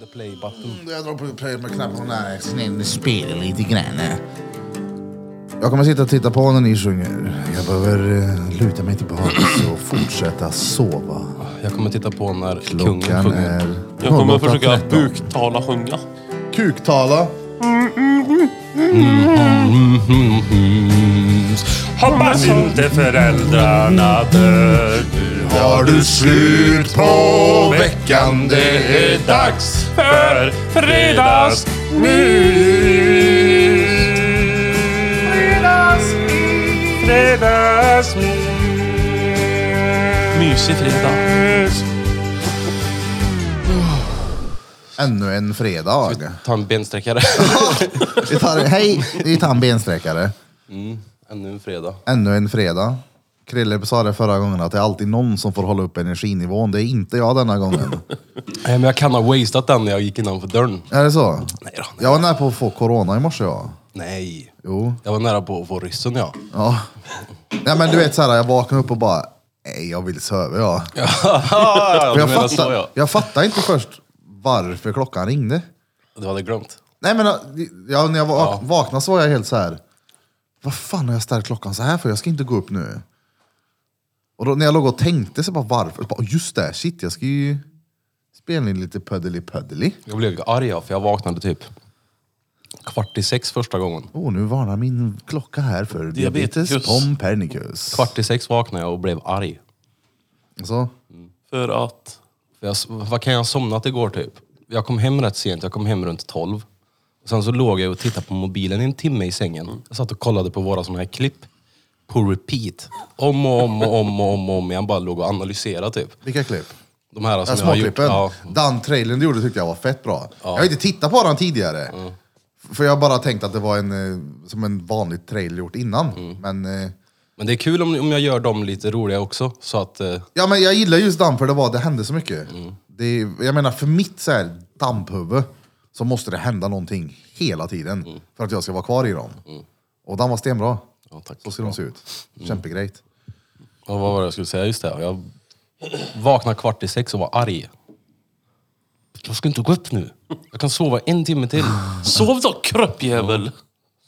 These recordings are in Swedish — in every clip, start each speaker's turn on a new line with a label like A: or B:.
A: the play button.
B: Jag drar på play med knapparna nära axeln in och spelar lite grann. Jag kommer sitta och titta på när ni sjunger. Jag behöver eh, luta mig tillbaka och fortsätta sova.
A: Jag kommer titta på när kungen
B: Klockan
A: sjunger.
B: är
C: Jag kommer
B: 08.13.
C: försöka buktala sjunga.
B: Kuktala.
D: Hoppas
B: Mm.
D: inte föräldrarna dör. Nu
B: Har du slut på veckan?
D: Det är dags för fredagsmys. Fredagsmys. Fredagsmys.
C: Mysig fredag.
B: Ännu en fredag.
A: Ta en bensträckare.
B: Vi tar, hej, vi tar en bensträckare.
A: Ännu en fredag.
B: Ännu en fredag. Krille sa det förra gången att det är alltid någon som får hålla upp energinivån. Det är inte jag denna gången.
A: Nej, men jag kan ha wasted den när jag gick innanför dörren.
B: Är det så?
A: Nej då.
B: Jag var nära på att få corona i morse jag.
A: Nej.
B: Jo.
A: Jag var nära på att få ryssen ja.
B: Ja. Nej men du vet såhär, jag vaknade upp och bara, nej jag vill sova jag.
A: jag
B: jag, fattar, jag fattar inte först varför klockan ringde.
A: Du hade glömt.
B: Nej men ja, när jag va- vaknade så var jag helt så här. Vad fan har jag ställt klockan så här för? Jag ska inte gå upp nu. Och då, när jag låg och tänkte så bara varför? Bara, just det, shit jag ska ju spela in lite pöddeli pöddeli.
A: Jag blev arg ja, för jag vaknade typ kvart i sex första gången.
B: Åh, Oh, nu varnar min klocka här för diabetes,
C: Diabetes.
B: pompernicus.
A: Kvart i sex vaknade jag och blev arg.
B: Så,
C: För att...
A: För jag, vad kan jag ha somnat igår typ? Jag kom hem rätt sent, jag kom hem runt 12. Och sen så låg jag och tittade på mobilen i en timme i sängen. Jag satt och kollade på våra såna här klipp. På repeat. Om och om och om och om, och om igen. Bara låg och analyserade typ.
B: vilka klipp?
A: De här
B: Ja,
A: som jag har gjort.
B: Alltså, småklippen.
A: Ja,
B: Den trailern du gjorde tyckte jag var fett bra. Jag har inte tittat på den tidigare. För jag har bara tänkt att det var en, eh, som en vanlig trailer gjort innan.
A: Mm.
B: Men, eh,
A: men det är kul om, om jag gör dem lite roliga också. Så att... Eh,
B: ja, men jag gillar just Damp för det var, det hände så mycket.
A: Mm.
B: Det, jag menar för mitt så här damphuvud så måste det hända någonting hela tiden
A: Mm.
B: för att jag ska vara kvar i dem. Och den var stenbra.
A: ja, tack.
B: Så ska de se ut.
A: Mm.
B: Kämpegrejt.
A: Ja, vad var det jag skulle säga? Just det, jag vaknade kvart i sex och var arg. Jag ska inte gå upp nu. Jag kan sova en timme till.
C: Sov då kröppjävel!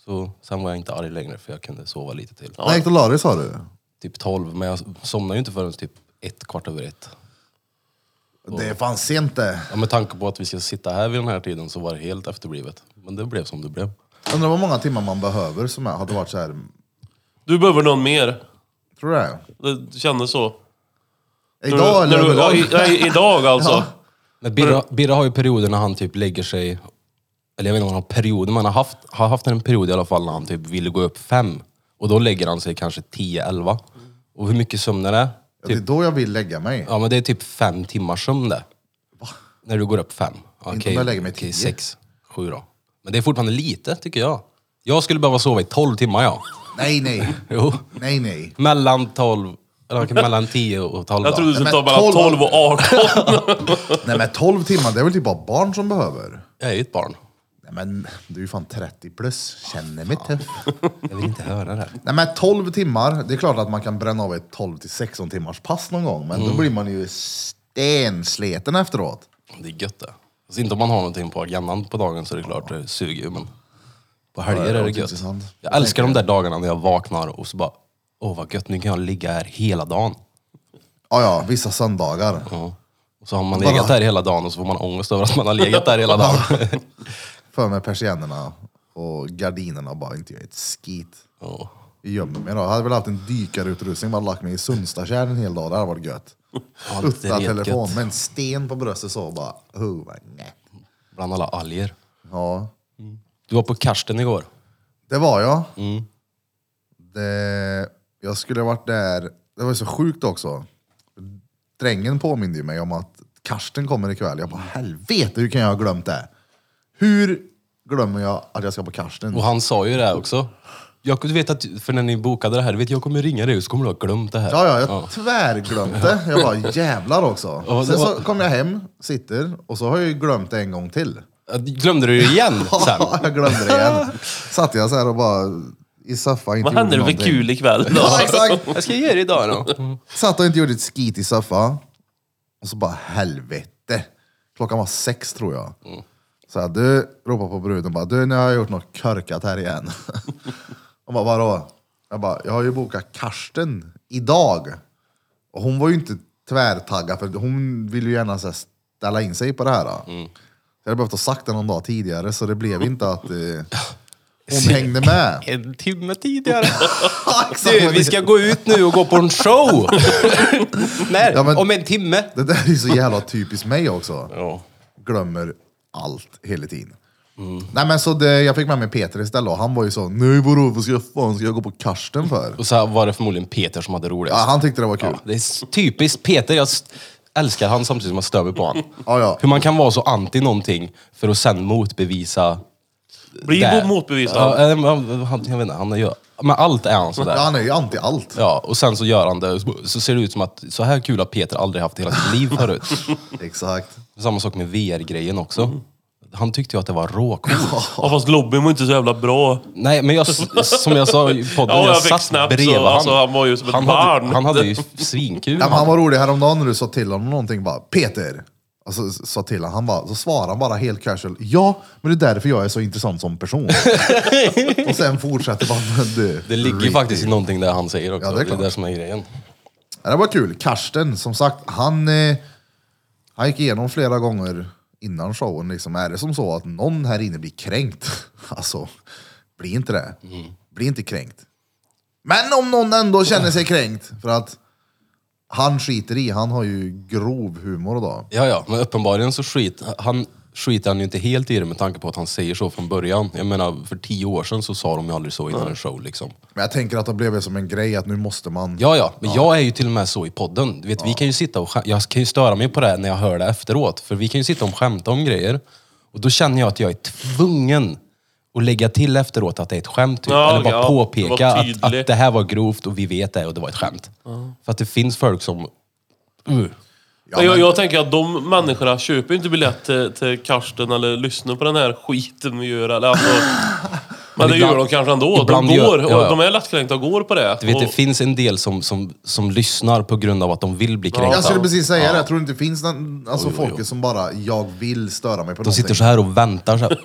A: Så, sen var jag inte arg längre för jag kunde sova lite till.
B: När gick det och la dig, sa du?
A: Typ tolv, men jag somnade ju inte förrän typ ett, kvart över ett.
B: Det är fan sent det.
A: Ja, med tanke på att vi ska sitta här vid den här tiden så var det helt efterblivet. Men det blev som det blev.
B: Undrar vad många timmar man behöver som jag hade varit så här.
C: Du behöver någon mer.
B: Tror du det?
C: Det kändes så.
B: Idag eller
C: när du, ja, i,
B: överlag?
C: nej, idag alltså.
A: Men Birra, Birra har ju perioder när han typ lägger sig, eller jag vet inte om han har perioder, men han har haft, har haft en period i alla fall när han typ vill gå upp fem. Och då lägger han sig kanske 10-11. Och hur mycket sömn är det?
B: Ja, det
A: Typ
B: är då jag vill lägga mig.
A: Ja men det är typ fem timmars sömn det. När du går upp fem. Okej,
B: om jag lägger mig
A: okej,
B: tio.
A: sex, sju då. Men det är fortfarande lite tycker jag. Jag skulle behöva sova i tolv timmar ja.
B: Nej, nej.
A: Jo.
B: Nej, nej.
A: Mellan tolv, eller okej, mellan tio och tolv
C: Jag
A: då.
C: trodde du skulle
B: men
C: ta mellan
B: 12
C: 12 och 18.
B: Nej, men 12 timmar, det är väl typ bara barn som behöver?
A: Jag är ju ett barn.
B: Nej, men du är ju fan 30 plus. Känner mig tuff.
A: Jag vill inte höra det.
B: Nej, men 12 timmar, det är klart att man kan bränna av ett 12 till 16 timmars pass någon gång, men
C: Mm.
B: då blir man ju stensleten efteråt.
A: Det är gött det. Alltså inte om man har någonting på agendan på dagen så är det klart det suger ju men. På
B: Ja, det
A: helger är det
B: låter
A: gött.
B: intressant.
A: Jag älskar de där dagarna när jag vaknar och så bara, åh vad gött, nu kan jag ligga här hela dagen.
B: Ja, ja, vissa söndagar.
A: Ja. Och så har man legat där hela dagen och så får man ångest över att man har legat där hela dagen.
B: För med persiennerna och gardinerna och bara inte gör ett skit.
A: Ja.
B: gömmer mig då. Jag hade väl haft en dykarutrustning bara lagt mig i Sundstatjärn en hel dag. Det hade varit gött.
A: Ja, det är
B: Utta
A: rätt
B: telefon
A: gött.
B: med en sten på bröstet så och bara... Oh, vad nej.
A: Bland alla alger.
B: ja,
A: Du var på Karsten igår.
B: det var jag. Det, jag skulle ha varit där. Det var så sjukt också. Drängen påminde ju mig om att Karsten kommer ikväll. Jag bara helvete hur kan jag ha glömt det? Hur glömmer jag att jag ska på Karsten?
A: Och han sa ju det här också. Jag vet att, för när ni bokade det här, du vet jag kommer ringa dig och så kommer du ha glömt det här.
B: Ja, ja, jag tvärglömde. Jag bara jävlar också.
A: Ja, det
B: Sen
A: var-
B: så kom jag hem, sitter och så har jag ju glömt det en gång till.
A: Glömde du det igen sen?
B: Ja, jag glömde det igen. Satt jag så här och bara i soffan. inte
C: Vad
B: gjorde
C: händer med
B: någonting.
C: kul ikväll då?
B: Ja, exakt.
A: Jag ska ge det idag då.
B: Satt och inte gjorde ett skit i soffan. Och så bara helvete. Klockan var sex tror jag. Så jag du ropar på bruden bara, du nu har jag gjort något körkat här igen. Hon bara, vadå? Jag bara, jag har ju bokat Karsten idag. Och hon var ju inte tvärtaggad för hon ville ju gärna så här, ställa in sig på det här. Då.
A: Mm.
B: Jag hade behövt ha sagt det någon dag tidigare så det blev inte att eh, hon hängde med.
A: En timme tidigare.
B: Exakt
A: Du,
B: vad
A: vi
B: det-
A: ska gå ut nu och gå på en show! När?
B: Ja, men-
A: Om en timme.
B: Det där är ju så jävla typiskt mig också.
A: Ja.
B: Glömmer allt hela tiden. Nej men så det, jag fick med mig Peter istället och han var ju så, nej vadå, vad ska jag, fan, ska jag gå på Karsten för?
A: Och så var det förmodligen Peter som hade roligast.
B: Ja, han tyckte det var kul.
A: Det är s- typiskt Peter. Jag st- älskar han samtidigt som jag stör mig på han.
B: Ja, ja.
A: Hur man kan vara så anti någonting för att sen motbevisa...
C: Bli
A: det.
C: motbevisad.
A: Ja, eh, men han, jag vet inte, han gör... Men allt är han
B: Ja,
A: sådär.
B: han är ju anti allt.
A: Ja, och sen så gör han det. Så- Så ser det ut som att så här kul har Peter aldrig haft i hela sitt liv förut.
C: Mm.
B: Exakt.
A: Samma sak med VR-grejen också. Han tyckte ju att det var råcoolt.
C: Ja, fast lobbyn var inte så jävla bra.
A: Nej, men jag, som jag sa i podden,
C: Ja,
A: jag,
C: jag fick
A: satt
C: snabbt, så
A: bredvid han.
C: alltså, han var ju som ett
A: han
C: barn.
A: Hade, han hade ju svinkul.
B: Ja, men
A: han.
B: han var rolig häromdagen när du sa till honom någonting bara, Peter! Alltså, s- sa till honom, han bara, så svarade han bara helt casual, ja, men det är därför jag är så intressant som person. och sen fortsätter bara, men du.
A: Det ligger ju
B: freak.
A: faktiskt i någonting där han säger också.
B: Ja, det
A: det,
B: är
A: är
B: klart.
A: det som är grejen.
B: Ja, Det var kul. Karsten, som sagt, han, eh, han gick igenom flera gånger innan showen. Liksom. Är det som så att någon här inne blir kränkt? Alltså, bli inte det.
A: Mm.
B: Bli inte kränkt. Men om någon ändå känner sig kränkt, för att han skiter i, han har ju grov humor då.
A: Ja, ja, men uppenbarligen så skit, han, skiter han ju inte helt i det med tanke på att han säger så från början. Jag menar, för tio år sedan så sa de ju aldrig så innan en show liksom.
B: Men jag tänker att det blev som en grej att nu måste man...
A: Ja, ja, men jag är ju till och med så i podden. Du vet, vi kan ju sitta och skäm- jag kan ju störa mig på det här när jag hör det efteråt. För vi kan ju sitta och skämta om grejer. Och då känner jag att jag är tvungen att lägga till efteråt att det är ett skämt. Typ.
C: Ja,
A: Eller bara
C: ja,
A: påpeka
C: vara
A: att,
C: tydlig.
A: att det här var grovt och vi vet det och det var ett skämt. För att det finns folk som... Uh.
B: Ja, men-
C: jag, jag tänker att de människorna köper ju inte biljett till, till Karsten eller lyssnar på den här skiten vi gör. Eller, alltså, men det
A: ibland-
C: gör de kanske ändå. De
A: ibland
C: går.
A: gör- ja, ja.
C: Och de är lättkränkta och går på det.
A: Du vet,
C: och,
A: det finns en del som, som, som lyssnar på grund av att de vill bli kränkta.
B: Jag skulle precis säga det, jag tror inte det finns någon, alltså, folket som bara, jag vill störa mig på
A: De
B: någonting.
A: sitter så här och väntar. Så här.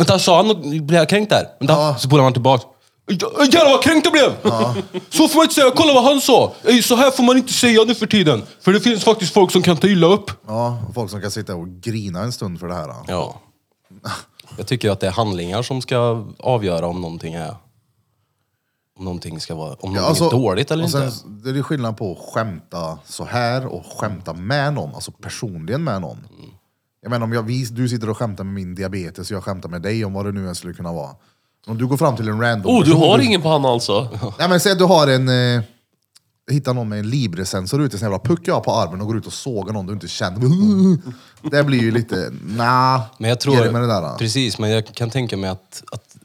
A: Vänta, sa han något? Blev jag kränkt där? Vänta.
B: Ja.
A: Så spolar man tillbaka. Oj, oj, Jävlar vad kränkt jag blev! Så får man inte säga, kolla vad han sa! Ej, Så här får man inte säga nu för tiden. För det finns faktiskt folk som kan ta illa upp.
B: Ja, folk som kan sitta och grina en stund för det här. då.
A: Ja. Jag tycker ju att det är handlingar som ska avgöra om någonting är... Om någonting ska vara... Om någonting är dåligt eller
B: Alltså, och sen,
A: inte.
B: Det är skillnad på att skämta så här och skämta med någon, alltså personligen med någon. Jag menar om jag, vi, du sitter och skämtar med min diabetes och jag skämtar med dig om vad det nu än skulle kunna vara. Om du går fram till en random
C: oh, du
B: person,
C: har ingen panna alltså?
B: Nej men säg att du har en... Eh, hittar någon med en Libre-sensor ute, sen jävla puckar jag på armen och går ut och sågar någon du inte känner. Det blir ju lite... Nah,
A: Men jag
B: ge dig med det
A: tror...
B: där. då.
A: precis, men jag kan tänka mig att, att,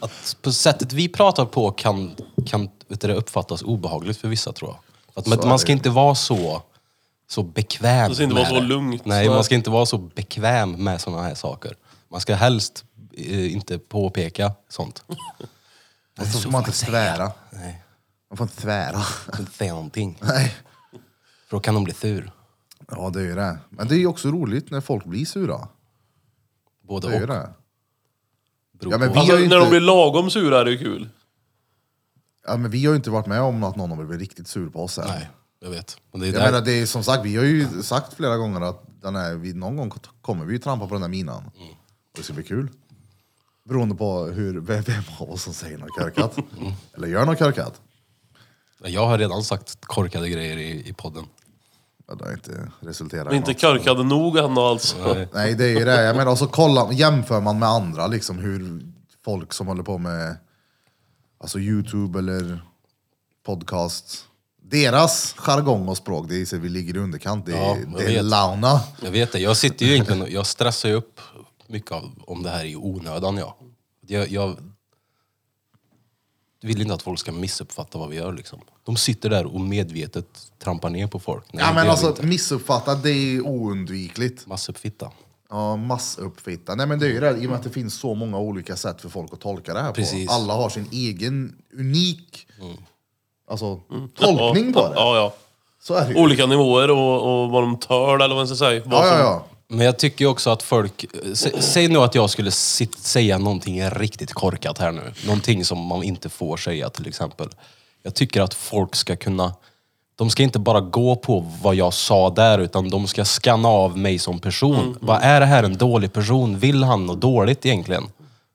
A: att på sättet vi pratar på kan, kan vet du, det uppfattas obehagligt för vissa tror jag. Att man,
B: Så är
A: man
B: det
A: ska
B: ju.
A: inte vara så, så bekväm
C: Det ska inte
A: med
C: vara så
A: det.
C: lugnt.
A: Nej,
C: Nej.
A: man ska inte vara så bekväm med sådana här saker. Man ska helst eh, inte påpeka sånt.
B: Och så får man inte svära.
A: Nej,
B: Man får inte svära.
A: inte säga någonting.
B: Nej.
A: För då kan de bli sur.
B: Ja, det är ju det. Men det är ju också roligt när folk blir sura.
A: Både
B: Det är ju
A: och.
B: det.
A: Beror
B: Ja, men
A: på.
B: vi-
C: Alltså,
B: har ju
C: När
B: inte-
C: de blir lagom sura är det ju kul.
B: Ja, men vi har ju inte varit med om att någon har blivit riktigt sur på oss än.
A: Nej, jag vet. Men det är
B: Jag
A: där...
B: menar, det är som sagt, vi har ju sagt flera gånger att den här, vi, någon gång kommer vi ju trampa på den där minan. Och det ska bli kul. Beroende på hur, vem vem av oss som säger något korkat. Eller gör något korkat.
A: Jag har redan sagt korkade grejer i, i podden.
B: Ja, Det har inte resulterat
C: De är
B: i
C: inte
B: något.
C: korkade nog ännu alltså.
B: Nej, det är ju det. Jag menar, och så kolla, jämför man med andra, liksom hur folk som håller på med alltså YouTube eller podcast, deras jargong och språk, det är, så vi ligger i underkant. Det är,
A: Ja, jag
B: det är
A: vet.
B: launa.
A: Jag vet det. Jag sitter ju egentligen och- jag stressar ju upp mycket av, om det här i onödan. Ja. Jag, jag vill inte att folk ska missuppfatta vad vi gör. Liksom. De sitter där och medvetet trampar ner på folk. Nej,
B: Ja,
A: det
B: men
A: gör vi
B: alltså
A: inte.
B: missuppfattat, det är ju oundvikligt.
A: Massuppfitta.
B: Ja, massuppfitta. Nej, men det är ju det, i och med att det finns så många olika sätt för folk att tolka det här
A: Precis. Mm.
B: på. Alla har sin egen unik alltså, tolkning på det.
C: Ja, ja.
B: Så är det ju.
C: Olika nivåer och, och vad de tål eller vad man ska säga.
B: Ja,
C: Vad
B: ja,
C: som-
B: ja.
A: Men jag tycker ju också att folk... eh, sä- Säg nu att jag skulle sit, säga någonting riktigt korkat här nu. Någonting som man inte får säga till exempel. Jag tycker att folk ska kunna... De ska inte bara gå på vad jag sa där, utan de ska scanna av mig som person.
B: Mm,
A: Vad är det här en dålig person? Vill han något dåligt egentligen?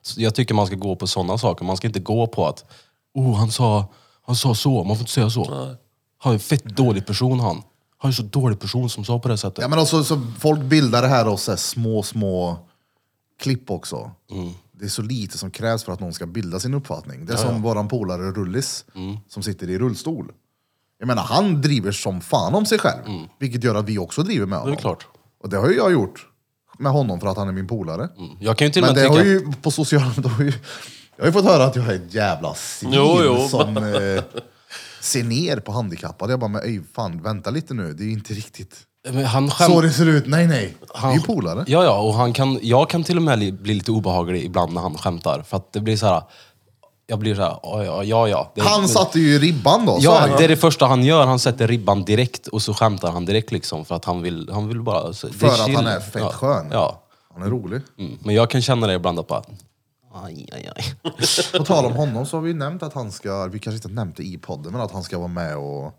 A: Så jag tycker man ska gå på sådana saker. Man ska inte gå på att, oh han sa, han sa så, man får inte säga så. Han är en fett dålig person han. Han är en så dålig person som sa på det sättet.
B: Ja, men också, så folk bildar det här av så här små, små klipp också.
C: Mm.
B: Det är så lite som krävs för att någon ska bilda sin uppfattning. Det är som våran polare Rullis,
C: Mm.
B: som sitter i rullstol. Jag menar, han driver som fan om sig själv,
C: Mm.
B: vilket gör att vi också driver med honom.
A: klart.
B: Och det har ju jag gjort med honom för att han är min polare.
C: Mm.
A: Jag kan ju till och
B: Men
A: med
B: det har
A: tycka...
B: ju på sociala... Det har ju, jag har ju fått höra att jag är ett jävla svin
C: Jo, jo.
B: som eh, ser ner på handikappade. Jag bara, men öj, fan, vänta lite nu. Det är ju inte riktigt...
A: Men Han skäm...
B: Så det ser ut. Nej, nej. Vi är ju
A: Han-
B: polare.
A: Ja, ja, och han kan, jag kan till och med li- bli lite obehaglig ibland när han skämtar. För att det blir så här. Jag blir så här, ja, ja, ja. ja. Det,
B: Han satte ju ribban då. så
A: Ja,
B: är det.
A: det är det första han gör. Han sätter ribban direkt och så skämtar han direkt liksom. För att han vill, han vill bara... så- det
B: För att
A: chill.
B: han är fett
A: ja.
B: skön.
A: Ja.
B: Han är rolig.
A: Mm. Men jag kan känna det ibland att bara... Aj, aj, aj.
B: På tal om honom så har vi ju nämnt att han ska, vi kanske inte nämnt det i podden, men att han ska vara med och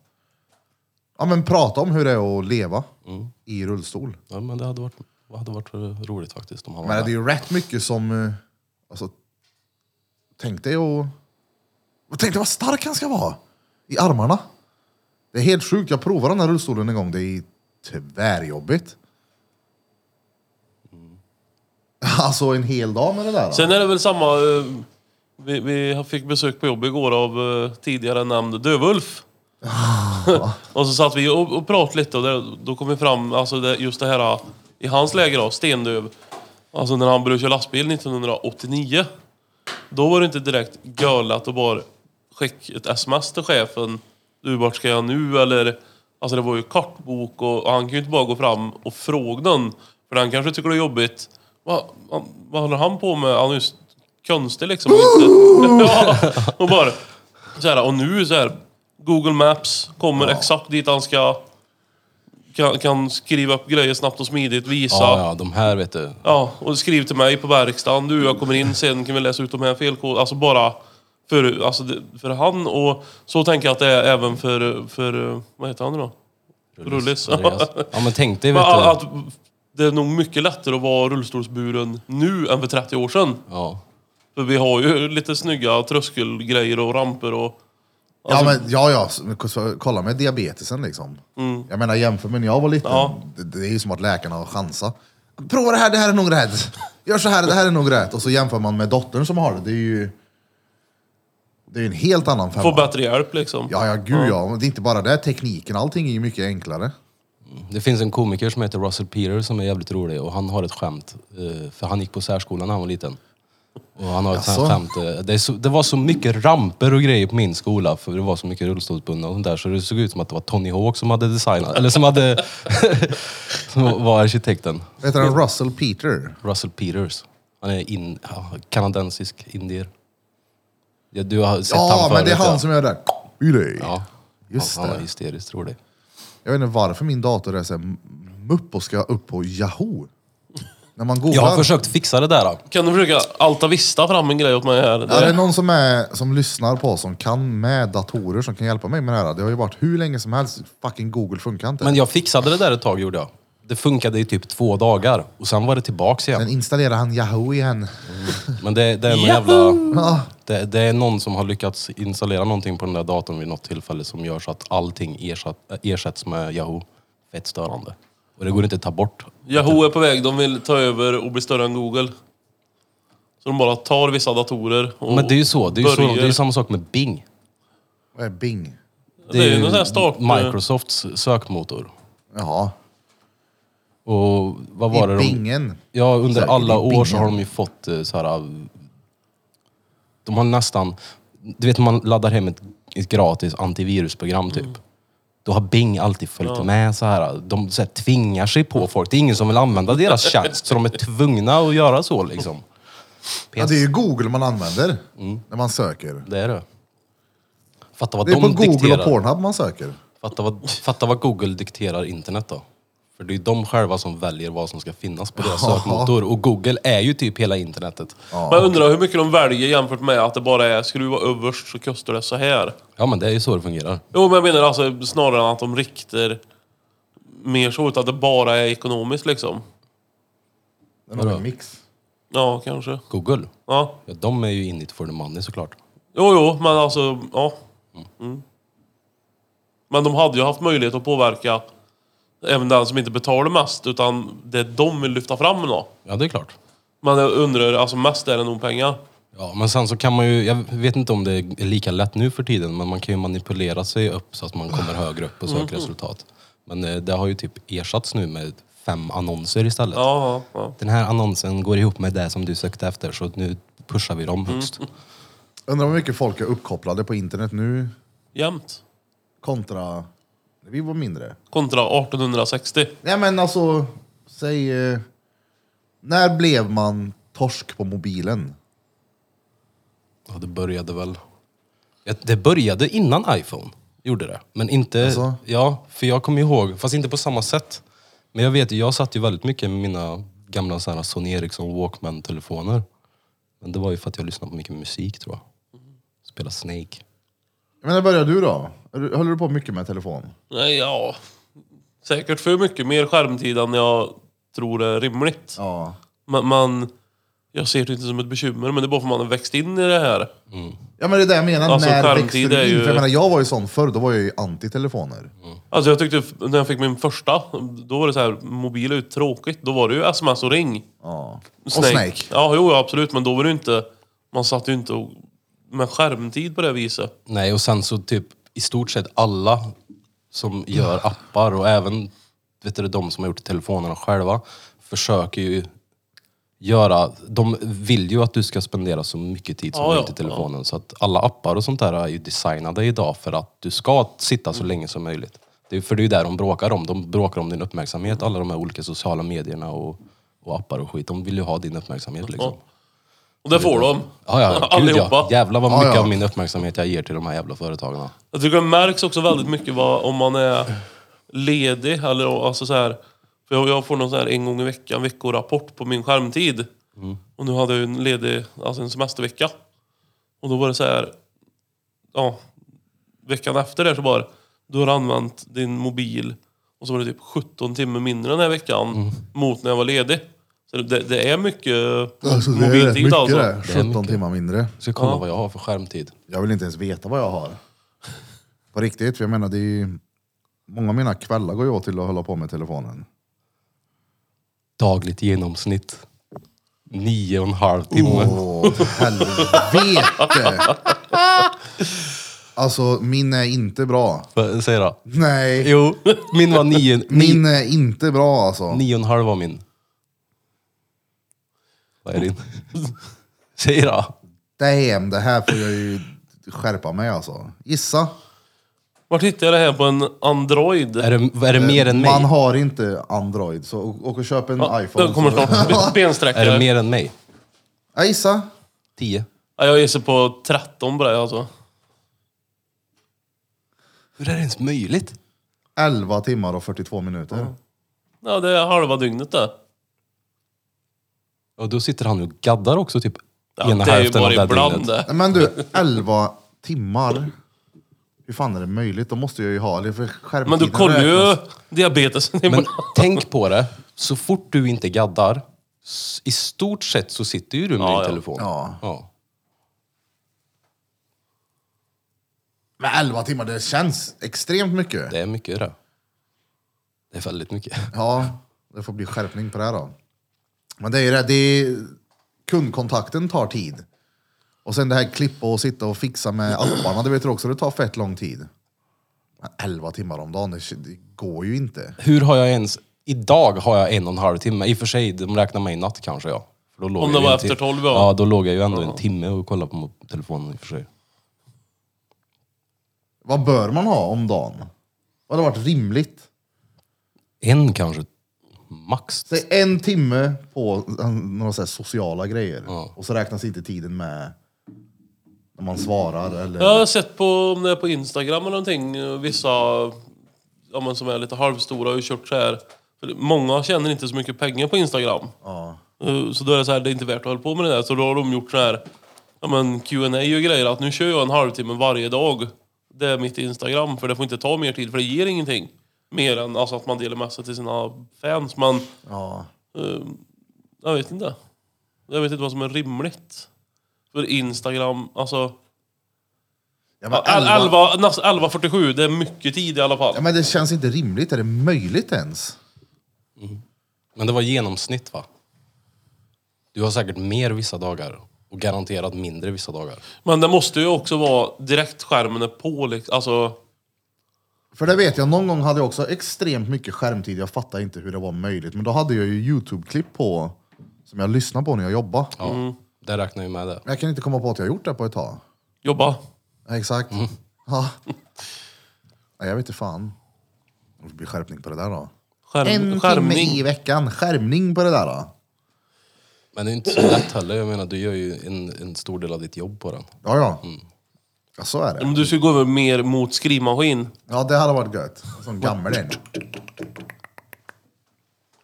B: ja, men prata om hur det är att leva
A: Mm.
B: i rullstol.
A: Ja, men det hade varit, det hade varit eh, roligt faktiskt om han var
B: Men det är
A: med.
B: ju rätt mycket som... eh, Alltså, tänk dig och... Tänk dig vad stark han ska vara! I armarna. Det är helt sjukt. Jag provade den här rullstolen en gång. Det är tvärjobbigt. Alltså en hel dag med det där. alltså.
C: Sen är det väl samma... eh, Vi, vi fick besök på jobb igår av eh, tidigare nämnd Dövulf. och så satt vi och, och pratade lite och det, då kom vi fram, alltså det, just det här i hans läge då, stendöv. Alltså när han började köra lastbil 1989. Då var det inte direkt gölat att bara skicka ett sms till chefen. Du, vart ska jag nu? Eller, alltså det var ju kartbok och, och han kan ju inte bara gå fram och fråga någon. För han kanske tycker det är jobbigt. Vad, vad, vad håller han på med? Han är ju s- konstig liksom. Och, inte, ja, och bara så här, och nu så här. Google Maps kommer exakt dit han ska. Kan, kan skriva upp grejer snabbt och smidigt, visa.
A: Ja, ja, de här vet du.
C: Ja, och skriv till mig på verkstaden. Du, jag kommer in sen, kan vi läsa ut de här felkoderna? Alltså bara för, alltså det- för han och så tänker jag att det är även för, för eh, vad heter han nu då? Rullis.
A: Andreas. Ja, men tänk dig
C: Men
A: vet
C: a- att
A: du.
C: det är nog mycket lättare att vara rullstolsburen nu än för 30 år sedan.
A: Ja.
C: För vi har ju lite snygga tröskelgrejer och ramper och...
B: ja, men, ja, ja. så- så- Kolla med diabetesen liksom. Jag menar jämför med när jag var liten.
C: Ja.
B: Det, det är ju som att läkarna har chansa. Prova det här, det här är nog rätt. Gör så här, det här är nog rätt. Och så jämför man med dottern som har det. Det är ju det är ju en helt annan femma.
C: Få bättre hjälp liksom.
B: Ja, ja, gud ja. Det är inte bara det. Tekniken, allting är ju mycket enklare.
A: Det finns en komiker som heter Russell Peter som är jävligt rolig och han har ett skämt. eh, För han gick på särskolan när han var liten. Och han har ett sånt här
B: Jaså?
A: skämt. eh, Det, är så, det var så mycket ramper och grejer på min skola för det var så mycket rullstolsbundna och sånt där så det såg ut som att det var Tony Hawk som hade designat, eller som hade... som var arkitekten.
B: Heter han Russell Peter?
A: Russell Peters. Han är in, ja, kanadensisk indier. Ja, du har sett
B: Ja,
A: han förut,
B: men det är han
A: ja.
B: som gör det. där.
A: Ja,
B: Just
A: han, han är
B: det.
A: hysteriskt rolig.
B: Jag vet inte varför min dator är så här mupp och ska upp på Yahoo. När man googlar.
A: Jag har försökt fixa det där. då.
C: Kan du försöka Alta Vista fram en grej åt mig här?
B: Är det någon som, är, som lyssnar på oss som kan med datorer som kan hjälpa mig med det här? Det har ju varit hur länge som helst. Fucking Google funkar inte.
A: Men jag fixade det där ett tag gjorde jag. Det funkade i typ två dagar och sen var det tillbaks
B: Sen
A: igen.
B: installerar han Yahoo igen.
A: Mm. Men det, det är någon jävla...
B: Ah,
A: Det, det är någon som har lyckats installera någonting på den där datorn vid något tillfälle som gör så att allting ersatt, ersätts med Yahoo. Fett störande. Och det går inte att ta bort.
C: Yahoo är på väg, de vill ta över och bli större än Google. Så de bara tar vissa datorer och
A: Men det är ju så. Det är ju, så,
C: börjar-
A: det är ju samma sak med Bing.
B: vad är Bing?
C: Det är ju någon sån här start...
A: Microsofts sökmotor.
B: Jaha,
A: Och vad var det
B: i
A: de...
B: Bingen.
A: Ja, under
B: Säkert
A: alla
B: i
A: år så har
B: bingen.
A: de ju fått eh, så här... eh, De har nästan... Du vet man laddar hem ett, ett gratis antivirusprogram typ.
B: Mm.
A: Då har Bing alltid följt med så här. De så här, tvingar sig på folk. Det är ingen som vill använda deras tjänst så de är tvungna att göra så liksom.
B: Ja, det är ju Google man använder
A: Mm.
B: när man söker.
A: Det är det. Fatta vad
B: Det är
A: de
B: på Google
A: dikterar.
B: och Pornhub man söker.
A: Fatta vad, fatta vad Google dikterar internet då. För det är ju de själva som väljer vad som ska finnas på deras sökmotor. Och Google är ju typ hela internetet.
C: Man undrar hur mycket de väljer jämfört med att det bara är skruva överst så kostar det så här.
A: Ja men det är ju så det fungerar.
C: Jo, men jag menar alltså snarare än att de riktar mer så, utan att det bara är ekonomiskt liksom.
B: Den har en mix.
C: Ja, kanske.
A: Google,
C: Ja.
A: ja, de är ju in it for the money såklart.
C: Jo, jo, men alltså, ja. Mm. Men de hade ju haft möjlighet att påverka även den som inte betalar mest, utan det de vill lyfta fram då.
A: Ja det är klart.
C: Men jag undrar, alltså mest är det nog pengar.
A: Ja, men sen så kan man ju, jag vet inte om det är lika lätt nu för tiden, men man kan ju manipulera sig upp så att man kommer högre upp på sökresultat. Men eh, det har ju typ ersatts nu med fem annonser istället.
C: Ja, ja, ja.
A: Den här annonsen går ihop med det som du sökte efter, så nu pushar vi dem högst.
B: Undrar hur mycket folk är uppkopplade på internet nu
C: Jämt.
B: kontra när vi var mindre.
C: Kontra 1860.
B: Nej men alltså, säg... eh, När blev man torsk på mobilen?
A: Ja, det började väl... Ja, Det började innan iPhone, gjorde det. Men inte...
B: Alltså?
A: Ja, för jag kommer ihåg, fast inte på samma sätt. Men jag vet ju, jag satt ju väldigt mycket med mina gamla så här Sony Ericsson Walkman-telefoner. Men det var ju för att jag lyssnade på mycket musik tror jag. Spela Snake.
B: Men när började du då? Är du- Höll du på mycket med telefon?
C: Nej, ja. Säkert för mycket mer skärmtid än jag tror är rimligt.
B: Ja.
C: Man, man, jag ser det inte som ett bekymmer, men det är bara för att man har växt in i det här.
B: Ja men det är det jag menar,
C: Alltså,
B: när
C: skärmtid
B: växte du in?
C: är ju-
B: För jag menar, jag var ju sån förr, då var jag ju anti-telefoner.
C: Alltså jag tyckte, f- när jag fick min första, då var det så här, mobil är ju tråkigt. Då var det ju sms och ring.
B: Ja. Och Snake.
C: Ja, jo, ja, absolut, men då var det ju inte, man satt ju inte och, med skärmtid på det viset.
A: Nej, och sen så typ i stort sett alla som gör appar och även vet du, de som har gjort telefonerna själva försöker ju göra... De vill ju att du ska spendera så mycket tid som
C: Ja,
A: möjligt
C: ja,
A: i telefonen. Så att alla appar och sånt där är ju designade idag för att du ska sitta
C: Mm.
A: så länge som möjligt. Det är, för det är ju där de bråkar om. De bråkar om din uppmärksamhet, alla de här olika sociala medierna och, och appar och skit. De vill ju ha din uppmärksamhet liksom.
C: Och det får de.
A: Ja, ja, gud,
C: Allihopa.
A: ja. Jävlar vad
B: Ja,
A: mycket
B: ja.
A: av min uppmärksamhet jag ger till de här jävla företagen.
C: Jag tycker det märks också väldigt mycket vad, om man är ledig eller o- alltså så här. För jag, jag får någon så här en gång i veckan veckorapport på min skärmtid.
B: Mm.
C: Och nu hade jag ju en ledig, alltså en semestervecka. Och då var det så här, ja, veckan efter det så bara, du har använt din mobil och så var det typ 17 timmar mindre den här veckan
B: Mm.
C: mot när jag var ledig. Så det, det är mycket
B: Alltså, det är rätt
C: mobiltid
B: mycket
C: alltså.
B: det. 17
A: mycket.
B: timmar mindre.
A: Jag ska kolla vad jag har för skärmtid.
B: Jag vill inte ens veta vad jag har. På riktigt, för jag menar det är ju... Många av mina kvällar går jag åt till att hålla på med telefonen.
A: Dagligt genomsnitt. Nio och en halv timme.
C: Oh.
B: Åh, helvete! Alltså, min är inte bra.
A: Vad Säg då.
B: Nej,
A: Jo, min var nio,
B: min
A: nio,
B: är inte bra alltså.
A: nio och en halv var min. Vad är din? Säg då.
B: Damn, det här får jag ju skärpa mig alltså. Gissa.
C: Vart hittade jag det här på en Android?
A: Är det, är det mer än
B: Man
A: mig?
B: har inte Android, så å- åk och köp en
C: Ja,
B: iPhone.
C: Den kommer
B: så-
C: snart.
A: Är det
C: Bensträckare.
A: mer än mig?
B: Ja, gissa.
A: Tio.
C: Ja, jag gissar på 13 på det alltså.
A: Hur är det ens möjligt?
B: 11 timmar och 42 minuter.
C: Ja, det är halva dygnet det.
A: Och då sitter han och gaddar också typ
C: Ja,
A: ena
C: det är ju
A: hälften av
C: bara
A: det här
C: ibland
A: dygnet.
C: det.
B: Nej, Men du, 11 timmar. Hur fan är det möjligt? Då måste jag ju ha det. För skärmtiden
C: Men du kollar ju
B: räknas.
C: diabetesen
A: Men
C: ibland.
A: tänk på det, så fort du inte gaddar, s- i stort sett så sitter ju du med
C: Ja,
A: din
C: ja.
A: telefon.
B: Ja.
A: ja.
B: Men 11 timmar, det känns extremt mycket.
A: Det är mycket det. Det är väldigt mycket.
B: Ja, det får bli skärpning på det här då. Men det är ju det, det är, kundkontakten tar tid. Och sen det här klippa och sitta och fixa med apparna, det vet du också, det tar fett lång tid. Men 11 timmar om dagen, det, det går ju inte.
A: Hur har jag ens... Idag har jag en och en halv timme. I och för sig, de räknar mig i natt kanske ja. För då låg
C: Om
A: jag
C: det
A: ju
C: var
A: en
C: efter
A: tim-
C: 12, ja.
A: ja. då låg jag ju ändå en timme och kollade på mo- telefonen i och för sig.
B: Vad bör man ha om dagen? Vad hade varit rimligt?
A: En kanske, max.
B: Säg en timme på eh, några så här sociala grejer.
A: Ja.
B: Och så räknas inte tiden med när man svarar eller...
C: Jag har sett på, om det är på Instagram eller någonting, vissa ja, men som är lite halvstora och har kört så här. För många tjänar inte så mycket pengar på Instagram.
B: Ja.
C: Eh, Så då är det så här, det är inte värt att hålla på med det där. Så då har de gjort så här, ja men Q&A och grejer. Att nu kör jag en halvtimme varje dag. Det är mitt Instagram. För det får inte ta mer tid, för det ger ingenting. Mer än alltså, att man delar med sig till sina fans. Man,
B: ja.
C: eh, jag vet inte. Jag vet inte vad som är rimligt. För Instagram, alltså...
B: Ja, men
C: Ja, el-
B: elva-
C: 11, näst- 11.47, det är mycket tid i alla fall.
B: Ja, men det känns inte rimligt. Är det möjligt ens?
A: Men det var genomsnitt va? Du har säkert mer vissa dagar och garanterat mindre vissa dagar.
C: Men det måste ju också vara direkt skärmen är på liksom. Alltså,
B: För det vet jag, någon gång hade jag också extremt mycket skärmtid. Jag fattar inte hur det var möjligt. Men då hade jag ju Youtube-klipp på som jag lyssnade på när jag jobbade.
A: Ja,
C: Mm.
A: det räknar ju med det.
B: Men jag kan inte komma på att jag gjort det på ett tag.
C: jobba.
B: Ja, exakt. Ja. Nej, jag vet inte fan. Det blir skärpning på det där då.
C: Skärm,
B: En timme i
C: skärmning.
B: veckan. Skärmning på det där då.
A: Men det är inte så lätt heller. Jag menar, du gör ju en, en stor del av ditt jobb på den.
B: Ja, ja. Ja, så är det.
C: Om du skulle gå över mer mot skrivmaskin.
B: Ja, det hade varit gött. En sån gammel en.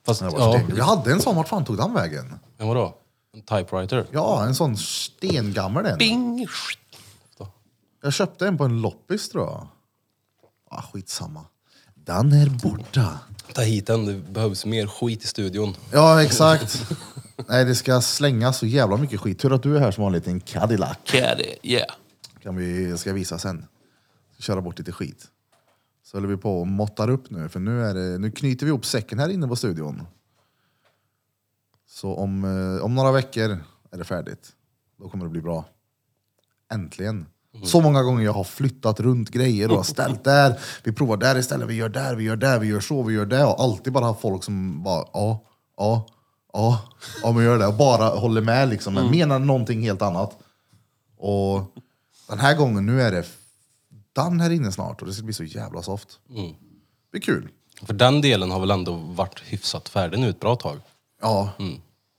A: Fast,
B: Det var
A: ja,
B: sten- Jag hade en sån, vart fan tog den vägen?
A: men vadå? En typewriter?
B: Ja, en sån stengammal en.
C: Bing!
B: Jag köpte en på en loppis tror jag. Ah, skitsamma. Den är borta.
A: Ta hit den, det behövs mer skit i studion.
B: Ja, exakt. Nej, det ska slängas så jävla mycket skit. Tur att du är här som har en liten Cadillac.
C: Caddy, yeah.
B: Kan vi, jag ska visa sen. Ska köra bort lite skit. Så håller vi på och måttar upp nu, för nu, är det, nu knyter vi ihop säcken här inne på studion. Så om, eh, om några veckor är det färdigt. Då kommer det bli bra. Äntligen. Så många gånger jag har flyttat runt grejer och har ställt där. Vi provar där istället, vi gör där, vi gör där, vi gör så, vi gör det. Och alltid bara haft folk som bara ja, ja, ja, ja men gör det. Och bara håller med liksom, men menar någonting helt annat. Och den här gången, nu är det Dan här inne snart och det ska bli så jävla soft. Det blir kul.
A: För den delen har väl ändå varit hyfsat färdig nu ett bra tag?
B: Ja.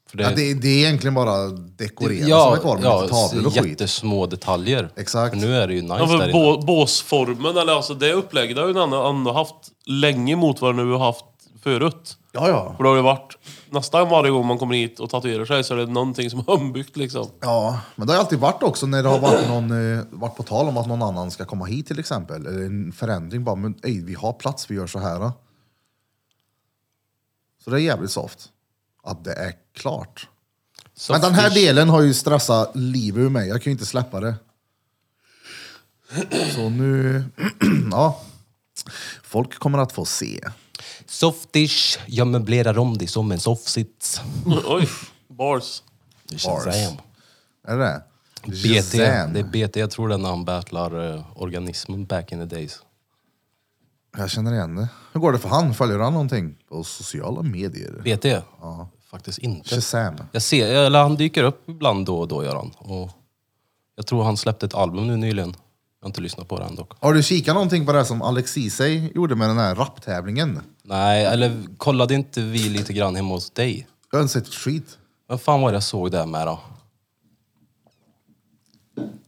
A: För
B: Det... ja det, det är egentligen bara dekorera som är kvar med lite tavlor och skit.
A: jättesmå detaljer.
B: Exakt.
A: För nu är det ju nice
C: Ja,
A: där
C: för
A: inne.
C: bå, båsformen, eller alltså det upplägget har ju Nanne ändå haft länge mot vad nu har haft förut.
B: Ja, ja.
C: För det har ju varit nästan varje gång man kommer hit och tatuerar sig så är det någonting som är ombyggt liksom.
B: Ja, men det har alltid varit också när det har varit, någon, eh, varit på tal om att någon annan ska komma hit till exempel. Eller en förändring bara, men ej, vi har plats, vi gör så här. då. Så det är jävligt soft. Att det är klart.
A: Så
B: men den här
A: fish-
B: delen har ju stressat livet ur mig. Jag kan ju inte släppa det. Så nu... ja. Folk kommer att få se.
A: Softish, jag möblerar om dig som en softsits.
C: Oj, bars.
A: Det
B: Bars.
A: känns Shazam.
B: Är det det?
A: BT,
B: Shazam.
A: det är BT, jag tror det är när han battlar eh, organismen back in the days.
B: Jag känner igen det. Hur går det för han? Följer han någonting på sociala medier?
A: BT? Faktiskt inte.
B: Shazam.
A: Jag ser, eller han dyker upp ibland då och då gör han. Och jag tror han släppte ett album nu nyligen. Jag har inte lyssnat på det än dock.
B: Har du kikat någonting på det här som Alexisej gjorde med den här rapptävlingen?
A: Nej, eller kollade inte vi lite grann hemma hos dig?
B: Jag har inte sett ett skit.
A: Vad fan var det jag såg där med då?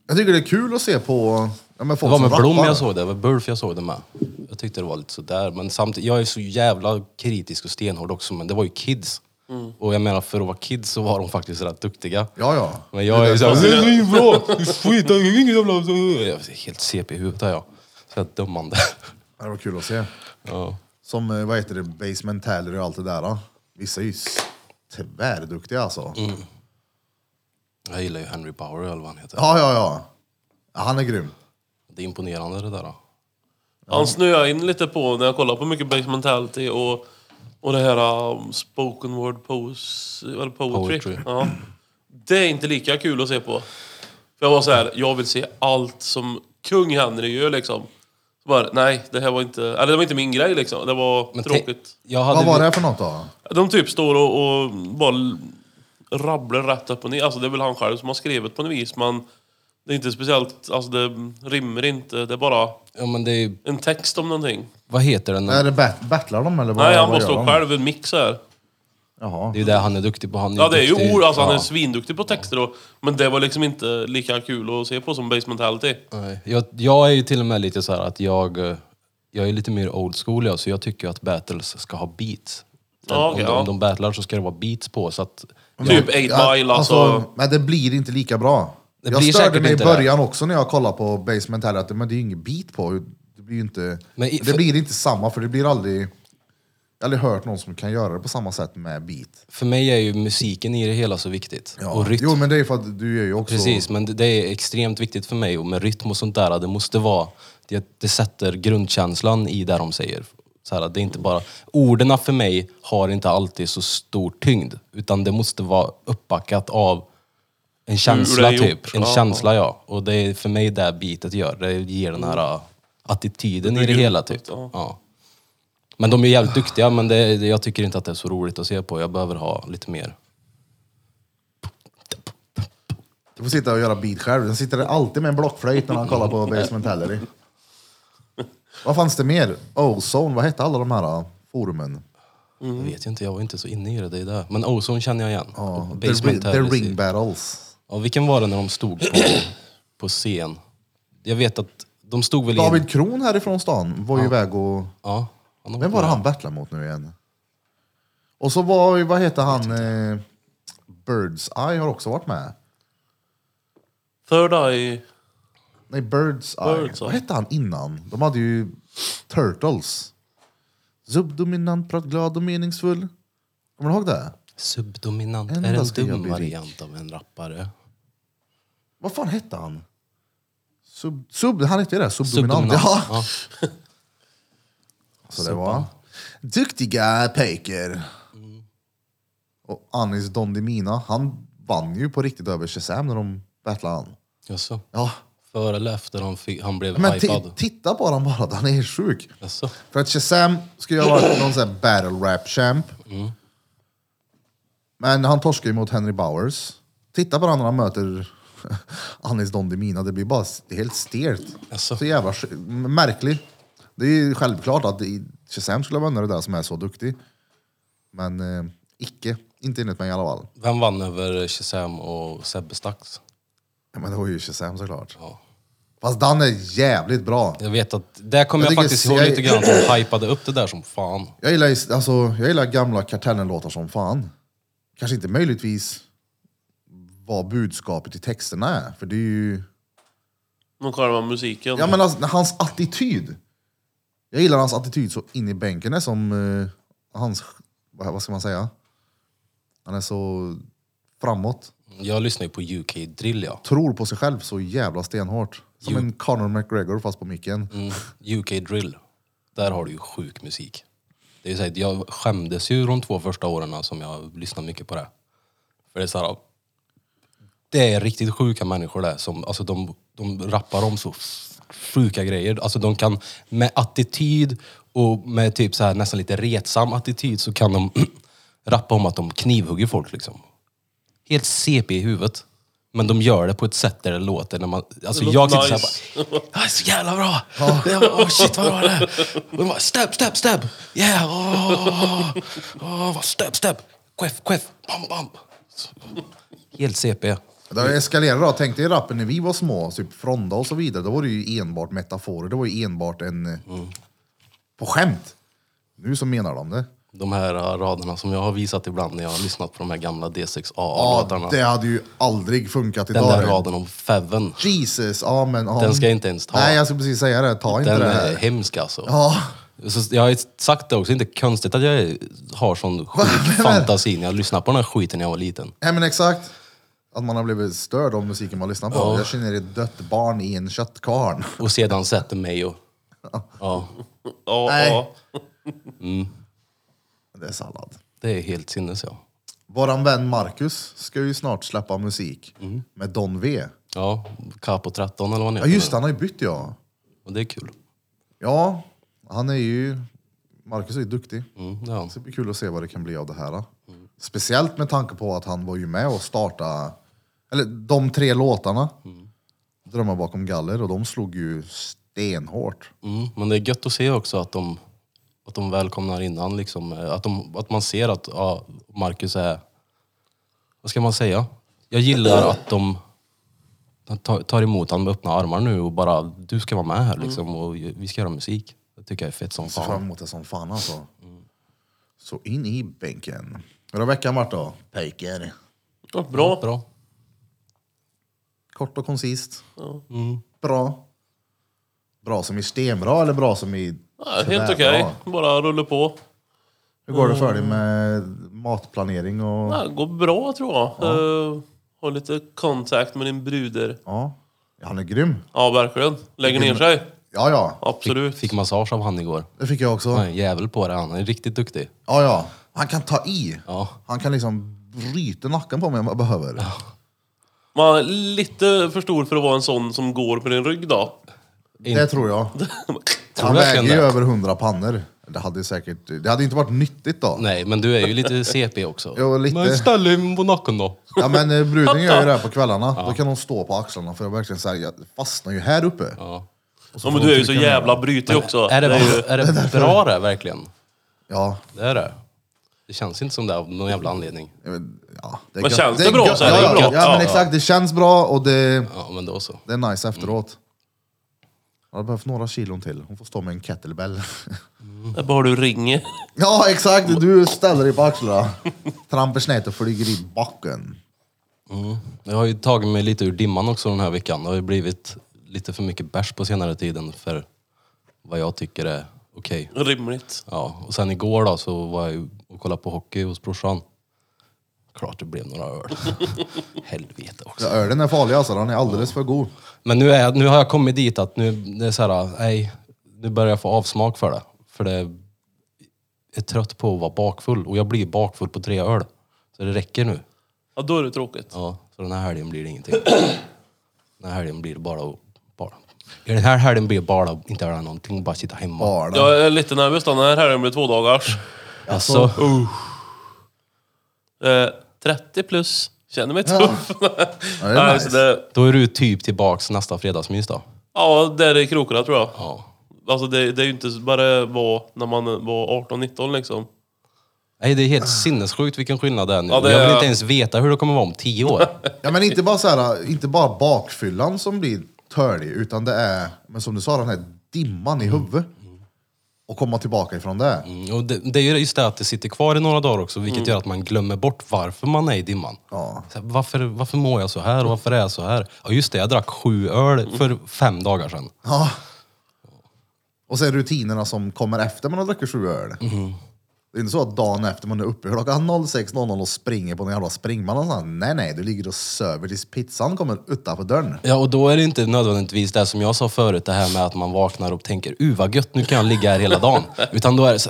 B: Jag tycker det är kul att se på ja, men
A: Det
B: folk
A: var
B: som
A: med Blom
B: rappar.
A: jag såg det, det var Bulf jag såg det med. Jag tyckte det var lite sådär, men samtidigt, jag är så jävla kritisk och stenhård också, men det var ju kids. Och jag menar, för att vara kids så var de faktiskt rätt duktiga.
B: Ja, ja.
A: Men jag är ju såhär,
B: därför-
A: det är inget bra, det är skit, det är inget jävla... Jag är helt CP i huvudet är jag. Så jag är dömande.
B: Ja, Det var kul att se.
A: Ja.
B: Som, eh, vad heter det, basementaler och allt det där. Då. Vissa är ju s- tvärduktiga alltså.
A: Mm. Jag gillar ju Henry Power eller vad han heter.
B: Ja, ja, ja, ja. Han är grym.
A: Det är imponerande det där. Då.
C: Han snöade in lite på när jag kollar på mycket basementality och, och det här um, spoken word pose, eller poetry.
A: Poetry.
C: Ja. Det är inte lika kul att se på. För jag var så här, jag vill se allt som kung Henry gör liksom. Så bara, nej, det här var inte, eller det var inte min grej liksom. Det var
A: Men te-
C: tråkigt.
A: Jag hade
B: Vad var det här för något då?
C: De typ står och, och bara l- rabblar rätt upp och ner. Alltså det är väl han själv som har skrivit på något vis, men det är inte speciellt, alltså det rimmer inte. Det är bara
A: Ja, men det är, ju-
C: en text om någonting.
A: vad heter den?
B: Är det bat- battlar de eller vad
C: Nej,
B: vad
C: han bara
B: gör
C: står
B: de?
C: själv i en mix här.
B: Jaha.
A: Det är ju det han är duktig på. Han
C: Ja, det är ju
A: duktig-
C: ord. Alltså, han är
A: Ja.
C: svinduktig på texter och, Men det var liksom inte lika kul att se på som Basementality.
A: Nej, Jag, jag är ju till och med lite så här att jag eh, jag är lite mer old school jag, så jag tycker att battles ska ha beats.
C: Ja,
A: om,
C: okej,
A: de,
C: ja.
A: om de battlar så ska det vara beats på. Så att,
C: Typ 8 Mile alltså.
B: Men det blir inte lika bra.
A: Det
B: jag
A: blir
B: störde
A: säkert
B: mig i
A: inte det.
B: början också när jag kollade på Basement här, att men det är ju ingen beat på. Det blir ju inte,
A: Men i-
B: det
A: för-
B: blir inte samma, för det blir aldrig... Jag har aldrig hört någon som kan göra det på samma sätt med beat.
A: för mig är ju musiken i det hela så viktigt.
B: Ja.
A: Och rytm.
B: Jo, men det är för att du gör ju också...
A: Precis, men det- det är extremt viktigt för mig. Och med rytm och sånt där, det måste vara... Det, det sätter grundkänslan i det de säger. Så här, det är inte bara... Orden för mig har inte alltid så stor tyngd. Utan det måste vara uppbackat av en känsla
C: Mm, det är gjort,
A: typ. En
C: ja.
A: känsla ja. Och det är för mig det bitet gör. Det ger den här uh, attityden i det hela typ.
C: ja.
A: Ja. Men de är jävligt duktiga, men det, det, jag tycker inte att det är så roligt att se på. Jag behöver ha lite mer.
B: Du får sitta och göra beat själv. Den sitter alltid med en blockflöjt när han kollar på Basement Gallery. Vad fanns det mer? Ozone, vad hette alla de här ah, forumen?
A: Jag vet ju inte, jag var inte så inne i det. det, är det. Men Ozone känner jag igen.
B: Mm. Ja,
A: Och
B: the, ri-
A: Basement typ.
B: the
A: Terrorist.
B: Ring Battles.
A: Ja, vilken var det när de stod på, på scen? Jag vet att de stod väl in...
B: David Kron härifrån stan var ju iväg och...
A: Ja, han har
B: Vem
A: varit
B: var det
A: med.
B: han battlade mot nu igen? Och så var ju, vad heter han? Eh, Birds Eye har också varit med.
C: Third Eye.
B: Nej, Birds Eye.
C: Birds Eye.
B: Vad hette han innan? De hade ju Turtles. Subdominant, prat glad och meningsfull. Kommer du ihåg det?
A: Subdominant.
B: En
A: är det
B: dag
A: en
B: ska jag
A: dum
B: bli
A: variant av en rappare?
B: Vad fan hette han? Sub, sub, han hette ju det, subdominant.
A: Subdominant.
B: Ja.
A: Ja.
B: Så det var. Duktiga pojkar. Och Anis Don Demina, han vann ju på riktigt över Shazam när de battlade han.
A: Jaså?
B: Ja.
A: Före eller efter han, fick, han blev
B: Men ti-
A: hypad?
B: titta på honom bara, han är helt sjuk.
A: Jaså?
B: För att Shazam ska ju ha varit någon sån här battle rap champ. Men han torskar ju mot Henry Bowers. Titta på honom när han möter Anis Don Demina, det blir bara det är helt stelt.
A: Jaså?
B: Så jävla sj- märklig. Det är ju självklart att i- Shazam skulle ha vunnit det där som är så duktig. Men eh, icke, inte enligt mig i alla fall.
A: Vem vann över Shazam och Sebbe Stax?
B: Ja, Men det var ju Shazam såklart.
A: Ja.
B: Fast Dan är jävligt bra.
A: Jag vet att, där kommer
B: Jag
A: jag,
B: tycker
A: faktiskt
B: jag-
A: ihåg lite grann, att de hypade upp det där som fan.
B: Jag gillar, ju- alltså, jag gillar gamla Kartellen-låtar som fan. Kanske inte möjligtvis vad budskapet i texterna är. För det är ju...
C: Någon själva musiken.
B: Ja, men alltså, hans attityd. Jag gillar hans attityd så in i bänken. Det är som eh, hans... Vad, vad ska man säga? Han är så framåt.
A: Jag lyssnar ju på UK Drill ja.
B: Tror på sig själv så jävla stenhårt. Som en Conor McGregor fast på micken.
A: Mm, UK Drill. Där har du ju sjuk musik. Det är ju så här, jag skämdes ju de två första åren som jag lyssnade mycket på det. För det är så här, det är riktigt sjuka människor där. Som, alltså de, de rappar om så sjuka grejer. Alltså de kan med attityd och med typ så här, nästan lite retsam attityd så kan de rappa om att de knivhugger folk liksom. Helt CP i huvudet. Men de gör det på ett sätt där det låter när man... Alltså
C: Det
A: jag
C: låter
A: sitter nice. såhär
C: nice.
A: bara... "Ja, Så jävla bra! Det var, oh shit vad bra det är." Och de bara, Stab, stab, stab! Yeah! Oh, oh, oh, stab, stab! Queff, queff! Bam, bam! Helt CP.
B: Det har eskalerat då. Tänk dig rappen när vi var små, typ Fronda och så vidare. Då var det ju enbart metaforer. Det var ju enbart en... eh,
A: Mm.
B: På skämt. Nu så menar de det.
A: De här eh, raderna som jag har visat ibland när jag har lyssnat på de här gamla
B: Ja,
A: D6A-radarna.
B: det hade ju aldrig funkat
A: den
B: idag.
A: där raden om Feven.
B: Jesus, ja men... Ja.
A: Den ska jag inte ens ta.
B: Nej, jag skulle precis säga det. Ta inte
A: Den
B: det
A: är
B: här.
A: hemsk alltså.
B: Ja,
A: Så jag har ju sagt det också, det är inte konstigt att jag har sån sjuk fantasi när jag lyssnar på den här skiten när jag var liten.
B: nej, men exakt. Att man har blivit störd av musiken man lyssnar på. Jag känner ett dött barn i en köttkvarn.
A: Och sedan sätter mig och... Ja,
C: ja,
B: Nej.
C: ja.
B: Det är sallad.
A: det är helt sinnes ja.
B: Våran vän Marcus ska ju snart släppa musik
A: Mm.
B: med Don V.
A: Ja, Capo 13 eller vad han
B: Ja
A: heter
B: just
A: nu.
B: det, han har ju bytt ja.
A: Och det är kul.
B: Ja, han är ju... Marcus är ju duktig.
A: Mm, det är han.
B: Så det blir kul att se vad det kan bli av det här. då. Speciellt med tanke på att han var ju med och starta eller de tre låtarna. Drömmar bakom galler och de slog ju stenhårt.
A: Mm, men det är gött att se också att de, att de välkomnar innan. Liksom, eh, att, de, att man ser att ja, Marcus är... Vad ska man säga? Jag gillar att de de tar tar emot honom med öppna armar nu och bara du ska vara med här liksom, och vi ska göra musik. Det tycker jag är fett som
B: ser fram
A: Mm. fan.
B: emot det som fan alltså. Så in i bänken. Hur har veckan varit då? Pojkar.
C: Ja, bra.
A: Bra.
B: Kort och koncist. Bra. Bra som i stenbra eller bra som i...
C: Ja, helt
B: sådär
C: okej. Mm.
B: bra?
C: Bara rulla på.
B: Hur går det för dig med matplanering och...
C: Ja, det går bra tror jag. Eh, har lite kontakt med din bruder.
B: Ja. ja, han är grym.
C: Ja, verkligen. Lägger ner sig.
B: Ja, ja.
C: Absolut.
A: Fick massage av han igår.
B: Det fick jag också.
A: Han är en jävel på det, han är riktigt duktig.
B: Ja, ja. Han kan ta i.
A: Ja.
B: Han kan liksom bryta nacken på mig om jag behöver.
C: Man är lite för stor för att vara en sån som går på din rygg då.
B: Det tror jag.
A: Tror
B: Han
A: du verkligen
B: väger ju
A: det?
B: över 100 pannor. Det hade ju säkert... Det hade inte varit nyttigt då.
A: Nej, men du är ju lite CP också.
B: Jo, lite.
A: Men ställ dig på nacken då.
B: Ja men eh, bruden gör ju det här på kvällarna. Då kan hon stå på axlarna för jag verkligen så här, jag fastnar ju här uppe.
A: Ja.
B: Och så får
C: Ja, men du är
B: hon
C: ju så
B: trycka ner
C: jävla
B: den.
C: brytig också.
A: Är det,
C: Det är ju-
A: är det bra det verkligen?
B: Ja,
A: Det är det. Det känns inte som det av någon jävla anledning.
B: jag vet- ja. Det är
C: Men
B: gött.
C: känns det bra
B: gött.
C: så är det
B: ja,
C: bra.
B: Ja, ja men
C: Ja.
B: exakt, det känns bra och det,
A: Ja, men då så.
B: det är nice efteråt.
A: Mm.
B: Jag hade behövt några kilon till. Hon får stå med en kettlebell.
C: Där bara du ringer.
B: ja exakt, du ställer dig på axlarna. Trampar snett och flyger i backen.
A: Jag har ju tagit mig lite ur dimman också den här veckan. Det har ju blivit lite för mycket bärs på senare tiden för vad jag tycker är okej.
C: Rimligt.
A: Ja, och sen igår då så var jag ju och kollade på hockey hos brorsan. Klart det blev några öl. Helvete också.
B: Ja, ölen är farlig alltså, den är alldeles för god.
A: Men nu, är, nu har jag kommit dit att nu, det är så här, nej, nu börjar jag få avsmak för det. För det är trött på att vara bakfull och jag blir bakfull på tre öl. Så det räcker nu.
C: Ja, då är det tråkigt.
A: Ja, så den här helgen blir det ingenting. Den här helgen blir det bara att... Bara. Ja, den här helgen blir det bara att inte göra någonting, bara sitta hemma.
B: Bara.
C: Jag är lite nervös då. Den här helgen blir två dagars.
A: Alltså,
C: Eh, 30 plus. Känner mig tuff.
B: Ja, det är
C: Nej,
B: nice.
C: så det,
A: då är du typ tillbaks nästa fredagsmys då.
C: ja, där är krokarna tror jag.
A: Ja.
C: Alltså det, det är ju inte bara var när man var 18-19 liksom.
A: Nej, det är helt sinnessjukt vilken skillnad det är nu.
C: Ja, det
A: jag
C: är-
A: vill inte ens veta hur det kommer vara om tio år.
B: Ja men inte bara, så här, inte bara bakfyllan som blir törlig, utan det är, men som du sa, den här dimman i huvudet. Och komma tillbaka ifrån det.
A: Mm, Och det, det är ju just det att det sitter kvar i några dagar också,
C: Mm.
A: vilket gör att man glömmer bort varför man är i dimman.
B: Ja.
A: Så här, varför, varför mår jag så här och varför är jag så här? Ja just det, jag drack sju öl för fem dagar sedan.
B: Ja. Och sen rutinerna som kommer efter man har druckit sju öl. Det är inte så att dagen efter man är uppe klockan 06.00 och springer på en jävla springmatta. Så här, Nej, nej, du ligger och söver tills pizzan kommer utanför dörren.
A: Ja, och då är det inte nödvändigtvis det som jag sa förut, det här med att man vaknar och tänker uh vad gött, nu kan jag ligga här hela dagen. Utan då är det så,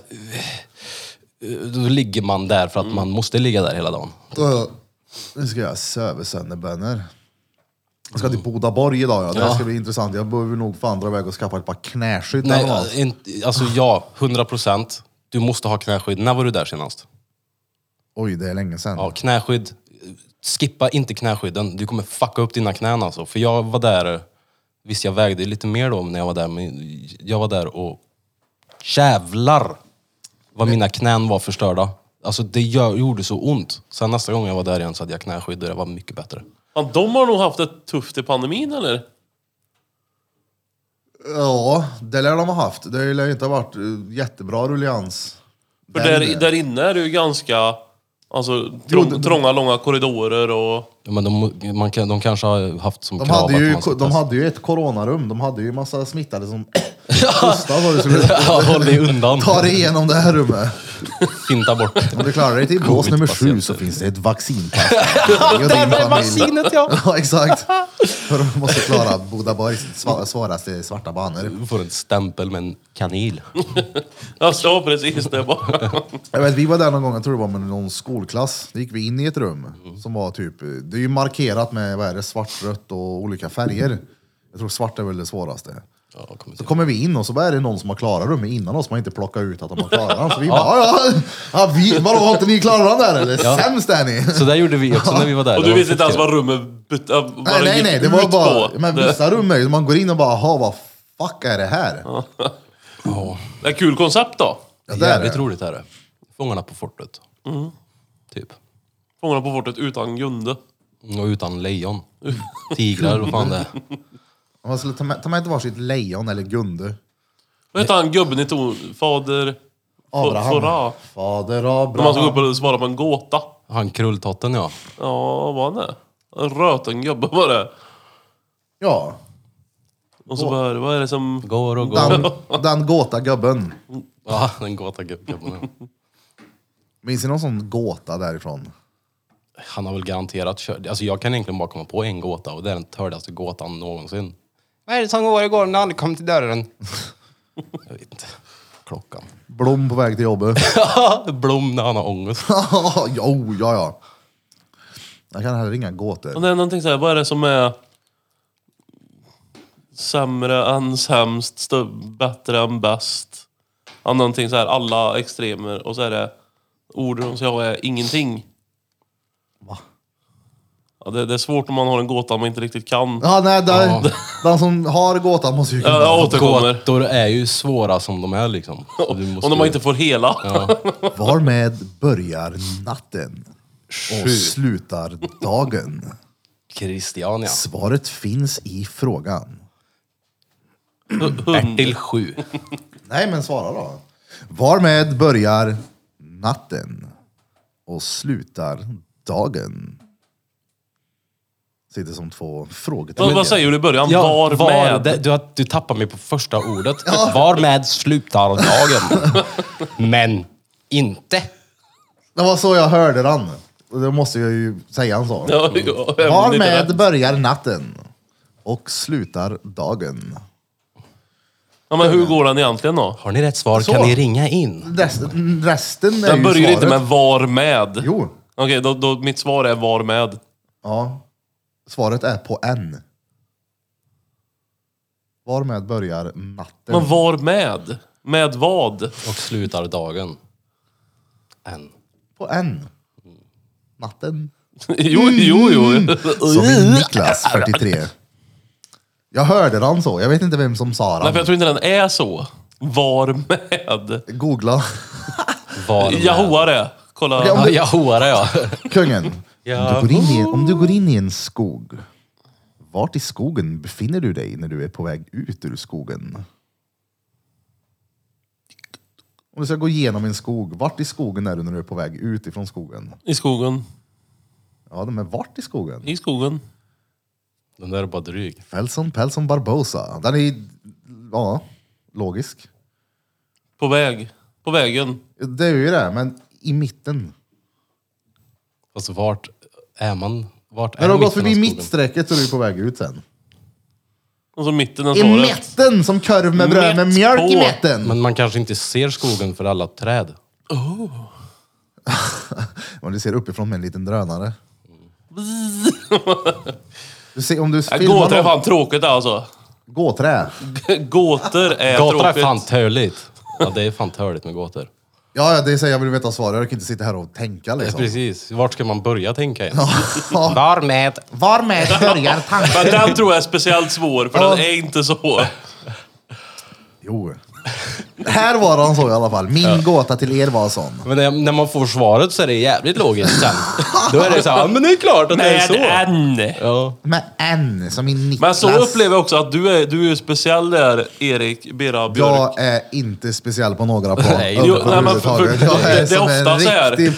A: eh, då ligger man där för att man måste ligga där hela dagen.
B: Ö, Nu ska jag söva sönder bönor. Jag ska till Bodaborg idag, ja. det här ska bli intressant. Jag behöver nog fan dra iväg och skaffa ett par knäskydd.
A: Nej,
B: eller något.
A: inte- alltså ja, 100 procent. Du måste ha knäskydd. När var du där senast?
B: Oj, det är länge sedan.
A: Ja, knäskydd. Skippa inte knäskydden. Du kommer fucka upp dina knän alltså. För jag var där, visst jag vägde lite mer då när jag var där, men jag var där och jävlar vad mina knän var förstörda. Alltså det gör, gjorde så ont. Sen nästa gång jag var där igen så hade jag knäskydd och det var mycket bättre.
C: Fan, de har nog haft det tufft i pandemin eller?
B: Ja, det lär de ha haft. Det lär ju inte ha varit eh, jättebra rullians.
C: För
B: där
C: där,
B: inne.
C: där inne är det ju ganska alltså, trång,
B: det-
C: trånga, långa korridorer och...
A: Ja, Men de, man kan, de kanske har haft som
B: de,
A: krav
B: hade ju,
A: att man ska
B: de
A: testa.
B: hade ju ett coronarum, de hade ju massa smittade som Gustav var det som
A: Ja, håll dig undan.
B: ta dig igenom det här rummet.
A: Finta bort.
B: Om du klarar dig till bås nummer sju
A: Covid-patienter.
B: så finns det ett vaccinpass. Där är vaccinet ja! ja, exakt. För de måste klara Bodaborgs sva- svåraste svarta banor.
A: Du får en stämpel med en kanil.
C: Alltså, ja, precis. Det är bara...
B: Jag vet, vi var där någon gång, jag tror det var med någon skolklass. Då gick vi in i ett rum som var typ, eh, det är ju markerat med vad är det, svart, rött och olika färger. Jag tror svart är väl det svåraste.
A: Ja, jag kommer inte
B: Så
A: ihåg.
B: kommer vi in och så bara är det någon som har klarat rummet innan oss, man har inte plockat ut att de har klarat den. Så vi bara, ja, ja, ja vi, vadå har inte ni klarat den där eller? Sämst är ni!
A: så det gjorde vi också när vi var där.
C: Och
A: Det
C: du
A: var
C: vet inte ens
A: skitkul.
C: vad rummet... bet- äh, Vad
B: Nej, nej,
C: gick
B: nej, det var
C: ut
B: bara,
C: på.
B: men
C: det,
B: vissa rum är ju, man går in och bara, jaha vad fuck är det här?
C: det är kul koncept då.
B: Ja,
A: Det
B: där
A: är
B: är
A: jävligt
B: det.
A: roligt är det. Fångarna på fortet.
C: Mm.
A: Typ.
C: Fångarna på fortet utan Gunde.
A: Och utan lejon. Tigrar och fan det är.
B: Om Man skulle ta med, ta med ett varsitt lejon eller Gunde.
C: Vad heter han gubben i ton? Fader...
B: Abraham.
C: Fora.
B: Fader
C: När man ska gå upp
B: Abraham.
C: och svara på en gåta.
A: Han krulltotten ja.
C: Ja, vad var han det? En röten gubbe var det.
B: Ja.
C: Och så bara, vad är det som...
A: Går och går.
B: Den, den gåta gubben.
A: Ja, den gåtagubben. ja.
B: Minns ni någon sån gåta därifrån?
A: Han har väl garanterat kört. Alltså jag kan egentligen bara komma på en gåta och det är den tördaste gåtan någonsin. Vad är det som går och går när han kommer till dörren? jag vet inte. Klockan.
B: Blom på väg till jobbet.
A: Blom när han har ångest.
B: jo, ja, ja. Jag kan heller inga gåtor.
C: Och det är någonting så här, vad är det som är... Sämre än sämst, stö, bättre än bäst. Ja, någonting så här, alla extremer. Och så är det orden som jag är ingenting.
B: Va?
C: Ja, det, det är svårt om man har en gåta man inte riktigt kan.
B: Ja, nej, den,
A: Ja.
B: den som har gåtan måste ju kunna.
C: Ja, jag återkommer.
A: Gåtor är ju svåra som de är liksom. Så du måste
C: Om man
A: ju-
C: inte får hela.
B: Varmed börjar natten och slutar dagen?
A: Christiania.
B: Svaret finns i frågan.
C: Mm.
A: Bertil 7.
B: Nej, men svara då. Varmed börjar natten och slutar dagen? Sitter som två
C: Vad,
B: frågetecken.
C: vad säger du i början? Liksom, var, med?
A: det- Du, har- du tappar mig på första ordet. Var med slutar dagen. Men inte.
B: Det var så jag hörde den. Och Då måste jag ju säga en sak.
C: Ja, ja, även lite
B: Varmed
C: där.
B: börjar natten och slutar dagen?
C: Ja, men hur går den egentligen då?
A: Har ni rätt svar
B: Så.
A: kan ni ringa in.
B: Resten, resten är
C: Den
B: ju
C: börjar
B: svaret.
C: inte med var med.
B: Jo.
C: Okej, då, då, mitt svar är var med.
B: Ja. Svaret är på N. Varmed börjar natten?
C: Men var med? Med vad?
A: Och slutar dagen. En.
B: På N. Natten.
C: Jo, jo,
B: Mm.
C: jo.
B: Som i Niklas, 43. Jag hörde den så. Jag vet inte vem som sa
C: Nej, för jag
B: den.
C: tror inte den är så. Var med.
B: Googla.
A: Var med.
C: Jag hoar det.
B: Okej,
C: Kolla.
B: om-
A: Ja, jag hoar det ja.
B: Kungen. Om, du går in i, om du går in i en skog, vart i skogen befinner du dig när du är på väg ut ur skogen? Om du ska gå igenom en skog, vart i skogen är du när du är på väg ut ifrån skogen?
C: I skogen.
B: Ja, de är vart i skogen?
C: I skogen.
A: Den där är bara dryg.
B: Felson, Pelson, Barbosa. Den är, ja, logisk.
C: På väg. På vägen.
B: Det är ju det, men i mitten.
A: Fast vart är man? Vart är
B: När du har gått
A: mitten av
B: förbi
A: skogen?
B: mittstrecket så är du på väg ut sen.
C: Och så mitten av
B: I
C: svaret.
B: mitten, som korv med bröd med
C: Mätt
B: mjölk i
C: på.
B: mitten!
A: Men man kanske inte ser skogen för alla träd.
B: Om du ser uppifrån med en liten drönare. Du ser,
A: Äh,
B: om du filmar
C: Gåtor
B: någon...
C: är fan tråkigt alltså.
B: Gåträ.
C: Gåtor är
A: Gåtor är
C: tråkigt.
A: fan töligt. Ja, det är fan töligt med gåtor.
B: Ja, ja, det säger jag vill veta svaret. Jag kan inte sitta här och tänka
A: Ja,
B: liksom.
A: precis. Vart ska man börja tänka ens?
B: Ja.
A: Var med.
B: Varmed börjar
C: Men
B: tanken?
C: den tror jag är speciellt svår, för
B: Ja.
C: den är inte så.
B: Jo. Här var han så i alla fall. Min gåta till er var sån.
A: Men när- när man får svaret så är det jävligt logiskt sen. Då är det så här, "Ja, men det är klart att det är
C: Med
A: så.
C: en.
A: Ja.
B: Med N som i Niklas.
C: Men så upplever jag också att du är, du är ju speciell där, Erik Bera Björk.
B: Jag är inte speciell på några plan
A: Nej,
B: överhuvudtaget.
A: jo,
C: nej, men för- för-
B: jag är
C: det- det är
B: som en
C: ofta så här.
B: riktig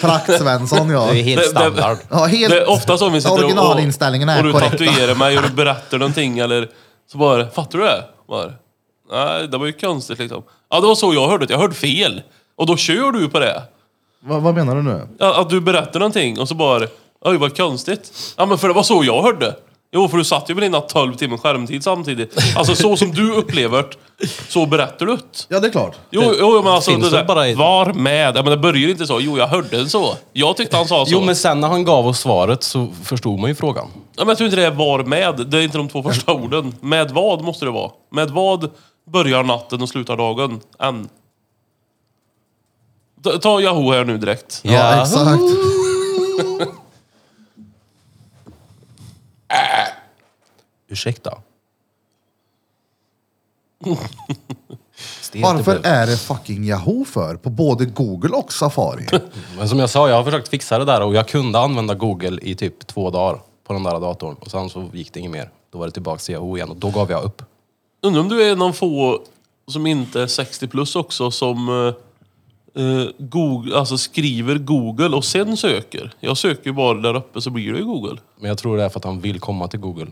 B: praktsvensson
A: Det är
B: jag.
A: helt
C: Det- det-
A: standard.
B: Ja, helt...
C: det är ofta så om vi sitter och, och,
B: Originalinställningen är
C: och du
B: korrekta.
C: tatuerar mig och du berättar någonting eller så bara, fattar du det? Bara, Nej, det var ju konstigt liksom. Ja, det var så jag hörde det. Jag hörde fel. Och då kör du på det.
B: Vad- vad menar du nu?
C: Ja, Att du berättar någonting och så bara, oj vad konstigt. Ja, men för det var så jag hörde. Jo, för du satt ju med dina 12 timmar skärmtid samtidigt. Alltså så som du upplever det, så berättar du det.
B: Ja, det är klart.
C: Jo, jo men alltså,
A: finns
C: det
A: väl
C: där,
A: bara i-
C: var med. Ja, men det börjar inte så. Jo, jag hörde den så. Jag tyckte han sa så.
A: Jo, men sen när han gav oss svaret så förstod man ju frågan.
C: Ja, men jag tror inte det är var med. Det är inte de två första orden. Med vad måste det vara. Med vad börjar natten och slutar dagen? Än. Ta- Ta Yahoo här nu direkt.
B: Ja, exakt.
A: Ursäkta. Stelt
B: Varför
A: det blev.
B: är det fucking Yahoo för? På både Google och Safari.
A: Men som jag sa, jag har försökt fixa det där och jag kunde använda Google i typ två dagar på den där datorn. Och sen så gick det inget mer. Då var det tillbaka till Yahoo igen och då gav jag upp.
C: Undrar om du är en av få som inte är 60 plus också som eh, eh, Google, alltså skriver Google och sen söker. Jag söker ju bara där uppe så blir det ju Google.
A: Men jag tror det är för att han vill komma till Google.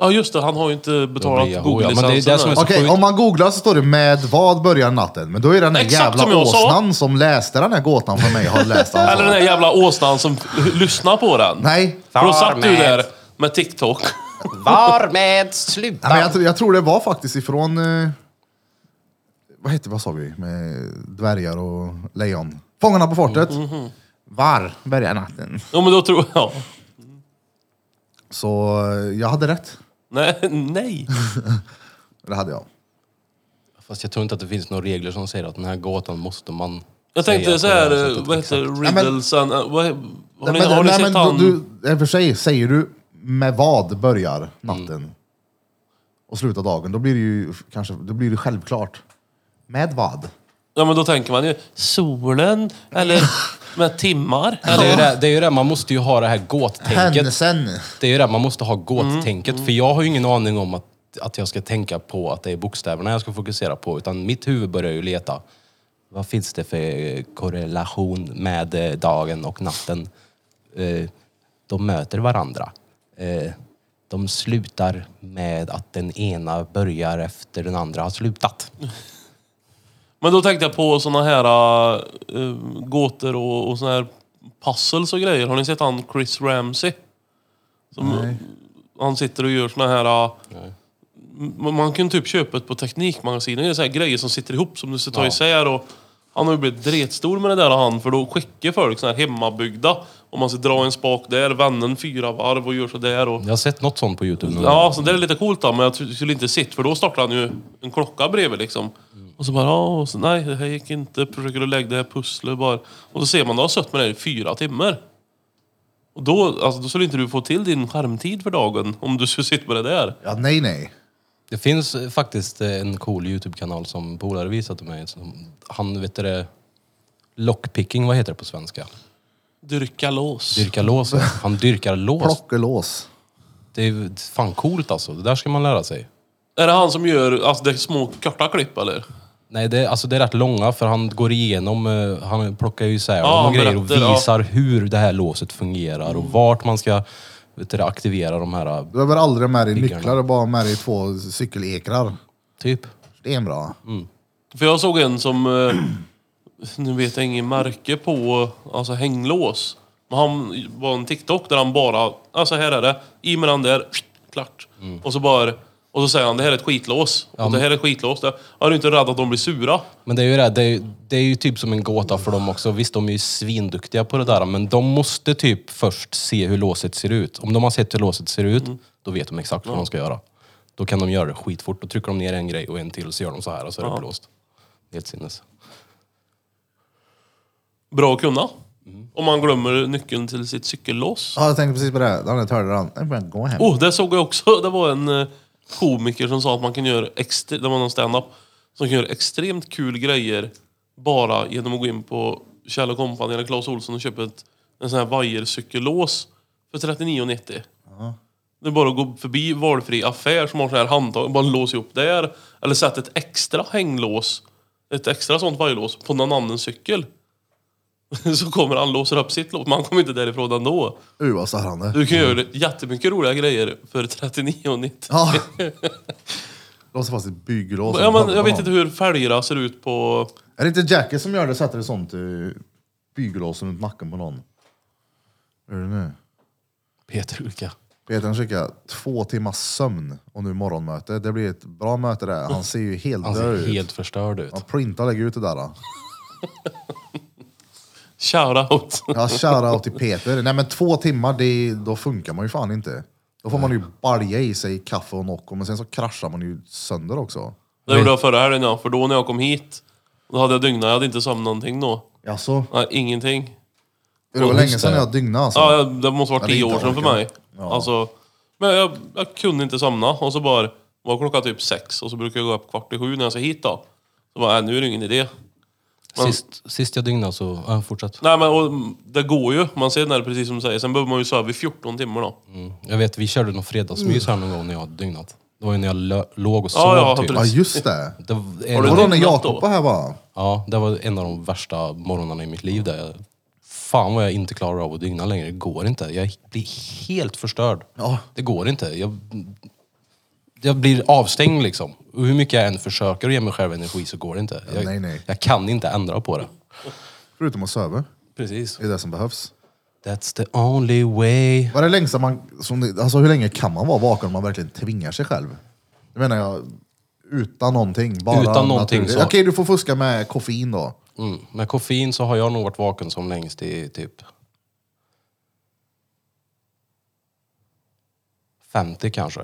C: Ja just det, han har ju inte betalat
A: blir jag-
C: Google-licensen.
A: ja, men det är det som är
C: än.
A: så-
B: Okej,
A: sjukt.
B: om man googlar så står det med vad börjar natten? Men då är det den här
C: Exakt som
B: jävla
C: jag sa.
B: åsnan som läste den här gåtan för mig har läst den.
C: Eller den där jävla åsnan som lyssnar på den.
B: Nej,
C: För då satt du
A: Farmät.
C: där med TikTok.
A: Var med
B: Nej, men
A: sluta!
B: jag, tr- jag tror det var faktiskt ifrån... Eh, vad hette vad sa vi? Med dvärgar och lejon. Fångarna på fortet.
C: Mm,
B: Var börjar natten?
C: Ja men då tror jag...
B: Så eh, jag hade rätt.
C: Nej, nej.
B: Det hade jag.
A: Fast jag tror inte att det finns några regler som säger att den här gåtan måste man
C: Jag
A: säga
C: tänkte
A: på
C: så
A: det
C: här, eh,
A: här sättet,
C: vad
A: liksom.
C: heter Riddles and... eh, Vad, har ni,
B: men-
C: har ni
B: nej,
C: sett
B: men
C: han... Mm.
B: du, du, I och för sig, säger du med vad börjar natten och slutar dagen, då blir det ju f- kanske, då blir det självklart. Med vad?
C: Ja men då tänker man ju solen, eller med timmar.
A: Men Det är, ju
C: Eller,
A: det, det är ju det, man måste ju ha det här gåttänket.
B: Händelsen.
A: Det är ju det, man måste
C: Mm,
A: ha gåttänket. För jag har ju ingen aning om att, att jag ska tänka på att det är bokstäverna jag ska fokusera på. Utan mitt huvud börjar ju leta. Vad finns det för eh, korrelation med eh, dagen och natten? Eh, De möter varandra. Eh, De slutar med att den ena börjar efter den andra har slutat.
C: men då tänkte jag på såna här uh, gåtor och, och såna här puzzles och grejer. Har ni sett han Chris Ramsey? Som, Han sitter och gör såna här... eh, m- man kan typ köpa ett på Teknikmagasinet. Det är så här grejer som sitter ihop som du ska ta isär. Och han har ju blivit dretstor med det där han. För då skickar folk såna här hemmabyggda. Om man ska dra en spak där, vännen fyra varv och gör sådär. Och,
A: Jag har sett något sånt på Youtube. någon gång.
C: Ja, så det är lite coolt då, men jag tr- skulle inte sitt för då startar han ju en klocka bredvid liksom. Och så bara, ja, och så, nej det här gick inte, försöker du lägga det här pusslet bara. Och så ser man, då har suttit med det här i fyra timmar. Och då, alltså, då skulle inte du få till din skärmtid för dagen om du skulle sitta med det där.
B: Ja, nej, nej.
A: Det finns eh, faktiskt eh, en cool Youtube-kanal som polare visat till mig. Som, han, vet du det, lockpicking, vad heter det på svenska?
C: Dyrka lås.
A: Dyrka lås. ja. Han dyrkar lås.
B: Plockelås.
A: Det är ju fan coolt alltså. Det där ska man lära sig.
C: Är det han som gör alltså, det är små korta klipp eller?
A: Nej, det, är- alltså det är rätt långa för han går igenom, eh, han plockar ju isär
C: Ja,
A: de
C: han
A: grejer och
C: berättar, ja.
A: visar hur det här låset fungerar och vart man ska vet du, det, aktivera de här, eh,
B: Du behöver aldrig med dig nycklar, du bara med dig två cykelekrar.
A: typ.
B: Det är bra.
C: För jag såg en som, eh, nu vet jag ingen märke på, alltså hänglås. Men han var en TikTok där han bara, alltså här är det, i med den där, klart. Och så bara, och så säger han det här är ett skitlås. och det här är ett skitlås. Det, är du inte rädd att de blir sura?
A: Men det är ju det, det är, det är ju typ som en gåta för dem också. Visst, de är ju svinduktiga på det där, men de måste typ först se hur låset ser ut. Om de har sett hur låset ser ut,
C: Mm.
A: då vet de exakt vad de ska göra. Då kan de göra det skitfort. Då trycker de ner en grej och en till, så gör de så här och så är det upplåst. Helt sinnes.
C: Bra att kunna. Om man glömmer nyckeln till sitt cykelås.
B: Ja, jag tänkte precis på det. här. Den där törde han. Jag bara, Gå hem.
C: Oh, det såg jag också. Det var en eh, komiker som sa att man kan göra extre- det var någon stand-up, som kan göra extremt kul grejer bara genom att gå in på Kjell Company eller Clas Olsson och köpa ett, en sån här vajercykellås för 39,90. Det är bara att gå förbi valfri affär som har sån här handtag och bara låsa ihop där. Eller sätta ett extra hänglås, ett extra sånt vajerlås på någon annans cykel. Så kommer han låser upp sitt lås, men han kommer inte därifrån ändå.
B: Uh, vad störande.
C: Du kan göra jättemycket roliga grejer för 39,90.
B: Ja. Låser fast ett bygglås.
C: Ja, men jag vet inte hur fälgarna ser ut på...
B: Är det inte Jackie som gör det? Sätter ett sånt uh, bygglås runt nacken på någon. Hur är det nu?
A: Peter Ulka.
B: Peter han skickar två timmars sömn och nu morgonmöte. Det blir ett bra möte där. Han ser ju helt
A: Han
B: död
A: ser
B: ut.
A: helt förstörd ut.
B: Han printar och lägger ut det där. Då.
C: Shoutout.
B: Ja, shoutout till Peter. Nej men två timmar, det, då funkar man ju fan inte. Då får man ju balja i sig kaffe och Nocco, men sen så kraschar man ju sönder också.
C: Det gjorde jag förra helgen, ja. För då när jag kom hit, då hade jag dygnat. Jag hade inte somnat någonting då.
B: Jaså?
C: Nej, ingenting.
B: Det var
A: Och
B: länge
A: just
B: sedan
A: det.
B: jag dygnade alltså.
C: Ja, jag- det måste varit
B: Ja, det är
C: tio
B: inte
C: år sedan för
B: orken.
C: mig. Alltså, men jag, jag kunde inte somna. Och så bara var klockan typ sex och så brukar jag gå upp kvart i sju när jag ska hit då. Så bara, äh, nu är det ingen idé.
A: Sist, sist jag dygnade så... Ja, fortsätt.
C: Nej men och, det går ju. Man ser när det
B: Mm.
C: precis som du säger. Sen behöver man ju sova i 14 timmar då.
A: Mm. Jag vet, vi körde någon fredagsmys här någon gång när jag hade dygnat. Det var ju när jag lö- låg och sov
C: Ja, ja,
A: typ.
B: Ja
C: precis.
B: just det.
A: Det var, en,
C: du
B: Och då när
C: Rimlat
B: Jakob
C: då.
B: var här bara.
A: ja, det var en av de värsta morgnarna i mitt liv. Där jag, fan vad jag inte klarar av att dygna längre. Det går inte. Jag blir helt förstörd.
B: Ja.
A: Det går inte. Jag, jag blir avstängd liksom. Och hur mycket jag än försöker att ge mig själv energi så går det inte. Jag,
B: nej, nej.
A: jag kan inte ändra på det.
B: Förutom att söva.
A: Precis.
B: Det är det som behövs.
A: That's the only way.
B: Vad är det längsta man, som, det- alltså hur länge kan man vara vaken om man verkligen tvingar sig själv? Det menar jag, utan någonting. Bara
A: Utan någonting,
B: naturligt.
A: så.
B: Okej, du får fuska med koffein då.
A: Mm. Med koffein så har jag nog varit vaken som längst i typ 50 kanske.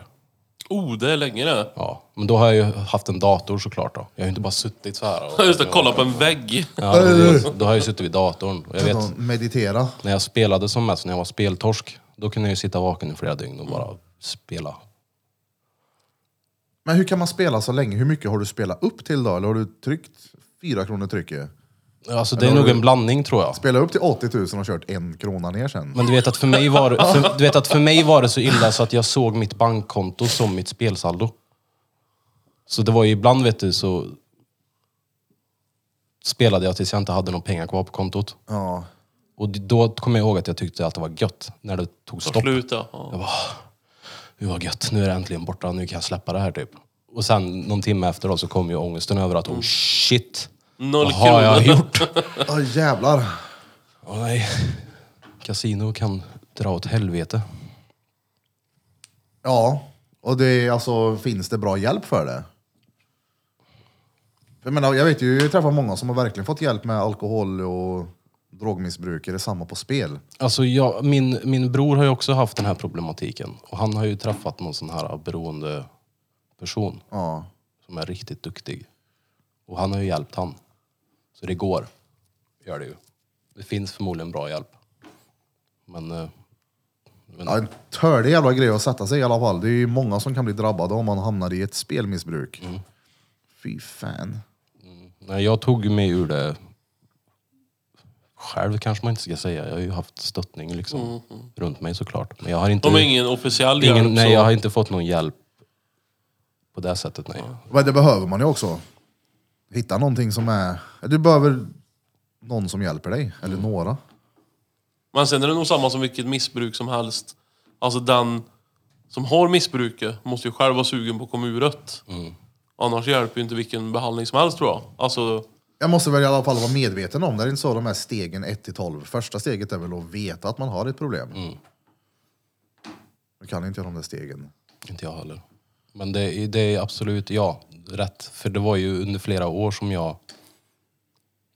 C: Oh, det är länge det.
A: Ja, men då har jag ju haft en dator såklart då. Jag har ju inte bara suttit så här. Och,
C: Just det, kolla på en vägg.
A: ja, precis. då har jag ju suttit vid datorn. Och jag vet,
B: Utan Alltså, meditera.
A: när jag spelade som mest, när jag var speltorsk, då kunde jag ju sitta vaken i flera dygn och bara spela.
B: Men hur kan man spela så länge? Hur mycket har du spelat upp till då? Eller har du tryckt fyra kronor trycket?
A: Alltså det är nog en blandning tror jag.
B: Spela upp till 80 000 och kört en krona ner sen.
A: Men du vet, att för mig var, för, du vet att för mig var det så illa så att jag såg mitt bankkonto som mitt spelsaldo. Så det var ju ibland, vet du, så spelade jag tills jag inte hade några pengar kvar på kontot.
B: Ja.
A: Och då kom jag ihåg att jag tyckte att det var gött när det tog stopp.
C: Sluta. Ja.
A: Gud vad gött, nu är det äntligen borta, nu kan jag släppa det här typ. Och sen någon timme efter då så kom ju ångesten över att oh shit,
C: Mm. Noll
A: vad har jag
C: kronor.
A: gjort?
B: Åh jävlar.
A: Åh nej, kasino kan dra åt helvete.
B: Ja, och det är alltså, finns det bra hjälp för det? Jag, menar, jag vet ju, jag har träffat många som har verkligen fått hjälp med alkohol och drogmissbruk. Är det samma på spel?
A: Alltså jag, min, min bror har ju också haft den här problematiken. Och han har ju träffat någon sån här beroende person
B: Ja.
A: som är riktigt duktig. Och han har ju hjälpt han. Så det går. Gör det ju. Det finns förmodligen bra hjälp. Men... eh, men
B: Ja, en törlig jävla grej att sätta sig i alla fall. Det är ju många som kan bli drabbade om man hamnar i ett spelmissbruk. Fy fan.
A: nej, jag tog mig ur det själv kanske man inte ska säga. Jag har ju haft stöttning liksom runt mig såklart. Men jag har inte...
C: Mm, De har ingen officiell hjälp.
A: ingen, nej,
C: så-
A: jag har inte fått någon hjälp på det sättet, nej.
B: Men det behöver man ju också. Hitta någonting som är... Du behöver någon som hjälper dig, eller några.
C: Men sen är det nog samma som vilket missbruk som helst. Alltså den som har missbruket måste ju själv vara sugen på att komma ur det.
A: Mm.
C: Annars hjälper ju inte vilken behandling som helst tror jag. Alltså,
B: Jag måste väl i alla fall vara medveten om det. Det är inte så de här stegen 1 till 12. Första steget är väl att veta att man har ett problem.
C: Mm.
B: Nu kan inte jag de där stegen.
A: Inte jag heller. Men det, är- det är absolut, ja, rätt. För det var ju under flera år som jag...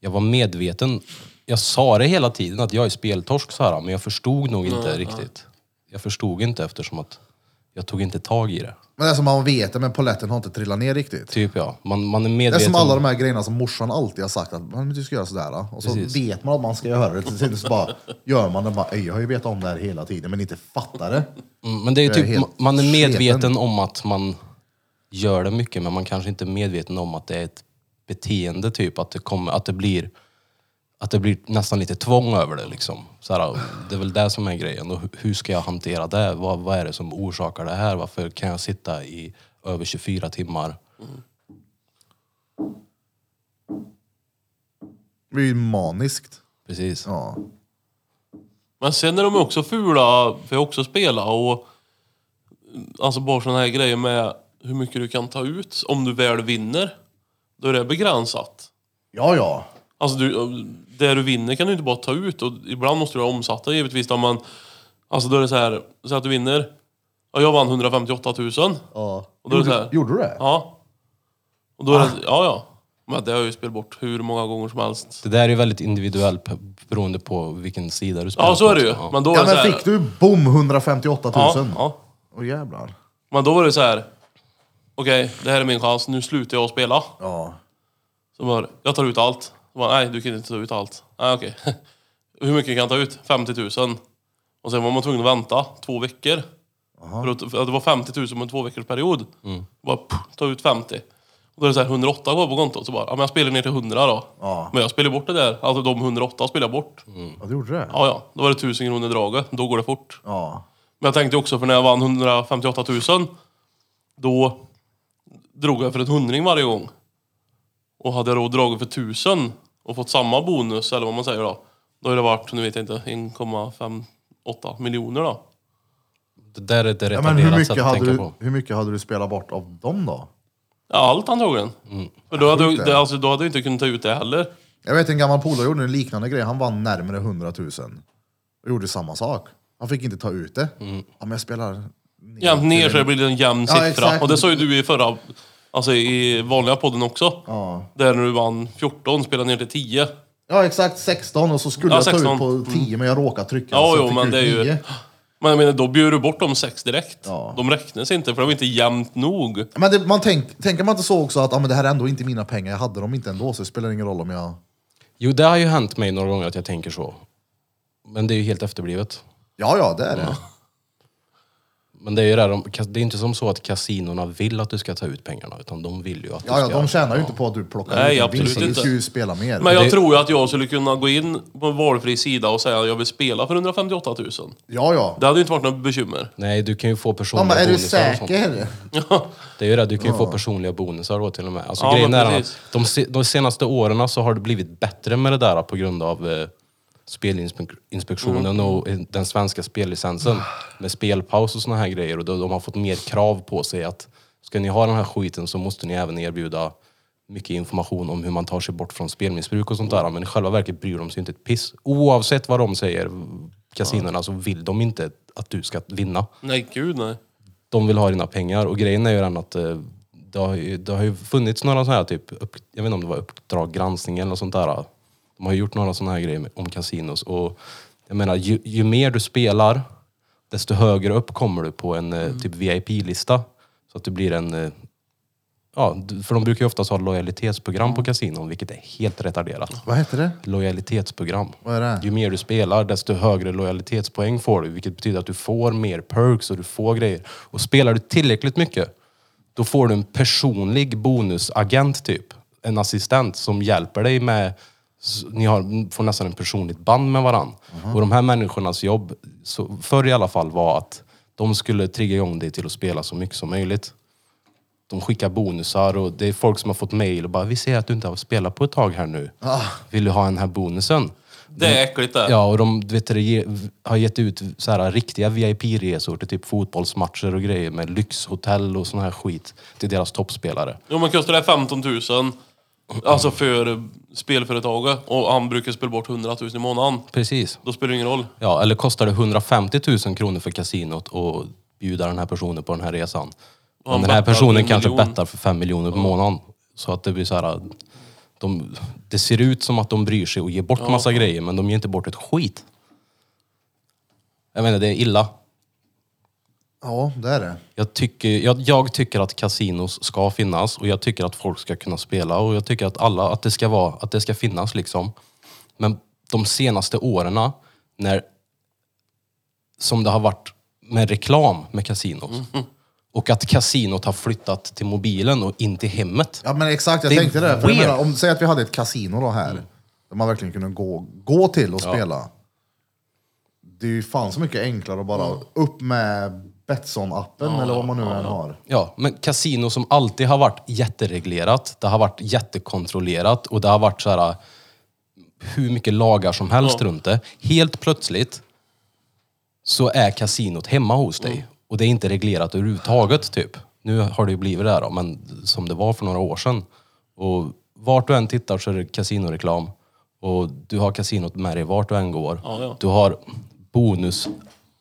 A: Jag var medveten. Jag sa det hela tiden att jag är speltorsk så här, men jag förstod nog inte riktigt. Jag förstod inte eftersom att jag tog inte tag i det.
B: Men det är som man vet det, men polletten har inte trillat ner riktigt.
A: Typ ja, man, man är
B: Det är
A: medveten.
B: som alla de här grejerna som morsan alltid har sagt att "Men du ska göra sådär. då." Och så
A: Precis.
B: vet man att man ska göra det. Till slut så bara gör man det. Bara, "Ey, jag har ju vetat om det här hela tiden men inte fattar det.
A: Mm, Men det är ju
B: Jag är
A: typ,
B: helt
A: man är medveten
B: sketen.
A: om att man gör det mycket, men man kanske inte är medveten om att det är ett beteende, typ. Att det, kommer, att det, blir, att det blir nästan lite tvång över det. Liksom. Så här, det är väl det som är grejen. Och hu- hur ska jag hantera det? Vad, vad är det som orsakar det här? Varför kan jag sitta i över 24 timmar?
B: Det blir ju maniskt.
A: Precis.
B: Ja.
C: men sen är de också fula, för jag har också spelat och alltså bara sådana här grejer med hur mycket du kan ta ut om du väl vinner. Då är det begränsat.
B: Ja, ja.
C: Alltså du, det du vinner kan du inte bara ta ut och ibland måste du ha omsatta givetvis. Då, men, alltså då är det så här, säg att du vinner. Ja, jag vann 158 000.
B: ja.
C: Och då är det
B: Gjorde,
C: så här.
B: gjorde du det?
C: Ja. Och då är
B: Ah.
C: det, ja ja. Men det har jag ju spelat bort hur många gånger som helst.
A: Det där är ju väldigt individuellt p- beroende på vilken sida du spelar
C: Ja så
A: på
C: är det ju.
A: också. Ja.
C: Men då är
B: Ja,
C: det så
B: men
C: här,
B: fick du bom 158 000?
C: Ja, ja.
B: Åh jävlar.
C: Men då var det så här. Okej, det här är min chans. Nu slutar jag att spela.
B: Ja.
C: Så bara, jag tar ut allt. Så bara, nej, du kan inte ta ut allt. Nej, okej. Hur mycket kan jag ta ut? 50 000. Och sen var man tvungen att vänta två veckor. För att, för att det var 50 000 på en två veckors period. Bara pff, ta ut 50. Och då är det så här 108 kvar på kontot. Så bara, ja, men jag spelar ner till 100 då.
B: Ja.
C: Men jag spelar bort det där. Alltså de 108 spelar jag bort.
B: ja, du gjorde det?
C: Ja, ja. Då var det 1000 kronor draget. Då går det fort.
B: Ja.
C: Men jag tänkte också, för när jag vann 158 000 Då drog jag för ett hundring varje gång. Och hade jag då dragit för tusen och fått samma bonus, eller vad man säger då. Då har det varit, nu vet jag inte, 1,58 miljoner då.
A: Det där är ett
B: Ja, men hur
A: retarderat sätt
B: mycket,
A: att
B: hade
A: tänka
B: du,
A: på.
B: hur mycket hade du spelat bort av dem då?
C: Ja, allt antagligen. För då hade, jag,
B: Mm. Sjukt det.
C: det, alltså, då hade jag inte kunnat ta ut det heller.
B: Jag vet en gammal polare gjorde en liknande grej. Han vann närmare 100 000. Och gjorde samma sak. Han fick inte ta ut det. Ja, men jag spelar ner.
C: Jämnt Mm. ner så det blir en jämn
B: Ja,
C: siffra.
B: exakt.
C: Och det sa ju du i förra, alltså i vanliga podden också.
B: Ja.
C: Där när du vann 14, spelade ner till 10.
B: Ja, exakt 16 och så skulle
C: Ja,
B: jag ta ut
C: 16.
B: på 10 men jag råkade trycka.
C: Ja,
B: så
A: Alltså,
B: jag
C: jo,
B: fick
C: men
B: ut
C: det är ju-
B: 9.
C: Men jag menar, då bjöd du bort de sex direkt.
B: Ja.
C: De räknas inte, för det var inte jämnt nog.
B: Men det, man tänk, tänker man inte så också att ah, men det här är ändå inte mina pengar, jag hade dem inte ändå så det spelar ingen roll om jag...
A: Jo, det har ju hänt mig några gånger att jag tänker så. Men det är ju helt efterblivet.
B: Ja, ja, det är det.
A: Men det är ju det, här, de, det är inte som så att kasinorna vill att du ska ta ut pengarna, utan de vill ju att du
B: Ja, ja,
A: ska...
B: de tjänar ju inte på att du plockar
C: Nej,
B: ut en
C: absolut
B: vinst, så Du
C: inte.
B: ska ju spela mer.
C: Men jag
A: Det-
C: tror ju att jag skulle kunna gå in på en valfri sida och säga att jag vill spela för 158 000.
B: Ja, ja.
C: Det hade ju inte varit något bekymmer.
A: Nej, du kan ju få
B: Ja,
A: personliga
B: men är du
A: bonusar och sånt.
B: säker?
A: Det är ju det, du kan ju få personliga bonusar då till och med. Alltså,
C: Ja,
A: grejen
C: men
A: är att
C: precis.
A: de, se- de senaste åren så har det blivit bättre med det där på grund av eh, Spelinspektionen
C: Mm.
A: och eh, den svenska spellicensen med spelpaus och såna här grejer. Och de, de har fått mer krav på sig att ska ni ha den här skiten så måste ni även erbjuda mycket information om hur man tar sig bort från spelmissbruk och sånt där. Men i själva verket bryr de sig inte ett piss. Oavsett vad de säger, kasinorna, så vill de inte att du ska vinna
C: Nej, gud nej.
A: de vill ha dina pengar. Och grejen är ju den att eh, det har ju, det har ju funnits några sådana här, typ, upp, jag vet inte om det var Uppdrag granskning eller något sånt där. De har ju gjort några sådana här grejer med- om kasinos. Och jag menar, ju, ju mer du spelar, desto högre upp kommer du på en eh, typ VIP-lista. Så att du blir en... eh, Ja, du- för de brukar ju oftast ha lojalitetsprogram på kasinon, vilket är helt retarderat
B: Vad heter det?
A: lojalitetsprogram.
B: Vad är det?
A: Ju mer du spelar, desto högre lojalitetspoäng får du. Vilket betyder att du får mer perks och du får grejer. Och spelar du tillräckligt mycket, då får du en personlig bonusagent typ. En assistent som hjälper dig med... s- Ni har, får nästan en personligt band med varann. Och de här människornas jobb, så förr i alla fall, var att de skulle trigga igång dig till att spela så mycket som möjligt. De skickar bonusar och det är folk som har fått mail och bara “Vi ser att du inte har spelat på ett tag här nu.
B: Ah.
A: Vill du ha den här bonusen?”
C: Det är äckligt det.
A: Mm. Ja, och de du vet, det ge, har gett ut så här, riktiga VIP-resor till typ fotbollsmatcher och grejer med lyxhotell och sån här skit till deras toppspelare.
C: Jo men kostar det 15 000, alltså för spelföretaget, och han brukar spela bort 100 000 i månaden.
A: Precis.
C: Då spelar det ingen roll.
A: Ja, eller kostar det 150 000 kronor för kasinot och bjuda den här personen på den här resan? Men
C: han
A: den här
C: bettar
A: personen
C: en
A: kanske
C: miljon.
A: bettar för 5 miljoner på månaden. Så att det blir så här... De, det ser ut som att de bryr sig och ger bort massa grejer, men de ger inte bort ett skit. Jag menar, det är illa.
B: Ja, det är det.
A: Jag tycker, jag, jag tycker att kasinos ska finnas och jag tycker att folk ska kunna spela och jag tycker att alla, att det ska vara, att det ska finnas liksom. Men de senaste åren när, som det har varit med reklam med kasinos och att kasinot har flyttat till mobilen och in till hemmet.
B: Ja, men exakt, jag
A: Det är
B: tänkte det. För jag
A: weird.
B: menar, om, säg att vi hade ett kasino då
C: Mm.
B: här, där man verkligen kunde gå, gå till och spela. Det är ju fan så mycket enklare att bara
C: Mm.
B: upp med Betsson-appen eller vad man nu än har.
A: Ja, men kasino som alltid har varit jättereglerat, det har varit jättekontrollerat och det har varit så här hur mycket lagar som helst runt det. Helt plötsligt så är kasinot hemma hos
C: Mm.
A: dig och det är inte reglerat överhuvudtaget typ. Nu har det ju blivit det här då, men som det var för några år sedan. Och vart du än tittar så är det kasinoreklam och du har kasinot med dig vart du än går.
C: Ja, ja.
A: Du har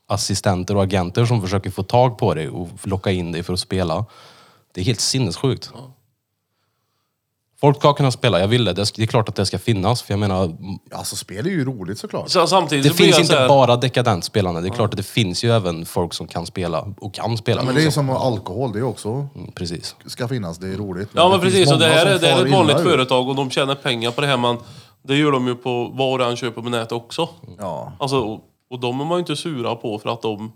A: bonusassistenter och agenter som försöker få tag på dig och locka in dig för att spela. Det är helt sinnessjukt. Folk ska kunna spela, jag vill det. Det sk- det är klart att det ska finnas, för jag menar,
B: Alltså spel är ju roligt såklart.
C: Så samtidigt
A: det
C: så blir
A: finns
C: jag
A: inte
C: så här-
A: bara dekadent spelande. Det är klart att det finns ju även folk som kan spela och kan spela.
B: Ja, men det är ju som alkohol, det är också
A: Mm, Precis.
B: ska finnas, det är roligt.
C: Mm. Ja men
B: det finns
C: precis, och det
B: många
C: här
B: som
C: är, det här
B: far
C: är ett vanligt
B: illa ur.
C: företag och de tjänar pengar på det här. Men det gör de ju på vad de än köper på nätet också.
B: Ja.
C: Alltså, och, och de är man ju inte sura på för att de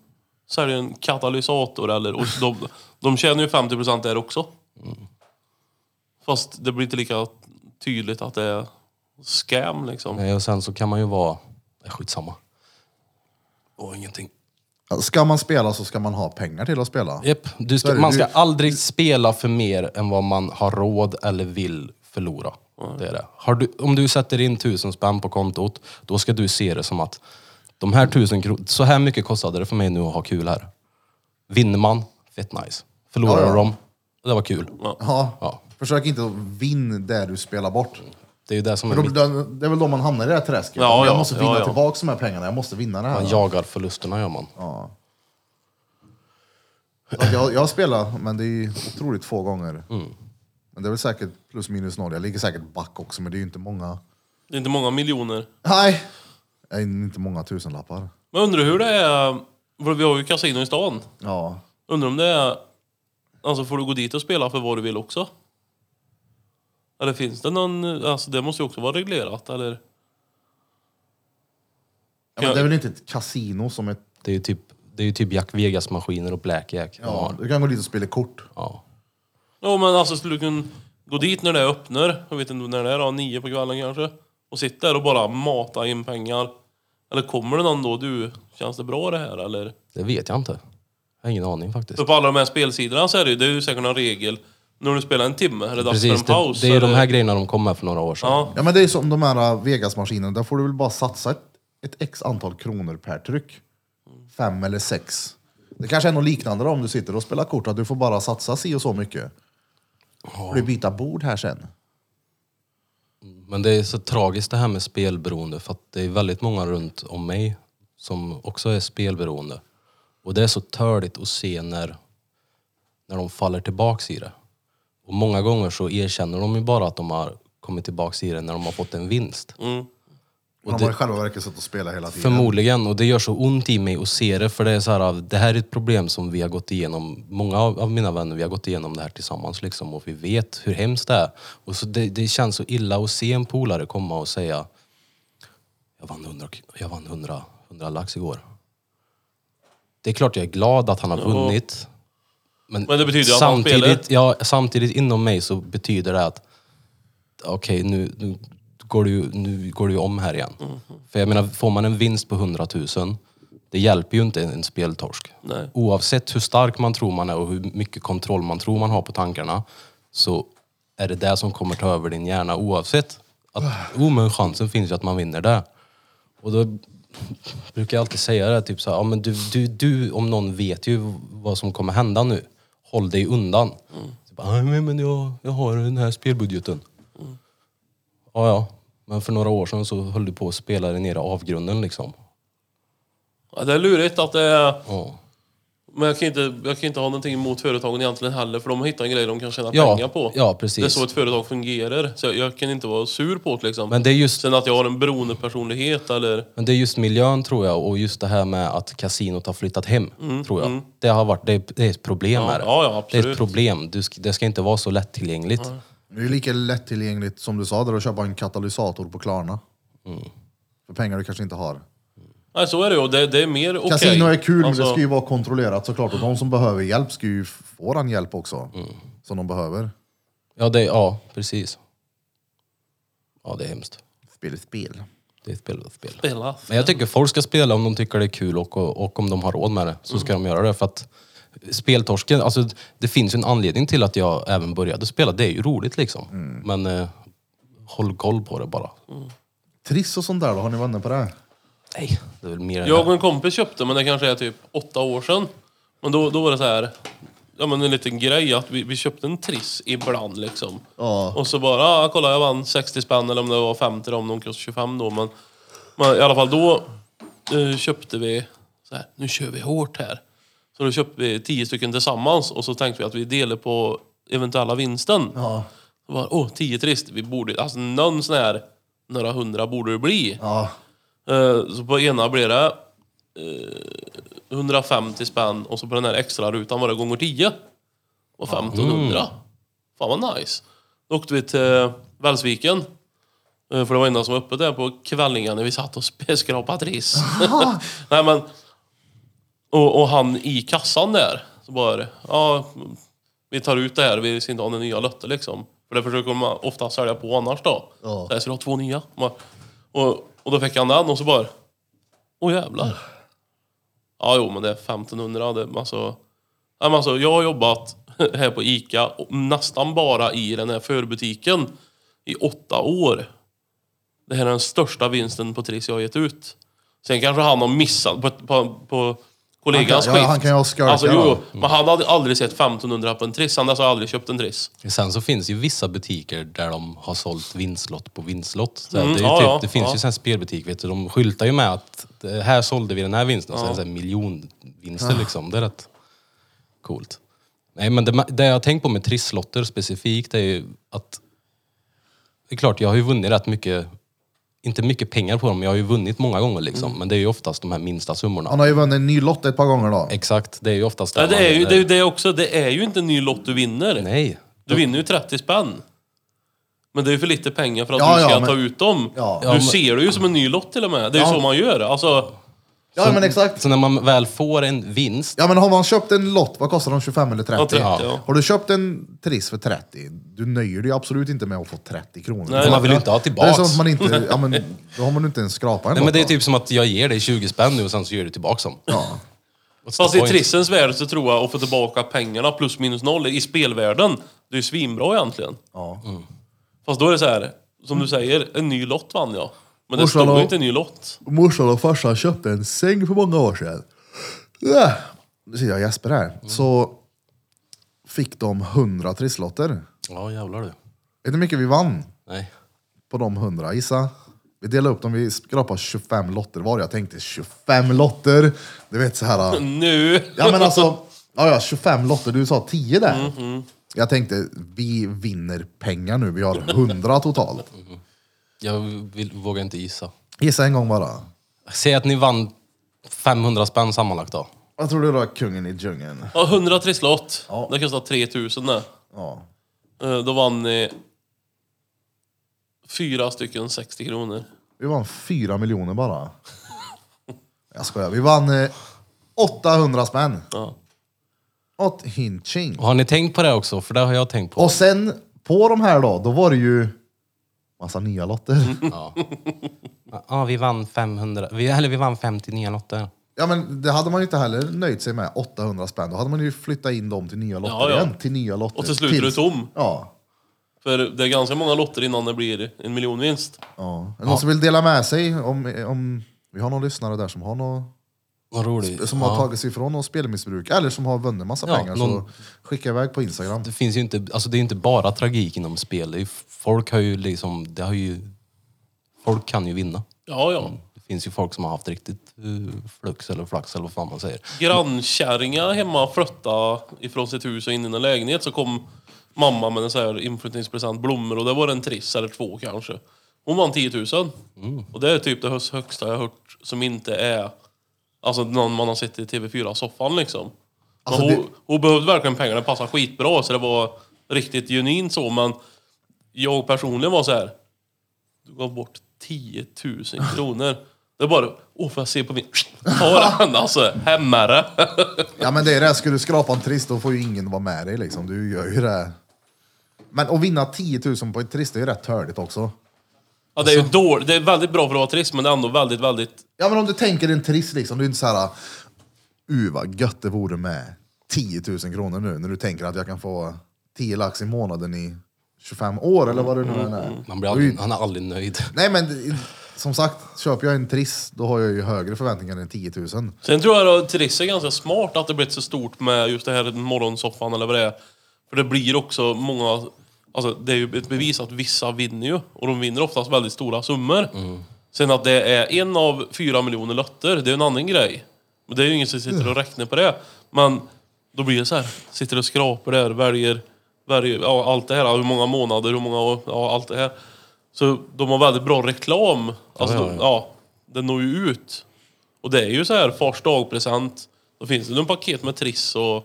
C: säljer en katalysator eller... Och de, de tjänar ju 50% där också. Fast det blir inte lika tydligt att det är scam liksom.
A: Nej, Och sen så kan man ju vara... Nej, Skitsamma. Åh, ingenting.
B: Ska man spela så ska man ha pengar till att spela.
A: Japp, du
B: Så
A: ska,
B: är det.
A: man
B: Du-
A: ska aldrig spela för mer än vad man har råd eller vill förlora. Det är det. Har du, om du sätter in tusen spänn på kontot, då ska du se det som att de här tusen kronor, så här mycket kostade det för mig nu att ha kul här. Vinner man, fett nice. Förlorar
B: Ja, ja.
A: de, det var kul.
B: Ja.
A: Ja.
B: Försök inte att vinna där du spelar bort.
A: Det är ju det som är
B: För
A: mitt,
B: då, det är väl då man hamnar i det här träsket.
C: Ja,
B: jag
C: ja,
B: måste vinna
C: ja, ja.
B: tillbaka de här pengarna, jag måste vinna det här.
A: man jagar förlusterna gör man.
B: Ja. Så att Alltså, Jag, jag spelar, men det är ju otroligt få gånger.
C: Mm.
B: Men det är väl säkert plus minus noll. Jag ligger säkert back också, men det är ju inte många.
C: Det är inte många miljoner.
B: Nej! Det är inte många tusenlappar.
C: Men undrar hur det är, för vi har ju kasino i stan.
B: Ja.
C: Undrar om det är, alltså får du gå dit och spela för vad du vill också? Eller finns det någon, alltså det måste ju också vara reglerat eller?
B: Ja, men det är väl inte ett kasino som ett...
A: Det är ju typ, det är ju typ Jack Vegas-maskiner och Blackjack. de
B: Ja,
A: har.
B: du kan gå dit och spela kort.
A: Ja.
C: Ja men alltså skulle du kunna gå dit när det öppnar, jag vet inte när det är då, nio på kvällen kanske. Och sitta där och bara mata in pengar. Eller kommer det någon då, du, känns det bra det här eller?
A: Det vet jag inte. Jag har ingen aning faktiskt.
C: För på alla de här spelsidorna så är det ju, det är ju säkert någon regel. När du spelar en timme, är det dags
A: Precis,
C: för en
A: det,
C: paus?
A: det är ju de
C: eller?
A: här grejerna de kom med för några år sedan.
C: Ja,
B: Ja men det är ju som de här äh, Vegas-maskinerna, där får du väl bara satsa ett, ett x antal kronor per tryck. Fem eller sex. Det kanske är något liknande då, om du sitter och spelar kort, att du får bara satsa si och så mycket. Får du byta bord här sen?
A: Men det är så tragiskt det här med spelberoende för att det är väldigt många runt om mig som också är spelberoende. Och det är så törligt att se när, när de faller tillbaks i det. Och många gånger så erkänner de ju bara att de har kommit tillbaks i det när de har fått en vinst.
C: mm.
B: Och de har i själva verket suttit och spelat hela tiden.
A: Förmodligen, och det gör så ont i mig att se det för det är så här, det här är ett problem som vi har gått igenom, många av, av mina vänner, vi har gått igenom det här tillsammans liksom och vi vet hur hemskt det är. Och så det, det känns så illa att se en polare komma och säga jag vann 100, jag vann 100, 100 lax igår. Det är klart jag är glad att han har vunnit. Men,
C: Men det betyder ju att han
A: samtidigt,
C: spelar.
A: ja, samtidigt inom mig så betyder det att okej nu, nu, går du, ju- nu går du ju om här igen.
C: Mhm.
A: För jag menar, får man en vinst på 100 000, det hjälper ju inte en, en speltorsk.
C: Nej.
A: Oavsett hur stark man tror man är och hur mycket kontroll man tror man har på tankarna så är det det som kommer ta över din hjärna oavsett. Att,
C: Ah.
A: oh, men chansen finns ju att man vinner det. Och då brukar jag alltid säga det, typ så här, ja, men du, du, du om någon vet ju vad som kommer hända nu. Håll dig undan. Så bara, "Nej, men jag, jag har den här spelbudgeten. Ja, ja. Men för några år sedan så höll du på att spela dig ner i avgrunden liksom.
C: ja, det är lurigt att det är...
A: Ja.
C: Men jag kan, inte, jag kan inte ha någonting emot företagen egentligen heller för de har hittat en grej de kan tjäna
A: Ja,
C: pengar på.
A: ja, precis.
C: Det är så ett företag fungerar. Så jag, jag kan inte vara sur på det liksom.
A: Men det är just
C: Sen att jag har en beroendepersonlighet eller...
A: Men det är just miljön tror jag och just det här med att kasinot har flyttat hem, tror jag. Det, har varit, det, är, det är ett problem
C: Mm, Ja,
A: med det.
C: ja, ja,
A: det
C: absolut.
A: är ett problem. Du, sk- det ska inte vara så lättillgängligt.
B: Det är lika lättillgängligt som du sa, där att köpa en katalysator på Klarna. För pengar du kanske inte har.
C: Nej, så är det ju. Det, det är mer okej.
B: Kasino är kul, men
C: Alltså,
B: det ska ju vara kontrollerat såklart. Och de som behöver hjälp ska ju få den hjälp också. Som de behöver.
A: Ja, det, ja, precis. Ja, det är hemskt.
B: Spel är spel.
A: Det är ett spel och ett spel.
C: Spela.
A: Men jag tycker folk ska spela om de tycker det är kul och, och, och om de har råd med det. Så ska de göra det. För att speltorsken, alltså det finns ju en anledning till att jag även började spela. Det är ju roligt liksom. Men eh, håll koll på det bara.
B: Triss och sånt där då, har ni varit inne på det?
A: Nej, det är väl mer...
C: Jag och en kompis köpte, men det kanske är typ åtta år sedan. Men då, då var det så här... Ja men en liten grej att vi, vi köpte en triss ibland liksom.
B: Ja.
C: Och så bara, ah, kolla jag vann 60 spänn eller om det var 50 då, om de kostade 25 då. Men, men i alla fall då eh, köpte vi, så här, nu kör vi hårt här. Så då köpte vi 10 stycken tillsammans och så tänkte vi att vi delar på eventuella vinsten.
B: Ja.
C: Så bara, åh, 10 trist, vi borde, alltså någon sån här, några hundra borde det bli.
B: Ja.
C: Eh, Så på ena blir det eh, 150 spänn och så på den här extra rutan var det gånger 10. Och 1500. Fan vad nice. Då åkte vi till Välsviken. Eh, För det var en som var uppe där på kvällingarna när vi satt och sp- skrapade ris. Nej men. Och, och han i kassan där. Så bara, ja vi tar ut det här, vi ska inte ha några nya lötter liksom. För det försöker de ofta sälja på annars då.
B: Ja.
C: Så här, ska du ha två nya? Och, och då fick han den och så bara, åh jävlar. Ja, jo, men det är 1500. Det, är alltså, ja, men alltså, jag har jobbat här på ICA, och nästan bara i den här förbutiken, i åtta år. Det här är den största vinsten på Triss jag har gett ut. Sen kanske han har missat på, på, på kollegans
B: Han kan- ja,
C: skift.
B: han kan ju ha skurkat
C: alltså, jo,
B: då.
C: jo, Men han hade aldrig sett 1500 på en Triss. Han hade alltså aldrig köpt en Triss.
A: Sen så finns ju vissa butiker där de har sålt vinstlott på vinstlott. Så
C: Mm,
A: det, är ju
C: ja,
A: typ,
C: ja,
A: det finns
C: ja.
A: ju sen spelbutik, vet du, de skyltar ju med att eh, här sålde vi den här vinsten. Och så är det så här
B: Ah.
A: miljonvinster liksom. Det är rätt coolt. Nej men det, ma- det jag har tänkt på med trisslotter specifikt är ju att det är klart, jag har ju vunnit rätt mycket, inte mycket pengar på dem, men jag har ju vunnit många gånger liksom.
C: Mm.
A: Men det är ju oftast de här minsta summorna.
B: Han har ju vunnit en ny lott ett par gånger då.
A: Exakt, det är ju oftast
C: Ja,
A: där
C: det
A: man
C: är ju
A: vinner.
C: det, är ju det också. Det är ju inte en ny lott du vinner.
A: Nej.
C: Du vinner ju 30 spänn. Men det är ju för lite pengar för att
B: Ja,
C: du ska
B: ja, men-
C: ta ut dem.
B: Ja.
C: Du
A: Ja, men-
C: ser det ju som en ny lott till och med. Det är ju
B: Ja.
C: så man gör. Alltså,
B: Ja men exakt.
A: Så när man väl får en vinst,
B: Ja men har man köpt en lott, vad kostar de? 25 eller 30?
C: Ja, 30, ja.
B: Har du köpt en Triss för 30, du nöjer dig absolut inte med att få 30 kronor.
C: Nej.
A: man vill ju inte ha
B: Det är
A: tillbaks.
B: som att man inte, ja men då har man ju inte ens skrapat en
A: Nej, men
B: lott
A: det är
B: då.
A: typ som att jag ger dig 20 spänn nu och sen så ger du tillbaks dem.
B: Ja.
A: What's
C: fast
A: the
C: i
A: point?
C: trissens värld så tror jag att få tillbaka pengarna plus minus noll i spelvärlden, det är ju svinbra egentligen.
B: Ja.
C: Fast då är det så här, som du säger, en ny lott vann jag. Men det
B: Morsan
C: stod ju
B: har-
C: inte en ny lott.
B: morsan och farsan köpte en säng för många år sedan. Ja. Nu sitter jag och Jesper här. Så fick de 100 trisslotter. Vet
A: Ja, jävlar du.
B: ni hur mycket vi vann
A: Nej.
B: på de 100? Gissa. Vi delade upp dem, vi skrapade 25 lotter var. Jag tänkte 25 lotter? Du vet så här.
C: Nu!
B: Ja men alltså, ja, ja, 25 lotter, du sa 10 där. Jag tänkte, vi vinner pengar nu, vi har 100 totalt.
A: Jag vill, vågar inte gissa.
B: Gissa en gång bara.
A: Säg att ni vann 500 spänn sammanlagt då.
B: Vad tror du då, kungen i djungeln?
C: Ja, 100 trisslott.
B: Ja.
C: Det kostar 3000 det.
B: Ja.
C: Eh, Då vann ni fyra stycken 60 kronor.
B: Vi vann 4 miljoner bara. Jag skojar, vi vann eh, 800 spänn.
C: Ja.
B: Åt hinching.
A: Och har ni tänkt på det också? För det har jag tänkt på.
B: Och sen på de här då, då var det ju massa nya lotter.
A: Ja, ja ah, vi vann 500, vi, eller vi vann 50 nya lotter.
B: Ja men det hade man ju inte heller nöjt sig med, 800 spänn. Då hade man ju flyttat in dem till nya lotter
C: Ja, ja.
B: igen. Till nya lotter.
C: Och till slut är du
B: Tills-
C: tom.
B: Ja.
C: För det är ganska många lotter innan det blir en miljonvinst.
B: ja. Är det någon som vill dela med sig? Om, om vi har någon lyssnare där som har något
A: Vad roligt.
B: som har tagit sig ifrån något spelmissbruk eller som har vunnit massa
A: Ja,
B: pengar
A: någon-
B: så skicka iväg på Instagram.
A: Det finns ju inte, alltså det är ju inte bara tragik inom spel. Det är ju- Folk har ju liksom, det har ju, folk kan ju vinna.
C: Ja, ja.
A: Det finns ju folk som har haft riktigt eh, flux eller flax eller vad fan man säger.
C: Grannkärringar hemma flyttade ifrån sitt hus och in i en lägenhet så kom mamma med en så här inflyttningspresent, blommor och det var en triss eller två kanske. Hon vann 10 000.
B: Mm.
C: Och det är typ det högst- högsta jag har hört som inte är alltså någon man har sett i TV4-soffan liksom. Men
B: Alltså,
C: hon,
B: det-
C: hon behövde verkligen pengarna, det passade skitbra så det var riktigt genuint så men jag personligen var så här. Du gav bort 10 000 kronor. Det är bara, åh får jag se på min... Ta den alltså, hämmare.
B: Ja men det är det, ska du skrapa en trist då får ju ingen vara med dig liksom. Du gör ju det. Men att vinna 10 000 på ett trist det är ju rätt törligt också.
C: Ja, det är ju dåligt, det är väldigt bra för att vara trist men det är ändå väldigt, väldigt...
B: Ja men om du tänker en trist liksom, du är inte så här. Uh vad gött det vore med 10 000 kronor nu när du tänker att jag kan få 10 lax i månaden i 25 år eller vad det nu än är.
A: Man blir aldrig, han är aldrig nöjd.
B: Nej men det- som sagt, köper jag en triss då har jag ju högre förväntningar än 10 000.
C: Sen tror jag att trist är ganska smart att det blivit så stort med just det här morgonsoffan eller vad det är. För det blir också många... Alltså det är ju ett bevis att vissa vinner ju. Och de vinner oftast väldigt stora summor. Sen att det är en av fyra miljoner lotter, det är en annan grej. Men det är ju ingen som sitter och räknar på det. Men då blir det så här, sitter och skrapar där, väljer, väljer ja, allt det här, hur många månader, hur många, ja, allt det här. Så de har väldigt bra reklam. Alltså, ja,
A: Ja,
C: ja,
A: ja, ja.
C: det når ju ut. Och det är ju så här fars dagpresent. Då finns det en paket med Triss och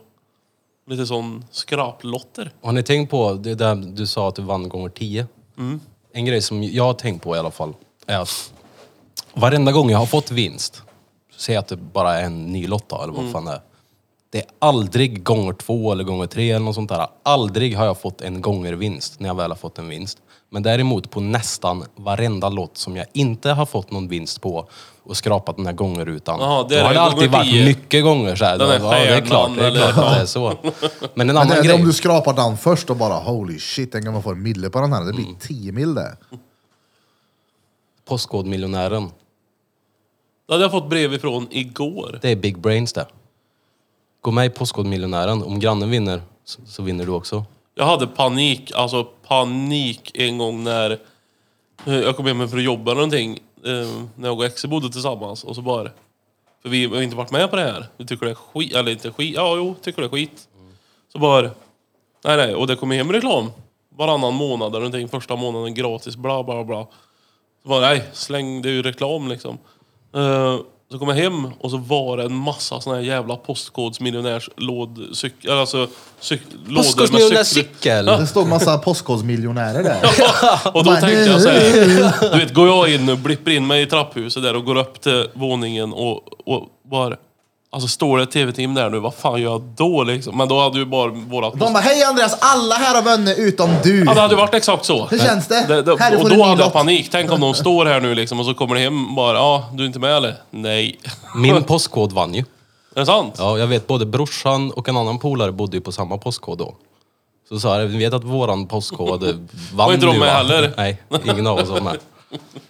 C: lite sån skraplotter.
A: Har ni tänkt på, det där du sa att du vann gånger 10.
C: Mm.
A: En grej som jag har tänkt på i alla fall är att
C: Mm.
A: varenda gång jag har fått vinst, säg att det bara är en ny lott då, eller vad fan det är. Det är aldrig gånger två eller gånger tre eller något sånt där. Aldrig har jag fått en gånger vinst när jag väl har fått en vinst. Men däremot på nästan varenda lott som jag inte har fått någon vinst på och skrapat den här gångerutan.
C: Jaha, det är
A: då har
C: det
A: det alltid
C: gånger
A: varit
C: tio.
A: mycket gånger så här.
C: Den
A: Den
C: här
A: ja, det är
C: stjärnan
A: klart, det är
C: eller-
A: klart att det är så. Men en
B: Men
A: annan
B: det, är-
A: grej.
B: om du skrapar den först och bara holy shit, tänk om man får en mille på den här. Det blir 10 mil det.
A: Postkodmiljonären.
C: Det hade jag fått brev ifrån igår.
A: Det är big brains det. Gå med i Postkodmiljonären. Om grannen vinner så, så vinner du också.
C: Jag hade panik, alltså panik en gång när eh, jag kom hem från jobbet eller någonting. eh, När jag och Exe bodde tillsammans och så bara... För vi har inte varit med på det här. Vi tycker det är skit, eller inte skit, ja jo, tycker det är skit. Så bara... Nej nej, och det kom hem reklam. Varannan månad eller någonting, första månaden gratis, bla bla bla. Så bara, nej, släng, det är ju reklam liksom. Eh, så kom jag hem och så var det en massa såna här jävla postkodsmiljonärscykel, alltså cyk, lådor med cykel.
A: Postkodmiljonärcykel!
B: Det står massa postkodmiljonärer där.
C: Och då
B: Man-
C: tänkte jag så här, du vet, går jag in och blippar in mig i trapphuset där och går upp till våningen och, och bara... Alltså står det ett tv-team där nu, vad fan gör jag då liksom? Men då hade ju bara vårat...
B: De bara, hej Andreas, alla här har vunnit utom du.
C: Ja, det hade varit exakt så.
B: Hur känns det?
C: Det, det,
B: Här får
C: och
B: du en
C: då
B: ny
C: hade jag
B: lott.
C: panik. Tänk om de står här nu liksom och så kommer det hem bara, ja, du är inte med eller? Nej.
A: Min postkod vann ju.
C: Är det sant?
A: Ja, jag vet både brorsan och en annan polare bodde ju på samma postkod då. Så sa jag, vi vet att våran postkod vann
C: Var inte de
A: nu,
C: med
A: va?"
C: heller?
A: Nej, ingen av oss var med.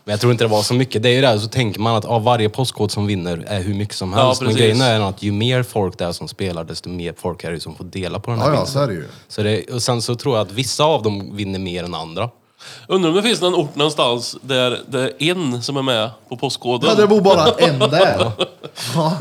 A: Men jag tror inte det var så mycket. Det är ju det här, så tänker man att av varje postkod som vinner är hur mycket som
C: Ja,
A: helst. Men
C: precis.
A: grejen är att ju mer folk det är som spelar, desto mer folk är det ju som får dela på den här
B: Ja, ja,
A: vinsten.
B: så är det ju.
A: Så det, och sen så tror jag att vissa av dem vinner mer än andra.
C: Undrar om det finns någon ort någonstans där det är en som är med på postkoden.
B: Ja, det bor bara en där. Ja.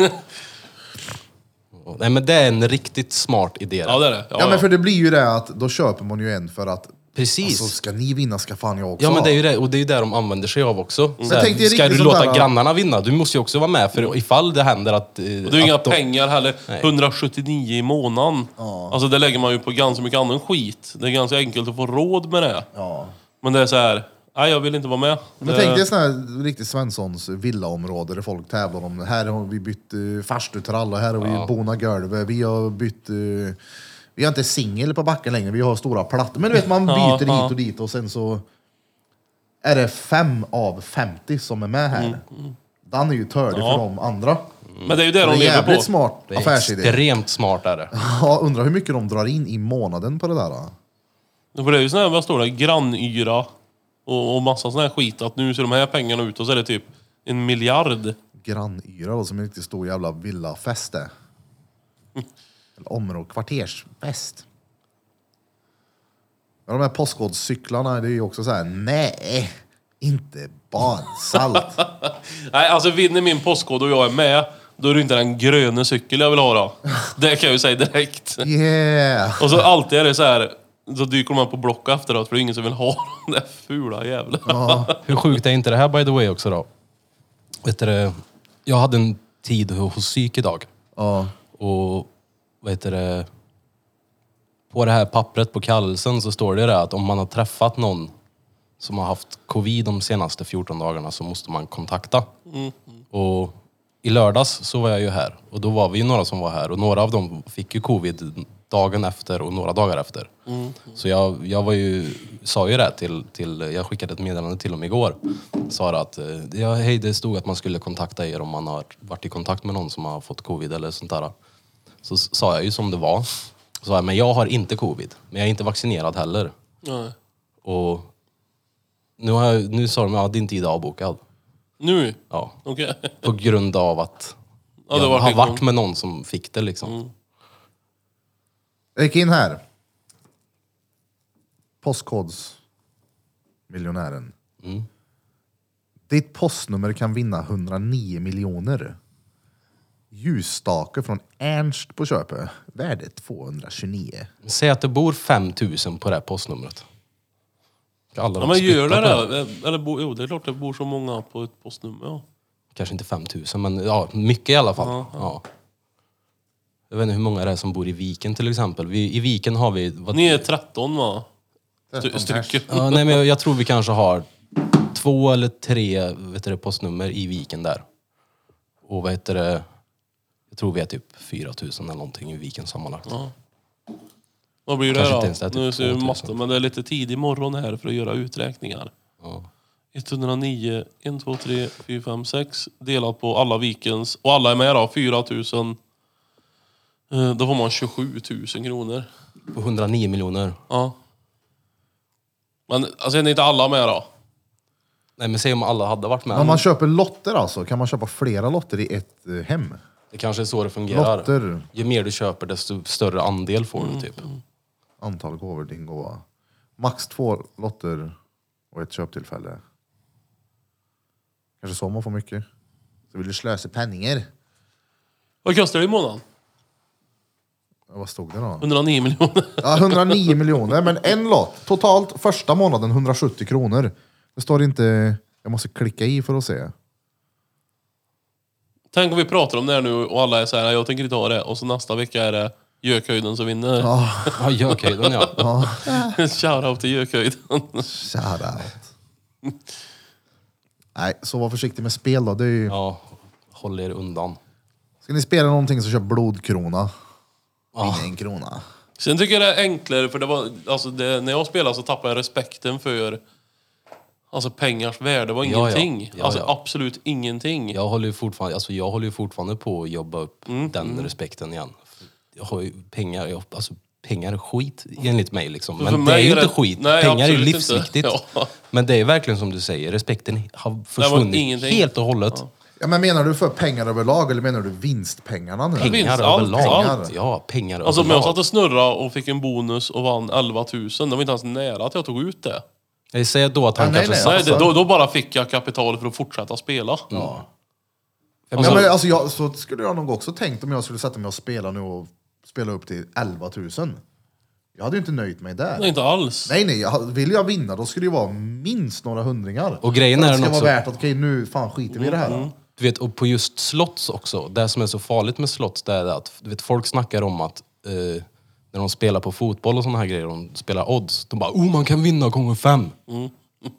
A: Och- Nej men det är en riktigt smart idé.
C: Ja, det är det. Ja,
B: ja,
C: ja.
B: men för det blir ju det att då köper man ju en för att
A: Precis.
B: alltså, ska ni vinna ska fan jag också
A: Ja men det är
B: ha.
A: ju det, och det är ju det de använder sig av också. Så
B: tänk dig
A: här, ska
B: riktigt
A: du
B: sånt
A: låta
B: där-
A: grannarna vinna? Du måste ju också vara med för ifall det händer att... eh,
C: Och Det är ju
A: att
C: inga
A: de-
C: pengar heller.
A: Nej.
C: 179 i månaden. Alltså det lägger man ju på ganska mycket annan skit. Det är ganska enkelt att få råd med det.
B: Ja.
C: Men det är så här, nej jag vill inte vara med.
B: Men
A: Eh.
C: Det-
B: tänk dig sån här riktigt Svenssons villaområde där folk tävlar om här har vi bytt uh, farstutrall och här har vi bonat golvet. Vi har bytt... eh, vi har inte singel på backen längre, vi har stora plattor. Men du vet, man byter
C: Ja,
B: hit
C: ja.
B: och dit och sen så är det fem av 50 som är med här.
A: Mm,
B: Den är ju tördig
C: Ja.
B: för de andra.
C: Eh, Men det är ju det
B: Det
C: de
B: är
C: lever
B: jävligt
C: på.
B: smart
A: Det är
B: affärsidé.
A: extremt smart är det.
B: Ja, undrar hur mycket de drar in i månaden på det där. Då.
C: För det är ju sån här, vad står det, grannyra och, och massa sån här skit. Att nu ser de här pengarna ut och så är det typ en miljard.
B: Grannyra då, som är en riktigt stor jävla villafest det. Eller område, kvartersfest. Ja, de här postkodcyklarna, det är ju också så här, nej, inte badsalt.
C: Nej, alltså vinner min postkod och jag är med, då är det inte den gröna cykeln jag vill ha då. Det kan jag ju säga direkt.
B: Yeah!
C: Och så alltid är det så här, så dyker de här på Blocket efteråt för det är ingen som vill ha den där fula jävla.
A: Hur sjukt är inte det här by the way också då? Vet du, det, jag hade en tid hos psyk idag.
B: Ja,
A: Och vad heter det? På det här pappret på kallelsen så står det där att om man har träffat någon som har haft covid de senaste 14 dagarna så måste man kontakta. Och i lördags så var jag ju här och då var vi ju några som var här och några av dem fick ju covid dagen efter och några dagar efter. Så jag, jag var ju, sa ju det till, till, jag skickade ett meddelande till dem igår. Sa det att, eh, ja, hej det stod att man skulle kontakta er om man har varit i kontakt med någon som har fått covid eller sånt där. Så s- sa jag ju som det var. Så sa jag, men jag har inte covid. Men jag är inte vaccinerad heller.
C: Nej.
A: Och nu, har jag, nu sa de, ja din tid är avbokad.
C: Nu?
A: Ja.
C: Okej.
A: På grund av att
C: Ja, det
A: jag
C: liksom- Mm. var
A: har
C: igång.
A: varit med någon som fick det liksom.
B: jag gick in här. Postkodsmiljonären. Ditt postnummer kan vinna 109 miljoner. Ljusstake från Ernst på köpet. Värde 229.
A: Säg att det bor 5000 på det här postnumret. Ska Alla
C: Ja,
A: de
C: men gör
A: spytta
C: det
A: på
C: det? Eller bo, jo, det är klart det bor så många på ett postnummer. Ja.
A: Kanske inte 5000 men ja, mycket i alla fall. Ja. Jag vet inte hur många det är som bor i Viken till exempel. Vi, I Viken har vi... Vad,
C: Ni är 13 va? Sty-
B: 13
C: Stycken.
A: Ja, nej, men jag, jag tror vi kanske har två eller tre vet du, det, postnummer i Viken där. Och vad heter det? Jag tror vi är typ 4000 eller någonting i viken sammanlagt.
C: Vad blir det
A: Kanske inte ens det,
C: då?
A: typ
C: Nu ser vi
A: 2000.
C: matten, men det är lite tidig morgon här för att göra uträkningar.
A: Ja.
C: 109, 1, 2, 3, 4, 5, 6 delat på alla vikens och alla är med då, 4000. Då får man 27 000 kronor.
A: På 109 miljoner.
C: Ja. Men alltså är ni inte alla med då?
A: Nej men säg om alla hade varit med.
B: Om man köper lotter alltså, kan man köpa flera lotter i ett eh, hem?
A: Det kanske är så det fungerar.
B: Lotter.
A: Ju mer du köper desto större andel får
C: Mm.
A: du typ.
B: Antal gåvor, din gåva. Max två lotter och ett köptillfälle. Kanske så man får mycket. Så vill du slösa penningar?
C: Vad kostar det i månaden?
B: Ja, Vad stod det då?
C: 109 miljoner.
B: Ja, 109 miljoner, men en lott. Totalt första månaden 170 kronor. Det står inte... Jag måste klicka i för att se.
C: Tänk om vi pratar om det här nu och alla är så här, jag tänker inte ha det. Och så nästa vecka är det Gökhöjden som vinner.
A: Ja, gökhöjden ja.
C: Shoutout till Gökhöjden.
B: Shoutout. Nej, så var försiktig med spel då. Det är ju...
A: Ja, håll er undan.
B: Ska ni spela någonting så köp blodkrona.
A: Ja.
B: Vinna en krona.
C: Sen tycker jag det är enklare, för det var, alltså det, när jag spelade så tappade jag respekten för alltså pengars värde. Det var
A: Ja, ja.
C: ingenting.
A: Ja,
C: alltså
A: ja.
C: absolut ingenting.
A: Jag håller ju fortfarande, alltså jag håller ju fortfarande på att jobba upp
C: Mm.
A: den respekten igen. Jag har ju pengar, jag, alltså pengar är skit enligt mig liksom.
C: för
A: Men det
C: mig
A: är ju
C: är det-
A: inte skit.
C: nej,
A: pengar är ju
C: absolut inte.
A: livsviktigt.
C: Ja.
A: Men det är ju verkligen som du säger, respekten har försvunnit
C: ingenting.
A: helt och hållet.
B: Ja, men menar du för pengar överlag eller menar du vinstpengarna nu?
A: Pengar
C: Vinst, allt,
A: överlag.
B: allt.
A: Ja, pengar
C: Alltså om
A: överlag.
C: jag satt och snurrade och fick en bonus och vann 11 000, det var inte ens nära att jag tog ut det.
A: Jag säger då att han
B: Ja, nej,
A: kanske
B: nej.
A: satsar.
C: Nej, det, då, då bara fick jag kapital för att fortsätta spela.
A: Jag
B: Ja,
A: menar,
B: men alltså, jag, så skulle jag nog också tänkt om jag skulle sätta mig och spela nu och spela upp till 11 000. Jag hade ju inte nöjt mig där.
C: Nej, inte alls.
B: Nej, nej, jag- vill jag vinna då skulle det ju vara minst några hundringar.
A: Och grejen
B: För
A: är Mm,
B: att Det
A: den
B: ska
A: också-
B: vara värt att okej, nu fan skiter vi i det här.
A: Du vet, och på just slots också, det som är så farligt med slots det är att du vet, folk snackar om att eh, när de spelar på fotboll och såna här grejer, de spelar odds, de bara oh man kan vinna gånger fem.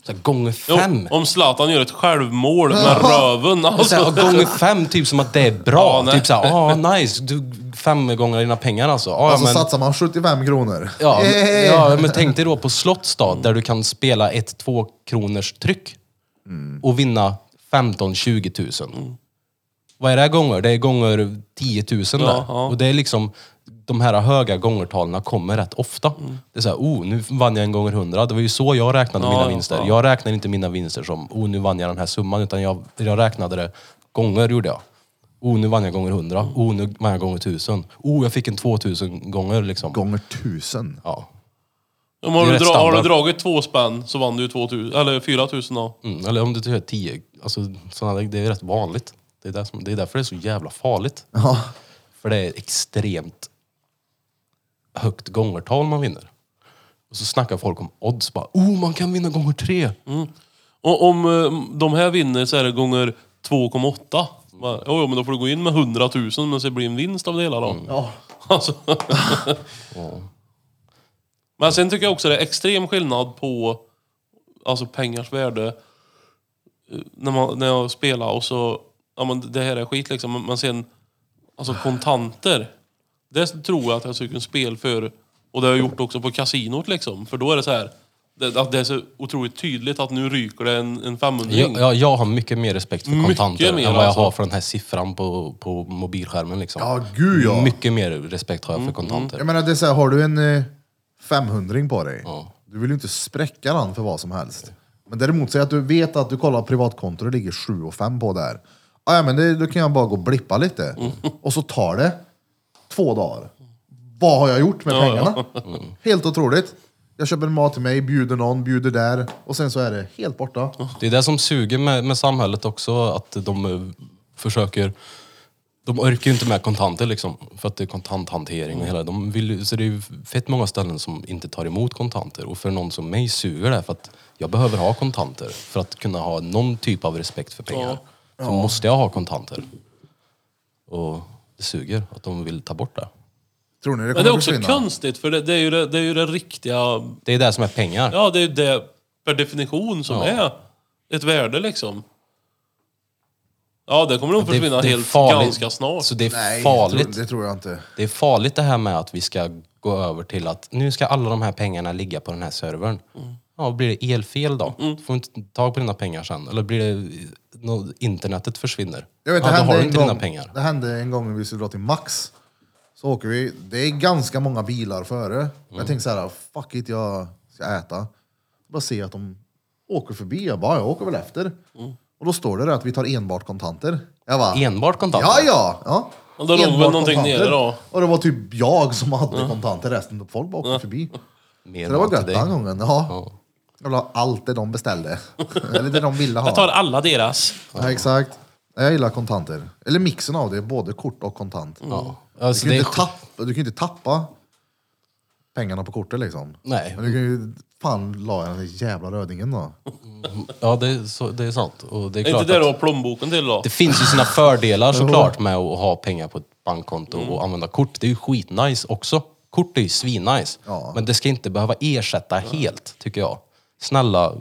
A: Så här, gånger
C: Jo,
A: fem?
C: om Zlatan gör ett självmål med röven.
A: Så här,
C: Alltså.
A: och gånger fem, typ som att det är
C: Ja,
A: bra.
C: nej.
A: typ såhär, ah nice, du, fem gånger dina pengar alltså. Ah,
B: Alltså
A: men,
B: satsar man 75 kronor.
A: ja, men,
B: Yay!
A: ja, men tänk dig då på slots då, där du kan spela ett två kronors tryck och vinna 15-20 000.
C: Mm.
A: Vad är det här gånger? Det är gånger 10 000 där.
C: ja.
A: Och det är liksom, de här höga gångertalen kommer rätt ofta.
C: Mm.
A: Det är såhär, oh nu vann jag en gånger 100. Det var ju så jag räknade
C: Ja,
A: mina
C: ja,
A: vinster.
C: ja.
A: Jag räknade inte mina vinster som, oh nu vann jag den här summan. Utan jag, jag räknade det gånger gjorde jag. Oh nu vann jag gånger 100.
C: Mm.
A: Oh nu vann jag gånger 1000. Oh jag fick en 2000 gånger liksom.
B: Gånger tusen.
A: Ja.
C: Om har,
A: Det är
C: du
A: rätt
C: dra, har du
A: standard.
C: dragit två spänn så vann du 2000, eller 4000 då.
A: Mm, eller om du tycker 10, alltså, sådana, där- det är rätt vanligt. Det är, där som, det är därför det är så jävla farligt.
B: Ja.
A: För det är extremt högt gångertal man vinner. Och så snackar folk om odds bara, oh man kan vinna gånger tre.
C: Mm. Och om eh, de här vinner så är det gånger 2,8. Va? Jo, jo, men då får du gå in med 100 000 men så blir det en vinst av det hela då.
B: Ja.
C: Alltså. Men sen tycker jag också det är extrem skillnad på alltså pengars värde. eh, När, man, när jag spelar och så, ja men det här är skit liksom. Men- Men sen, alltså kontanter. Det tror jag att jag söker spel för. Och det har jag gjort också på kasinot liksom. För då är det så här. Det, att det är så otroligt tydligt att nu ryker det en, en 500
A: Jag, jag, jag har mycket mer respekt för
C: Mycket
A: kontanter
C: mer,
A: än vad jag
C: alltså.
A: har för den här siffran på, på mobilskärmen. Liksom.
B: Ja, gud, ja.
A: Mycket mer respekt har jag
C: Mm,
A: för kontanter.
B: Jag menar, det är så här, har du en eh, 500 på dig,
A: Ja.
B: du vill ju inte spräcka den för vad som helst. Men däremot, säg att du vet att du kollar privatkonto och det ligger 7 och 5 på där. Ah, ja, men det, då kan jag bara gå och blippa lite. Och så tar det två dagar. Vad har jag gjort med pengarna? Helt otroligt. Jag köper mat till mig, bjuder någon, bjuder där och sen så är det helt borta.
A: Det är det som suger med, med samhället också, att de eh, försöker... De orkar ju inte med kontanter liksom, för att det är kontanthantering och hela de vill, ju- Så det är ju fett många ställen som inte tar emot kontanter. Och för någon som mig suger det, för att jag behöver ha kontanter för att kunna ha någon typ av respekt för pengar. Så måste jag ha kontanter. Och det suger att de vill ta bort det.
B: Tror ni det
C: Men det är
B: kommer
C: också
B: försvinna?
C: konstigt för det, det, är ju det, det är ju det riktiga
A: Det är det som är pengar.
C: Ja, det är ju det per definition som
A: Ja.
C: är ett värde liksom. Ja, det kommer nog
A: Det-
C: försvinna
A: det är
C: helt
A: farligt.
C: ganska snart.
A: Så det är
B: Nej,
A: farligt.
B: Det, tror, det tror jag inte.
A: Det är farligt det här med att vi ska gå över till att nu ska alla de här pengarna ligga på den här servern. Ja, blir det elfel då?
B: Mm.
A: Får vi inte tag på dina pengar sen? Eller blir det... nå- internetet försvinner?
B: Jag vet,
A: ja,
B: det,
A: då
B: hände
A: har du
B: en
A: inte
B: gång,
A: dina pengar.
B: det hände en gång när vi skulle dra till Max. Så åker vi, det är ganska många bilar före.
A: Mm.
B: Jag tänkte så här, fuck it, jag ska äta. Bara se att de åker förbi, jag bara, jag åker väl efter. Och då står det där att vi tar enbart kontanter. Jag bara,
A: Mm. Enbart kontanter?
B: ja ja! ja.
C: Och då låg väl
B: Enbart
C: någonting
B: kontanter.
C: nere då?
B: Och det var typ jag som hade kontanter, resten folk bara åkte förbi.
A: Mer
B: Så det var
A: mat till
B: gött
A: dig.
B: den gången, ja.
A: Ja.
B: Jag la allt det de beställde. Eller det de ville ha.
C: Jag tar alla deras.
B: Ja, exakt. Nej, Jag gillar kontanter. Eller mixen av det, både kort och kontant.
A: Ja.
B: Du,
A: Alltså,
B: kan
A: det
B: ju
A: är
B: inte tappa, du kan ju inte tappa pengarna på kortet liksom.
A: Nej.
B: Men du kan ju... Fan la jag den där jävla rödingen då.
A: Ja, det är, så, det är sant. Och det är
C: Är
A: klart
C: inte det
A: att
C: du har plånboken till då?
A: det finns ju sina fördelar såklart med att ha pengar på ett bankkonto och använda kort. Det är ju skitnice också. Kort är ju svinnice.
B: Ja.
A: Men det ska inte behöva ersätta helt, tycker jag. Snälla,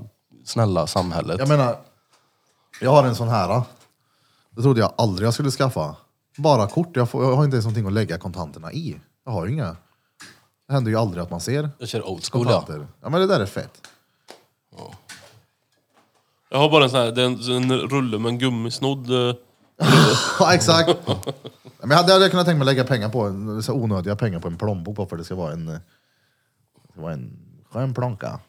A: snälla samhället.
B: Jag menar, jag har en sån här. Då. Det trodde jag aldrig jag skulle skaffa. Bara kort, jag, får, jag har inte ens någonting att lägga kontanterna i. Jag har ju inga. Det händer ju aldrig att man ser
A: Jag kör old school ja.
B: kontanter. Ja men det där är fett.
C: Jag har bara en sån här, det är en, en rulle med en gummisnodd. eh,
B: Ja, exakt. Men jag hade, hade jag kunnat tänka mig lägga pengar på en, så här onödiga pengar på en plånbok bara för att det ska vara en, eh, det ska vara en skön plånka.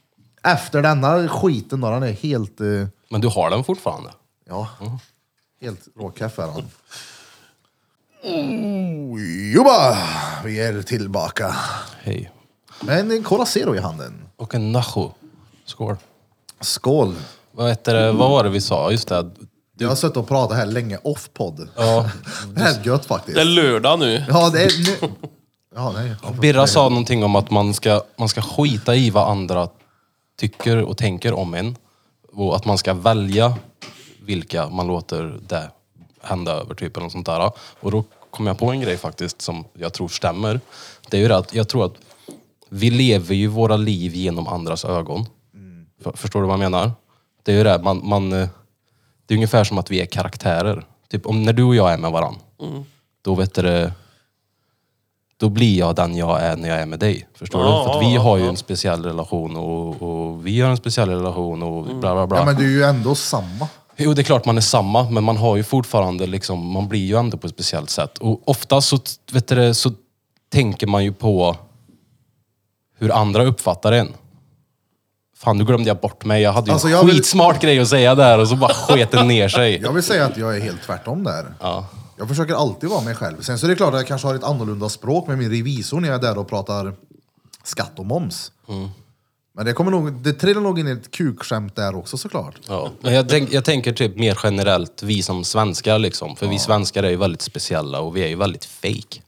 B: Efter denna skiten då, han är helt, eh,
A: Men du har den fortfarande?
B: ja, helt råkeff är han. Oh, Jobba! Vi är tillbaka.
A: Hej.
B: Men en Cola Zero i handen.
A: Och en nacho. Skål.
B: Skål!
A: Vad, heter det? Vad var det vi sa? Just det.
B: Jag har suttit och pratat här länge off-podd.
A: Ja.
B: Det här är gött faktiskt.
C: Det är lördag nu.
B: Ja, det är nu... Ja, nej.
A: Birra sa någonting om att man ska, man ska skita i vad andra tycker och tänker om en. Och att man ska välja vilka man låter det hända över, typ. Eller något sånt där. Och då kom jag på en grej faktiskt som jag tror stämmer. Det är ju det att jag tror att vi lever ju våra liv genom andras ögon. För- Förstår du vad jag menar? Det är ju det, här, man, man, eh, det är ungefär som att vi är karaktärer. Typ om när du och jag är med varandra, då vet du det, då blir jag den jag är när jag är med dig. Förstår
C: Ja,
A: du? För att vi
C: ja,
A: har ju
C: ja.
A: en speciell relation och, och vi har en speciell relation och
C: Mm.
A: bla bla bla.
B: Ja, men du är ju ändå samma.
A: Jo, det är klart man är samma, men man har ju fortfarande liksom, man blir ju ändå på ett speciellt sätt. Och ofta så, vet du, det, så tänker man ju på hur andra uppfattar en. Fan, nu glömde jag bort mig. Jag hade ju
B: Alltså, jag
A: en
B: vill-
A: skitsmart grej att säga där och så bara sket den ner sig.
B: Jag vill säga att jag är helt tvärtom där.
A: Ja.
B: Jag försöker alltid vara mig själv. Sen så är det klart att jag kanske har ett annorlunda språk med min revisor när jag är där och pratar skatt och moms.
A: Mm.
B: Men det, kommer nog, det trillar nog in ett kukskämt där också såklart.
A: Ja. Men jag, tänk, jag tänker typ mer generellt, vi som svenskar liksom. För vi svenskar är ju väldigt speciella och vi är ju väldigt fake.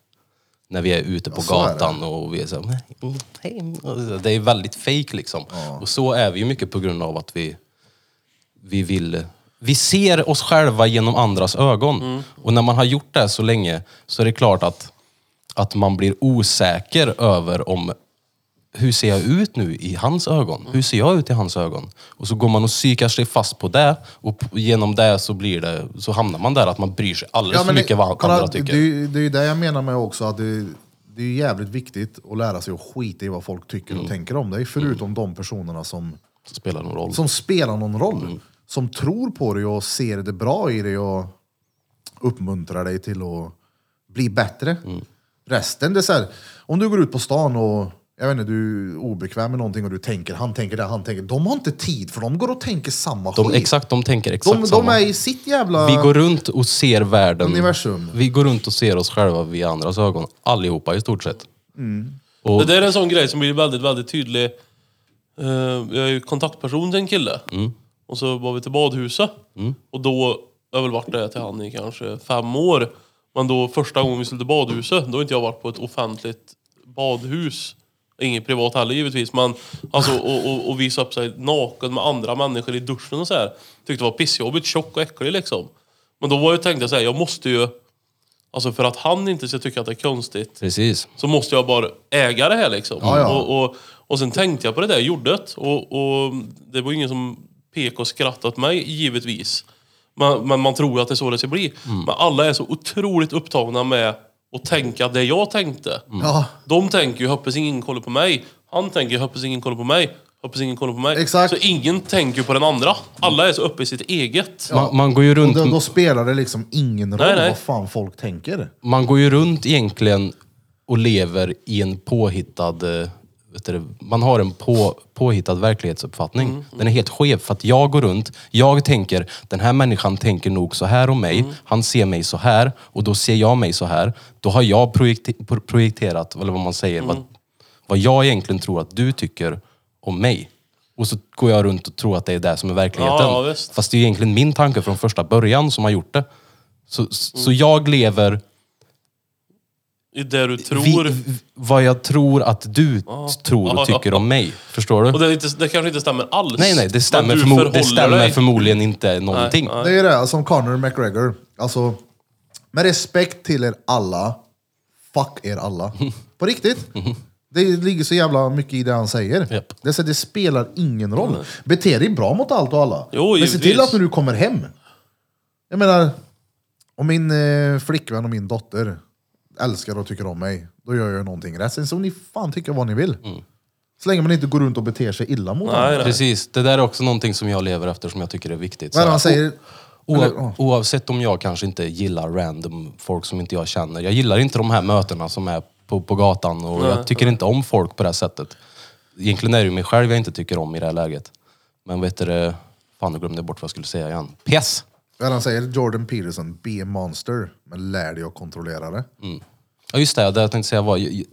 A: När vi är ute på
B: så är det.
A: gatan och vi är så här, "Mm, hej." Det är väldigt fake liksom. Och så är vi ju mycket på grund av att vi, vi vill... Vi ser oss själva genom andras ögon.
B: Mm.
A: Och när man har gjort det så länge så är det klart att, att man blir osäker över om hur ser jag ut nu i hans ögon? Hur ser jag ut i hans ögon? Och så går man och psykar sig fast på det och p- genom det så, blir det, så hamnar man där att man bryr sig alldeles för
B: men det-
A: mycket vad
B: kolla,
A: andra tycker.
B: Det, är ju- det är ju det jag menar med också, att det, det är ju jävligt viktigt att lära sig att skita i vad folk tycker
A: Mm.
B: och tänker om dig. Förutom de personerna som,
A: Så spelar det någon roll.
B: som spelar någon roll.
A: Mm.
B: Som tror på dig och ser det bra i dig och uppmuntrar dig till att bli bättre.
A: Mm.
B: Resten, det är så här, om du går ut på stan och jag vet inte, du är obekväm med någonting och du tänker, han tänker det, han tänker. De har inte tid för de går och tänker samma
A: De,
B: skit.
A: exakt, de tänker exakt
B: de, de
A: samma.
B: är i sitt jävla...
A: Vi går runt och ser världen.
B: Universum.
A: Vi går runt och ser oss själva via andras ögon. Allihopa i stort sett.
C: Det där är en sån grej som blir väldigt, väldigt tydlig. Eh, jag är ju kontaktperson till en kille. Och så var vi till badhuset. Och då, jag har väl varit där till han i kanske fem år. Men då första gången vi skulle till badhuset, då har inte jag varit på ett offentligt badhus. Inget privat heller givetvis, men alltså och, och, och visa upp sig naken med andra människor i duschen och så här. Tyckte det var pissjobbigt, tjock och äcklig liksom. Men då var jag tänkte jag så här, jag måste ju, alltså för att han inte ska tycka att det är konstigt
A: Precis.
C: så måste jag bara äga det här liksom.
B: Ja, ja.
C: Och, och, och sen tänkte jag på det där jordet och, och det var ingen som pek och skrattade åt mig, givetvis. Man, men man tror att det är så det ska bli.
A: Mm.
C: Men alla är så otroligt upptagna med att tänka det jag tänkte.
A: Mm.
B: Ja,
C: De tänker ju hoppas ingen kollar på mig. Han tänker hoppas ingen kollar på mig. Hoppas ingen kollar på mig.
B: Exakt.
C: Så ingen tänker ju på den andra. Alla är så uppe i sitt eget.
A: Man, man går ju
B: och
A: runt...
B: då, då spelar det liksom ingen roll
C: Nej, nej.
B: vad fan folk tänker.
A: man går ju runt egentligen och lever i en påhittad... eh, Vet du, det, man har en på, påhittad verklighetsuppfattning.
C: Mm.
A: Den är helt skev. För att jag går runt, jag tänker, den här människan tänker nog så här om
C: Mm.
A: mig. Han ser mig så här och då ser jag mig så här. Då har jag projekte- pro- projekterat, eller vad man säger, vad,
C: Mm.
A: vad jag egentligen tror att du tycker om mig. Och så går jag runt och tror att det är det som är verkligheten.
C: Ja, ja, visst.
A: Fast det är egentligen min tanke från första början som har gjort det. Så, så
C: Mm.
A: jag lever
C: I det du tror.
A: vi, v- vad jag tror att du t- tror och
C: Ja, ja,
A: tycker om mig. Förstår du?
C: Och det, är inte, det kanske inte stämmer alls.
A: nej, nej, det stämmer,
C: Men du
A: förmo-
C: förhåller
A: det stämmer
C: dig.
A: förmodligen inte någonting.
C: nej.
B: Det är ju det, som Conor McGregor. Alltså, med respekt till er alla, fuck er alla. På riktigt. Det ligger så jävla mycket i det han säger.
A: Japp.
B: Det, är så, det spelar ingen roll. Bete dig bra mot allt och alla.
C: Jo,
B: Men se till
C: givetvis.
B: att när du kommer hem. Jag menar, om min eh, flickvän och min dotter älskar och tycker om mig, då gör jag någonting rätt. Sen så ni fan tycka vad ni vill. Så länge man inte går runt och beter sig illa mot
C: Nej,
B: andra.
C: nej.
A: Precis, det där är också någonting som jag lever efter som jag tycker är viktigt.
B: Vad är
A: Så
B: det han
A: här,
B: säger?
A: o-
B: Eller,
A: oav- oavsett om jag kanske inte gillar random folk som inte jag känner. Jag gillar inte de här mötena som är på, på gatan och jag tycker inte om folk på det här sättet. Egentligen är det ju mig själv jag inte tycker om i det här läget. Men vet du det? Fan, nu glömde jag bort vad jag skulle säga igen. Piss!
B: Vad är det han säger? Jordan Peterson, be a monster, men lär dig att kontrollera det.
A: Mm. Ja just det, det jag tänkte säga var... ju- ju-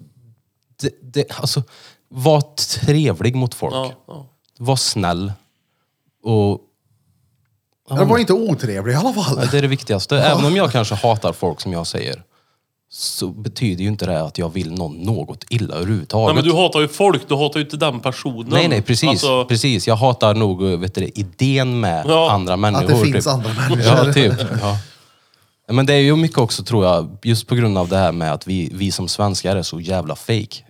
A: Det, det, alltså, var trevlig mot folk.
C: Ja, ja.
A: Var snäll. Och,
B: Det var inte otrevlig i alla fall.
A: ja, det är det viktigaste. Även om jag kanske hatar folk som jag säger, så betyder ju inte det att jag vill någon något illa
C: nej,
A: överhuvudtaget.
C: men du hatar ju folk. Du hatar ju inte den personen.
A: nej, nej, precis.
C: Alltså,
A: precis. Jag hatar nog vet du, det, idén med
C: Ja,
A: andra människor.
B: Att det finns
A: typ.
B: andra människor.
A: Ja, typ. Ja. Men det är ju mycket också tror jag, just på grund av det här med att vi, vi som svenskar är så jävla fake.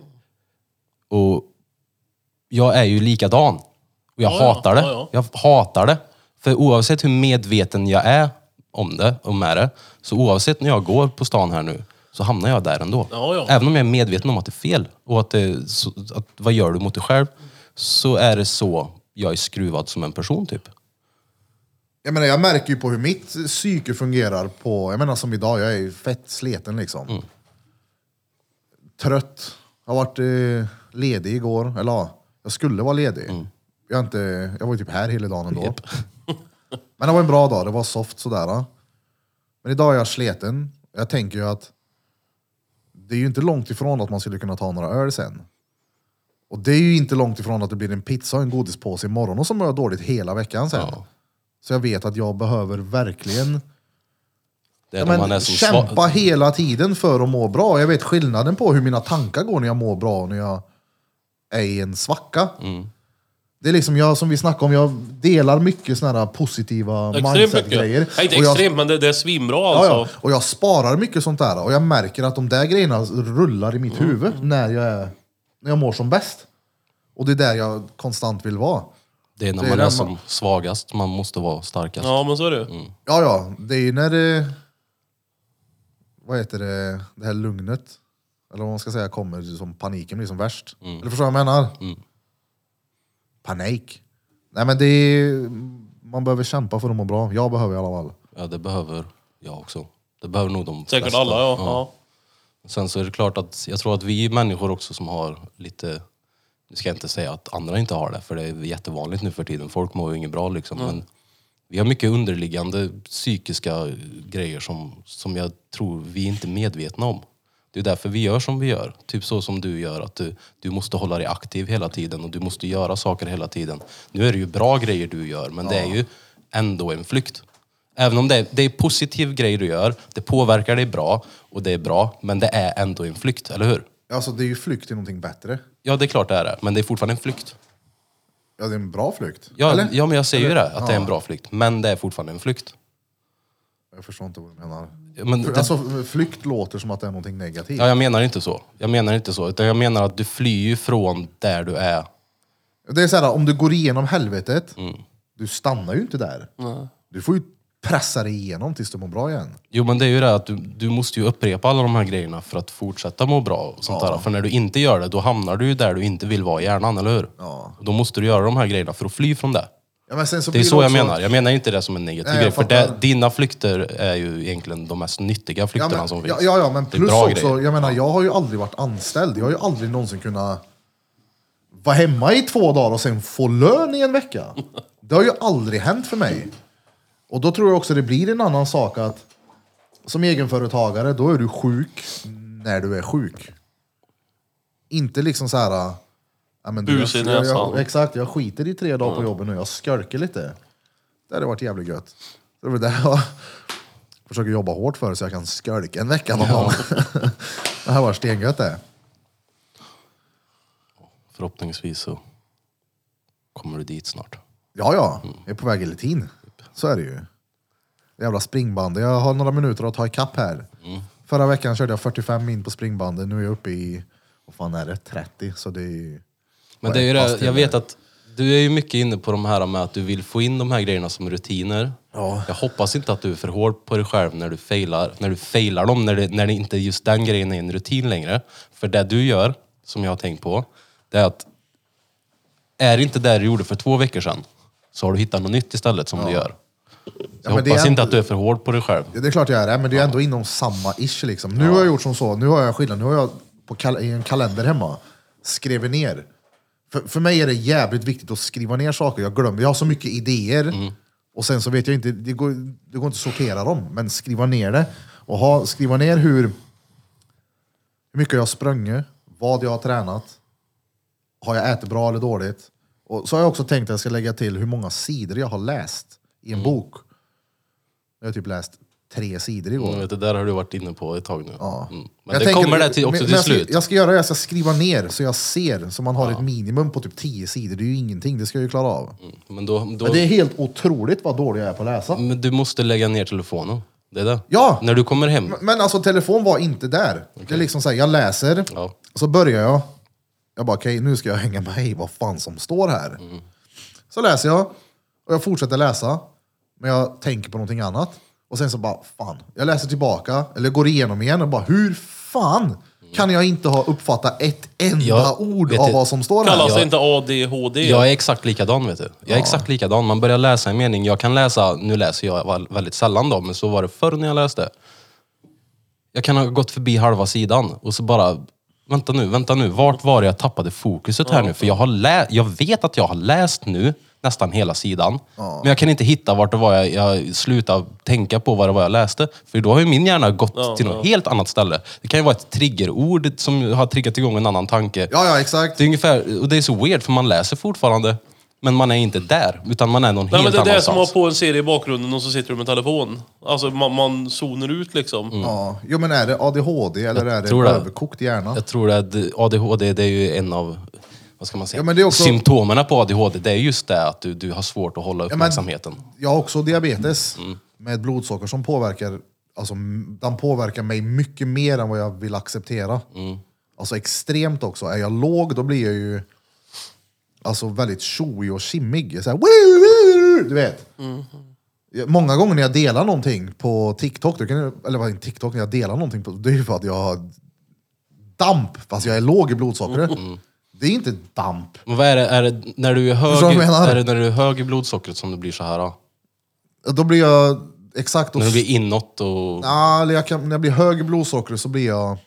A: Och jag är ju likadan. Och jag
C: Ja, ja.
A: hatar det.
C: Ja,
A: Jag hatar det. För oavsett hur medveten jag är om det, och med det, så oavsett när jag går på stan här nu, så hamnar jag där ändå.
C: Ja, ja.
A: Även om jag är medveten om att det är fel och att, det, så, att vad gör du mot dig själv, så är det så jag är skruvad som en person typ.
B: Jag, menar, jag märker ju på hur mitt psyke fungerar på, jag menar som idag, jag är ju fett sleten liksom. Trött. Jag har varit eh, ledig igår, eller ja, jag skulle vara ledig. Jag, är inte, jag var ju typ här hela dagen ändå. Men det var en bra dag, det var soft sådär. ja. Men idag är jag sleten. Jag tänker ju att det är ju inte långt ifrån att man skulle kunna ta några öl sen. Och det är ju inte långt ifrån att det blir en pizza och en godispåse imorgon och så mår jag dåligt hela veckan sen. Så jag vet att jag behöver verkligen
A: Det är
B: ja,
A: när
B: men,
A: sva-
B: kämpa hela tiden för att må bra. Jag vet skillnaden på hur mina tankar går när jag mår bra och när jag är i en svacka. Det är liksom jag, som vi snackade om, jag delar mycket såna här positiva
C: extremt mycket.
B: mindset-grejer.
C: Nej, inte
B: Och jag-
C: extremt, men det, det är svinbra
B: Ja,
C: alltså.
B: ja. Och jag sparar mycket sånt där och jag märker att de där grejerna rullar i mitt huvud när, jag är, när jag mår som bäst. Och det är där jag konstant vill vara.
A: Det är när
B: Det är
A: man
B: när
A: är
B: man-
A: som svagast man måste vara starkast.
C: Ja, men så är det ju.
A: Mm,
B: Ja, ja, det är ju när det... Vad heter det? Det här lugnet. Eller vad man ska säga kommer som paniken blir som värst.
A: Mm.
B: Eller förstår du vad jag menar? Panik. Nej men det är... Man behöver kämpa för att må bra. Jag behöver i alla fall.
A: Ja, det behöver jag också. Det behöver nog de
C: Säkert
A: flesta.
C: alla, ja. ja.
A: Sen så är det klart att jag tror att vi människor också som har lite... Nu ska jag inte säga att andra inte har det, för det är jättevanligt nu för tiden. Folk mår ju inget bra liksom. Men vi har mycket underliggande psykiska grejer som, som jag tror vi inte är medvetna om. Det är därför vi gör som vi gör. Typ så som du gör, att du, du måste hålla dig aktiv hela tiden och du måste göra saker hela tiden. Nu är det ju bra grejer du gör, men det är ju ändå en flykt. Även om det är, det är positiv grej du gör, det påverkar dig bra och det är bra, men det är ändå en flykt, eller hur?
B: Alltså det är ju flykt till någonting bättre.
A: Ja, det är klart det är det, men det är fortfarande en flykt.
B: Ja, det är en bra flykt.
A: Ja,
B: Eller?
A: ja men jag säger ju det, att det är en
B: Ja.
A: bra flykt, men det är fortfarande en flykt.
B: Jag förstår inte vad du menar.
A: Ja, Men det,
B: Alltså flykt låter som att det är någonting negativt.
A: Ja, jag menar inte så. Jag menar inte så. Utan jag menar att du flyr ju från där du är. Mm.
B: Det är så här, om du går igenom helvetet, du stannar ju inte där. Du får ju pressa dig igenom tills du mår bra igen.
A: Jo men det är ju det att du, du måste ju upprepa alla de här grejerna för att fortsätta må bra. Och sånt där. För när du inte gör det, då hamnar du ju där du inte vill vara i hjärnan, eller hur?
B: Ja.
A: Och Då måste du göra de här grejerna för att fly från det.
B: Ja, men sen så
A: Det är
B: blir
A: så jag
B: också-
A: menar. Jag menar ju inte det som en negativ
B: Nej, jag
A: grej. För
B: fattar.
A: det, dina flykter är ju egentligen de mest nyttiga
B: Ja,
A: flykterna
B: men,
A: som
B: ja,
A: finns.
B: ja, ja, men
A: Det är
B: plus
A: bra
B: också,
A: grejer.
B: jag menar, jag har ju aldrig varit anställd. Jag har ju aldrig någonsin kunnat vara hemma i två dagar och sen få lön i en vecka. Det har ju aldrig hänt för mig. Och då tror jag också det blir en annan sak att som egenföretagare, då är du sjuk när du är sjuk. Inte liksom så här... Ja, men du,
C: Bus i
B: jag, jag,
C: näsan.
B: exakt, jag skiter i tre dagar på jobbet nu, jag skölker lite. Det hade varit jävligt gött. Så det var det jag försöker jobba hårt för så jag kan skölka en vecka någon gång. det här var stengött det.
A: Förhoppningsvis så kommer du dit snart.
B: Ja, ja, jag är på väg i litin. Så är det ju. Jävla springband. Jag har några minuter att ta ikapp här. Förra veckan körde jag 45 min på springbandet, nu är jag uppe i, vad fan är det, 30? Så det är ju...
A: Men det är ju det, jag vet att du är ju mycket inne på de här med att du vill få in de här grejerna som rutiner.
B: Ja.
A: Jag hoppas inte att du är för hård på dig själv när du failar, när du failar dem, när, det, när det inte just den grejen är en rutin längre. För det du gör, som jag har tänkt på, det är att är det inte det du gjorde för två veckor sedan så har du hittat något nytt istället som du gör. Jag
B: men det är
A: hoppas inte
B: ändå-
A: att du är för hård på dig själv.
B: Ja, det är klart jag är det, men det är ändå inom samma ish liksom. Nu har jag gjort som så, nu har jag skillnad. Nu har jag på kal- i en kalender hemma skrivit ner. För, för mig är det jävligt viktigt att skriva ner saker. Jag glömmer, jag har så mycket idéer. Och sen så vet jag inte, det går, det går inte att sortera dem, men skriva ner det. Och ha, skriva ner hur, hur mycket jag har sprungit, vad jag har tränat, har jag ätit bra eller dåligt? Och så har jag också tänkt att jag ska lägga till hur många sidor jag har läst i en bok. Jag har typ läst tre sidor igår.
A: Mm, vet du, där har du varit inne på ett tag nu.
B: Ja.
A: Mm. Men
B: Jag
A: det
B: tänker-
A: kommer det till, också till
B: men- men jag
A: slut.
B: Ska, jag ska göra det, jag ska skriva ner så jag ser, så man har ett minimum på typ tio sidor. Det är ju ingenting, det ska jag ju klara av.
A: Men, då, då,
B: Men det är helt otroligt vad dålig jag är på att läsa.
A: men du måste lägga ner telefonen. Det är det.
B: Ja!
A: När du kommer hem.
B: Men alltså telefon var inte där. Det är liksom så här, jag läser,
A: Ja.
B: så börjar jag. Jag bara, okej nu ska jag hänga med i vad fan som står här.
A: Mm.
B: Så läser jag, och jag fortsätter läsa. Men jag tänker på någonting annat. Och sen så bara, fan. Jag läser tillbaka, eller går igenom igen och bara, hur fan kan jag inte ha uppfattat ett enda
A: Ja,
B: ord
A: vet
B: av
A: du-
B: vad som står här?
C: Kallas det
B: Ja.
C: inte ADHD?
A: Jag är exakt likadan vet du. Jag är exakt likadan. Man börjar läsa en mening. Jag kan läsa, nu läser jag väl- väldigt sällan då, men så var det förr när jag läste. Jag kan ha gått förbi halva sidan och så bara, vänta nu, vänta nu, vart var det jag tappade fokuset här nu? För jag, har lä- jag vet att jag har läst nu nästan hela sidan, men jag kan inte hitta vart det var jag, jag slutade tänka på vad det var jag läste. För då har ju min hjärna gått till något helt annat ställe. Det kan ju vara ett triggerord som har triggat igång en annan tanke.
B: ja, ja, exakt.
A: Det är ungefär, och det är så weird för man läser fortfarande, men man är inte där, utan man är någon
C: Nej, men
A: helt
C: det är det som har
A: annanstans.
C: på en serie i bakgrunden och så sitter du med telefon. Alltså man, man zonar ut liksom.
A: Mm.
B: Ja. Jo, men är det ADHD eller är det
A: tror det.
B: överkokt hjärna?
A: Jag tror att ADHD, det är ju en av vad ska man säga,
B: Ja, men det är också-
A: symptomerna på ADHD, det är just det att du, du har svårt att hålla
B: Ja, men
A: uppmärksamheten.
B: Jag har också diabetes med ett blodsocker som påverkar, alltså, m- den påverkar mig mycket mer än vad jag vill acceptera. Alltså extremt också. Är jag låg då blir jag ju alltså, väldigt tjoig och kimmig. Jag är Så här, "Woo, woo", du vet. Jag- Många gånger när jag delar någonting på TikTok, då kan jag, eller vad är TikTok, när jag delar någonting på, det är ju för att jag har damp, fast jag är låg i blodsockret. Det är inte damp.
A: Men vad är det, är det när du är
B: Förstår
A: hög,
B: du vad jag menar?
A: är det när du är hög i blodsockret som du blir så här? Då?
B: Då blir jag exakt och
A: När du blir inåt och...
B: Ja, eller jag kan, när jag blir hög i blodsocker så blir jag...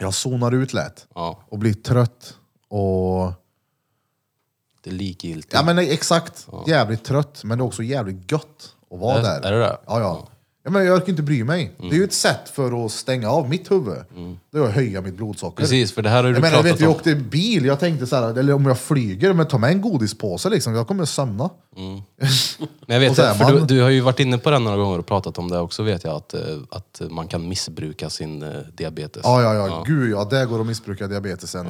B: Jag zonar ut lätt.
A: Ja,
B: Och blir trött. Och...
A: det är likgiltigt.
B: Ja men exakt, jävligt trött. Men det är också jävligt gött att vara
A: Är- är
B: där.
A: det det?
B: Ja, ja. ja men jag orkar inte bry mig. Det är ju ett sätt för att stänga av mitt huvud. Det är att höja mitt blodsocker.
A: Precis, för det här har du
B: Jag menar, jag
A: pratat
B: vet, vi
A: om.
B: åkte bil, jag tänkte så här, eller om jag flyger, men ta med en godispåse liksom, jag kommer sömna.
A: Men jag
B: Och
A: vet,
B: så är
A: det, för du,
B: man-
A: du har ju varit inne på det några gånger och pratat om det också vet jag, att, eh, att man kan missbruka sin eh, diabetes.
B: Ja, ja, ja, gud ja, det går att missbruka diabetesen.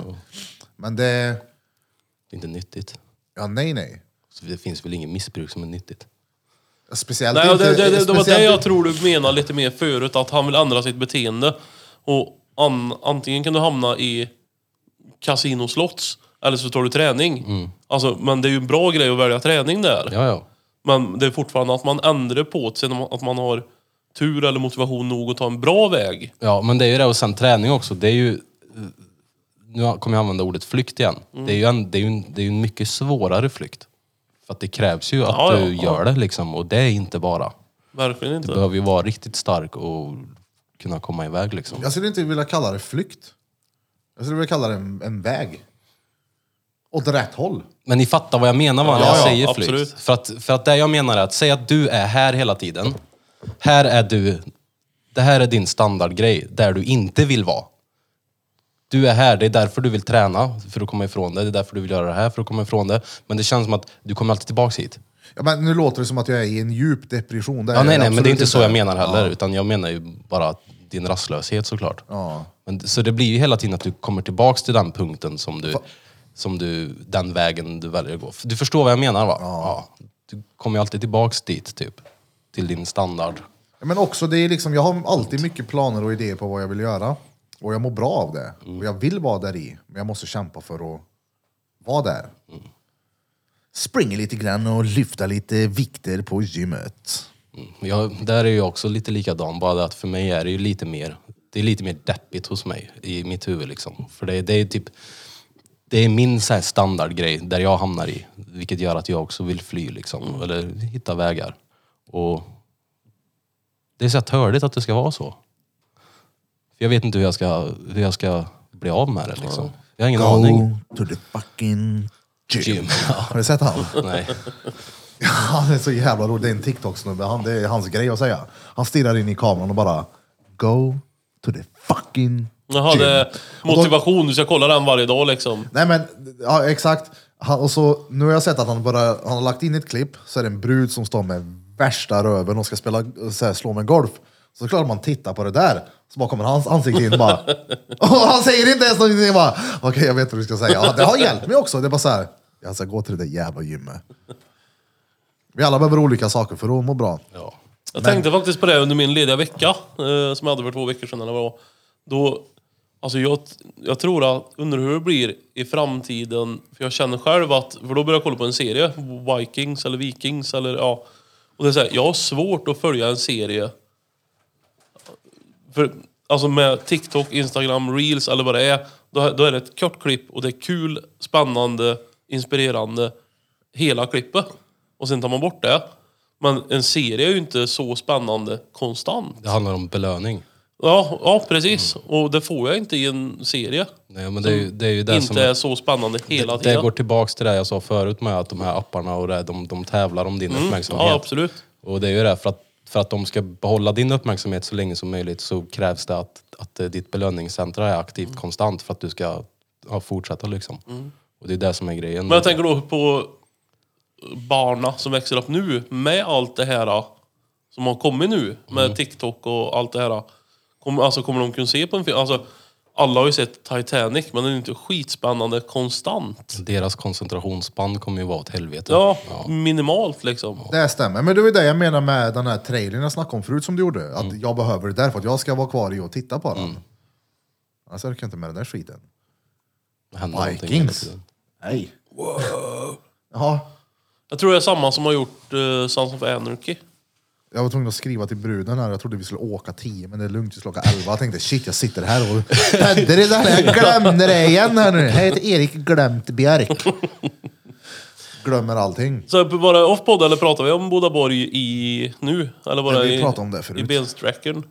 B: Men det,
A: Det är inte nyttigt.
B: ja nej nej.
A: Så det finns väl ingen missbruk som är nyttigt?
B: Speciellt
C: Nej,
B: inte...
C: det, det, det, det var
B: speciellt
C: det jag
B: inte-
C: tror du menar lite mer förut, att han vill ändra sitt beteende. Och an, antingen kan du hamna i
A: Mm.
C: kasinoslots, eller så tar du träning. Alltså, men det är ju en bra grej att välja träning där.
A: Ja, ja.
C: Men det är fortfarande att man ändrar på det, sen att man har tur eller motivation nog att ta en bra väg.
A: Ja, men det är ju det. Och sen träning också. Det är ju... eh, Nu kommer jag använda ordet flykt igen. Det, är ju en, det, är ju en, det är ju en mycket svårare flykt. För att det krävs ju att
C: Ja, ja,
A: du
C: ja.
A: gör det liksom. Och det är inte bara.
C: Verkligen
A: Du
C: inte.
A: behöver ju vara riktigt stark och kunna komma iväg liksom.
B: Jag skulle inte vilja kalla det flykt. Jag skulle vilja kalla det en, en väg. Åt rätt håll.
A: Men ni fattar vad jag menar va, när
C: Ja,
A: jag
C: ja,
A: säger
C: absolut.
A: flykt. För att, för att det jag menar är att säga att du är här hela tiden. Här är du. Det här är din standardgrej, där du inte vill vara. Du är här, det är därför du vill träna, för att komma ifrån det. Det är därför du vill göra det här, för att komma ifrån det. Men det känns som att du kommer alltid tillbaks hit.
B: Ja, men nu låter det som att jag är i en djup depression. Det är
A: Ja, nej,
B: jag
A: nej, men det är
B: absolut
A: inte så jag menar heller. Utan jag menar ju bara din rastlöshet såklart.
B: Ja.
A: Men, så det blir ju hela tiden att du kommer tillbaks till den punkten som du, som du, den vägen du väljer att gå. Du förstår vad jag menar va? Ja. Du kommer ju alltid tillbaks dit typ. Till din standard.
B: Ja, Men också, det är liksom, jag har alltid mycket planer och idéer på vad jag vill göra. Och jag mår bra av det.
A: Mm.
B: Och jag vill vara där i. Men jag måste kämpa för att vara där.
A: Mm.
B: Springa lite grann och lyfta lite vikter på gymmet.
A: Jag, där är jag också lite likadan, bara det att för mig är det ju lite mer, det är lite mer deppigt hos mig i mitt huvud liksom. För det, det är typ, det är min så här standardgrej där jag hamnar i, vilket gör att jag också vill fly liksom, eller hitta vägar. Och det är så här törligt att det ska vara så. För jag vet inte hur jag ska, hur jag ska bli av med det liksom. Jag har ingen aning.
B: Go to the fucking gym.
A: Gym.
B: Har du sett han?
A: Nej.
B: Han är så jävla rolig. Det är en TikTok-snubbe. Han, det är hans grej att säga. Han stirrar in i kameran och bara Go to the fucking
C: Jaha,
B: gym.
C: det är
B: Och då-
C: motivation. Du ska kolla den varje dag liksom.
B: Nej men, ja exakt. Han, och så, nu har jag sett att han, börjar, han har lagt in ett klipp, så är det en brud som står med värsta röven och ska spela, så här, slå med golf. Så klart man tittar på det där, så bara kommer hans ansikte in bara. Och han säger inte ens någonting, bara okej jag vet vad du ska säga. Ja, det har hjälpt mig också. Det är bara så här, jag ska gå till det där jävla gymmet. Vi alla behöver olika saker för att må bra.
A: Ja.
C: Jag tänkte faktiskt på det under min lediga vecka, eh, som jag hade för två veckor sedan eller vad det var. Då, alltså jag, jag tror att, undrar hur det blir i framtiden, för jag känner själv att, för då började jag kolla på en serie, Vikings eller Vikings eller ja. Och det är så här, jag har svårt att följa en serie, för, alltså med TikTok, Instagram, Reels eller vad det är. Då, då är det ett kort klipp och det är kul, spännande, inspirerande, hela klippet. Och sen tar man bort det. Men en serie är ju inte så spännande konstant.
A: Det handlar om belöning.
C: Ja, ja precis.
A: Mm.
C: Och det får jag inte i en serie.
A: Nej, men det är ju det, är ju det
C: inte
A: som...
C: är så spännande hela
A: det,
C: tiden.
A: det går tillbaks till det jag sa förut med att de här apparna och det, de, de tävlar om din uppmärksamhet.
C: Mm. ja, absolut.
A: Och det är ju det, för att, för att de ska behålla din uppmärksamhet så länge som möjligt så krävs det att, att eh, ditt belöningscentra är aktivt
C: Mm.
A: konstant för att du ska ja, fortsätta liksom. Och det är det som är grejen.
C: Men jag tänker då på barna som växer upp nu med allt det här som har kommit nu med
B: Mm.
C: TikTok och allt det här. Kommer, alltså, kommer de kunna se på en film? Alltså, alla har ju sett Titanic men den är inte skitspännande konstant.
A: Deras koncentrationsspann kommer ju vara åt helvete.
C: Ja, minimalt liksom.
B: Det stämmer, men det var ju det jag menar med den här trailern jag snackade om förut som du gjorde. Att
A: Mm.
B: jag behöver det där för att jag ska vara kvar i och titta på den. Annars orkar jag inte med den där skiten.
A: Det händer någonting hela
B: Vikings.
A: tiden.
B: Nej. Jaha,
C: Jag tror det är samma som har gjort uh, Sons of Anarchy.
B: jag var tvungen att skriva till bruden här. Jag trodde vi skulle åka 10, men det är lugnt, vi skulle åka 11. Jag tänkte shit, jag sitter här och Pedder det där. Jag glömde det igen här nu. Här heter Erik Glömt Björk. Glömmer allting.
C: Så var det off-podd eller pratar vi om Bodaborg i nu? Eller var
B: Nej,
C: det
B: vi
C: i,
B: pratade om det
C: i
B: förut.
C: bensträckern?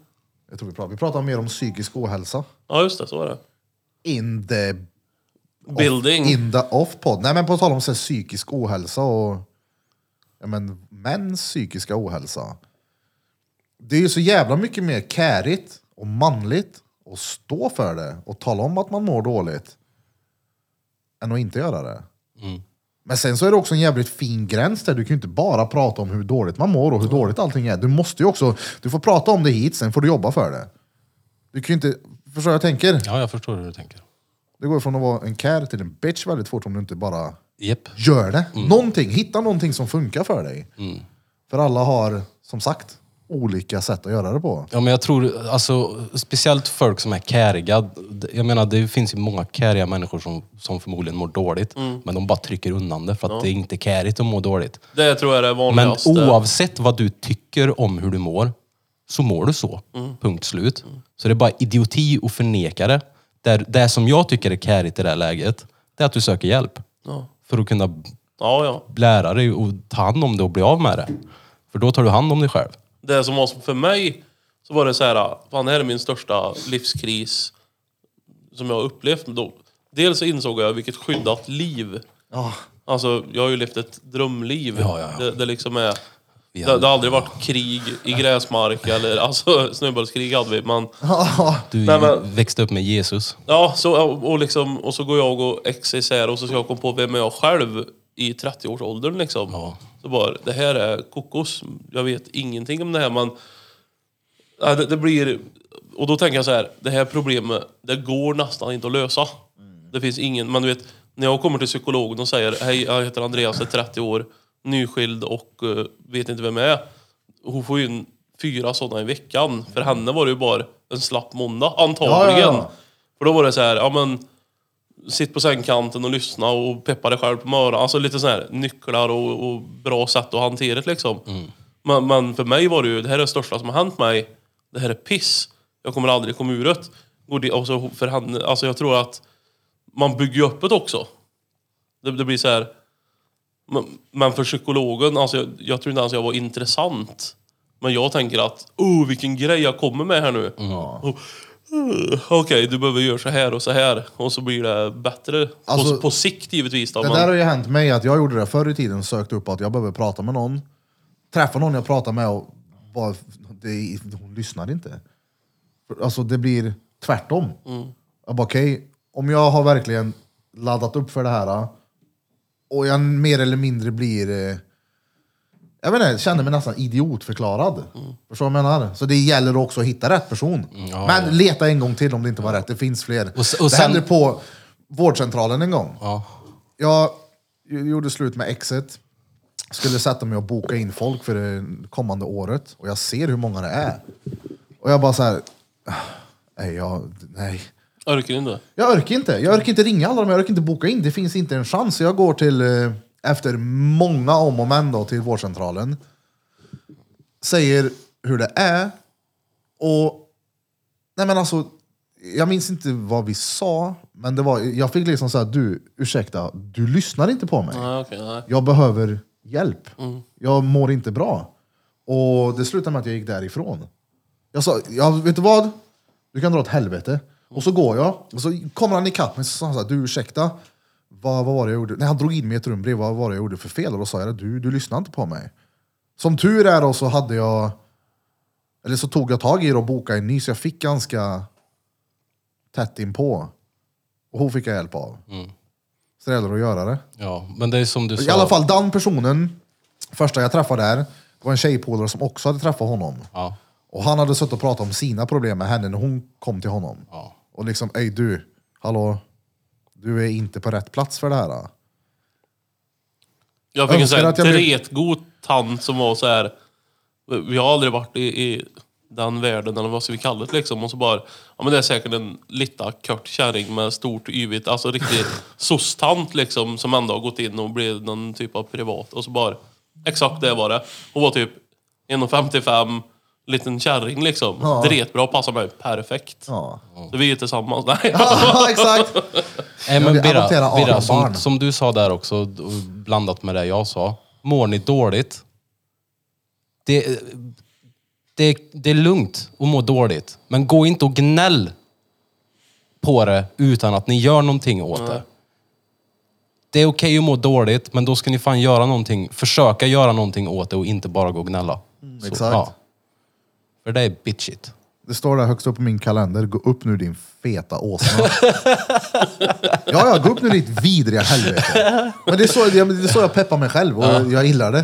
B: Jag tror vi pratar, vi pratar mer om psykisk ohälsa.
C: Ja just det, så var det.
B: In the
C: Building.
B: Off, in the off pod. Nej men på tal om så här, psykisk ohälsa och ja, men, mäns psykiska ohälsa. Det är ju så jävla mycket mer kärigt och manligt att stå för det och tala om att man mår dåligt än att inte göra det. Men sen så är det också en jävligt fin gräns där. Du kan ju inte bara prata om hur dåligt man mår och hur dåligt allting är. Du måste ju också, du får prata om det hit, sen får du jobba för det. Du kan ju inte, förstår vad jag tänker?
A: Ja, jag förstår hur du tänker.
B: Det går från att vara en care till en bitch väldigt fort om du inte bara
A: Jep.
B: gör det. Någonting, hitta någonting som funkar för dig. För alla har, som sagt, olika sätt att göra det på.
A: Ja, men jag tror, alltså, speciellt folk som är käriga. Jag menar, det finns ju många käriga människor som, som förmodligen mår dåligt.
C: Mm.
A: Men de bara trycker undan det för att det är inte kärigt att må dåligt.
C: Det tror jag är det
A: Men
C: vanligaste.
A: oavsett vad du tycker om hur du mår, så mår du så.
C: Mm.
A: Punkt slut. Så det är bara idioti att förneka det. Det, det som jag tycker är kärigt i det här läget, det är att du söker hjälp.
C: Ja.
A: För att kunna
C: Ja, ja.
A: lära dig och ta hand om det och bli av med det. För då tar du hand om dig själv.
C: det som var som för mig, så var det så här, fan det här är min största livskris som jag har upplevt. Då, dels så insåg jag vilket skyddat liv. Alltså, jag har ju levt ett drömliv.
A: Ja, ja, ja.
C: Det, det liksom är...
A: Vi
C: Det,
A: hade-
C: det har aldrig varit krig i gräsmark eller alltså snöbollskrig hade vi. Men,
A: Du
C: Nej, men-
A: växte upp med Jesus.
C: ja, så, och, liksom, och så går jag och ex isär och så ska jag komma på vem är jag själv i 30-årsåldern liksom.
A: Ja.
C: Så bara, det här är kokos. Jag vet ingenting om det här men... Ja, det, det blir... Och då tänker jag så här, det här problemet, det går nästan inte att lösa. Det finns ingen, men du vet, när jag kommer till psykologen och säger hej, jag heter Andreas, är 30 år, nyskild och eh, vet inte vem jag är. Hon får ju in fyra sådana i veckan. För henne var det ju bara en slapp måndag, antagligen.
B: Ja, ja, ja.
C: För då var det så här, ja men sitt på sängkanten och lyssna och peppa dig själv på morgonen. Alltså lite sådana här nycklar och, och bra sätt att hantera det liksom. Men, men för mig var det ju, det här är det största som har hänt mig. Det här är piss. Jag kommer aldrig komma ur det. Och det alltså, för henne, alltså jag tror att man bygger ju upp det också. Det, det blir så här. Men, men för psykologen, alltså jag, jag tror inte ens jag var intressant. Men jag tänker att, oh vilken grej jag kommer med här nu. Och, "Ugh, Okej, du behöver göra så här och så här. Och så blir det bättre.
B: Alltså,
C: på, på sikt givetvis då.
B: Det
C: Men,
B: där har ju hänt mig, att jag gjorde det förr i tiden, sökte upp att jag behöver prata med någon. Träffa någon jag pratar med och bara, det, hon lyssnar inte. För, Alltså det blir tvärtom. Jag bara okej, om jag har verkligen laddat upp för det här och jag mer eller mindre blir, eh, jag vet inte, jag känner mig nästan idiotförklarad. Förstår du vad jag menar? Så det gäller också att hitta rätt person.
A: Mm, ja,
B: Men leta en gång till om det inte var rätt, det finns fler.
A: Och s- och
B: det
A: sen-
B: hände på vårdcentralen en gång.
A: Ja.
B: Jag gjorde slut med exet. Skulle sätta mig och boka in folk för det kommande året. Och jag ser hur många det är. Och jag bara så här. "Ah, Nej, jag, nej.
C: Orkar inte.
B: jag orkar inte. Jag orkar inte ringa alla dem, jag orkar inte boka in. Det finns inte en chans. Så jag går till, eh, efter många om och men då, till vårdcentralen. Säger hur det är. Och Nej men alltså, jag minns inte vad vi sa, men det var, jag fick liksom säga du, ursäkta, du lyssnar inte på mig.
C: Nej, okej, nej.
B: Jag behöver hjälp. Jag mår inte bra. Och det slutade med att jag gick därifrån. Jag sa, ja, vet du vad? Du kan dra åt helvete. Och så går jag, och så kommer han ikapp mig och så sa han så här, du ursäkta, vad, vad var det jag gjorde? Nej, han drog in mig i ett rum bredvid, vad var det jag gjorde för fel? Och då sa jag, du, du lyssnar inte på mig. Som tur är då så hade jag, eller så tog jag tag i det och bokade en ny, så jag fick ganska tätt inpå. Och hon fick jag hjälp av. Så det gäller att göra det.
A: Ja, men det är som du sa.
B: I alla fall den personen, första jag träffade där, var en tjejpolare som också hade träffat honom.
A: Ja,
B: Och han hade suttit och pratat om sina problem med henne när hon kom till honom.
A: ja.
B: Och liksom, ej du, hallå, du är inte på rätt plats för det här. då."
C: Jag fick en
B: Önskar
C: sån här
B: att jag blev-
C: tretgod tant som var så här. Vi har aldrig varit i, i den världen eller vad ska vi kalla det liksom. Och så bara, ja men det är säkert en lita kort kärring med stort yvigt, alltså riktigt soc-tant liksom som ändå har gått in och blivit någon typ av privat. Och så bara, exakt det var det. Hon var typ 1,55, liten kärring liksom.
B: Ja.
C: Dretbra, passar mig perfekt.
B: Ja,
C: Så vi är tillsammans. Nej. alltså,
B: ja exakt.
A: Nej, men
B: vill adoptera
A: Birra,
B: Adam
A: Birra
B: barn.
A: som, som du sa där också, och blandat med det jag sa. Mår ni dåligt? Det, det, det är lugnt att må dåligt, men gå inte och gnäll på det utan att ni gör någonting åt det. Det är okej att må dåligt, men då ska ni fan göra någonting. Försöka göra någonting åt det och inte bara gå och gnälla. Så,
B: Mm, exakt.
A: För det är bitchigt.
B: Det står där högst upp på min kalender, gå upp nu din feta åsna. ja, ja, gå upp nu ditt vidriga helvete. Men det är så, det är så jag peppar mig själv och jag gillar det.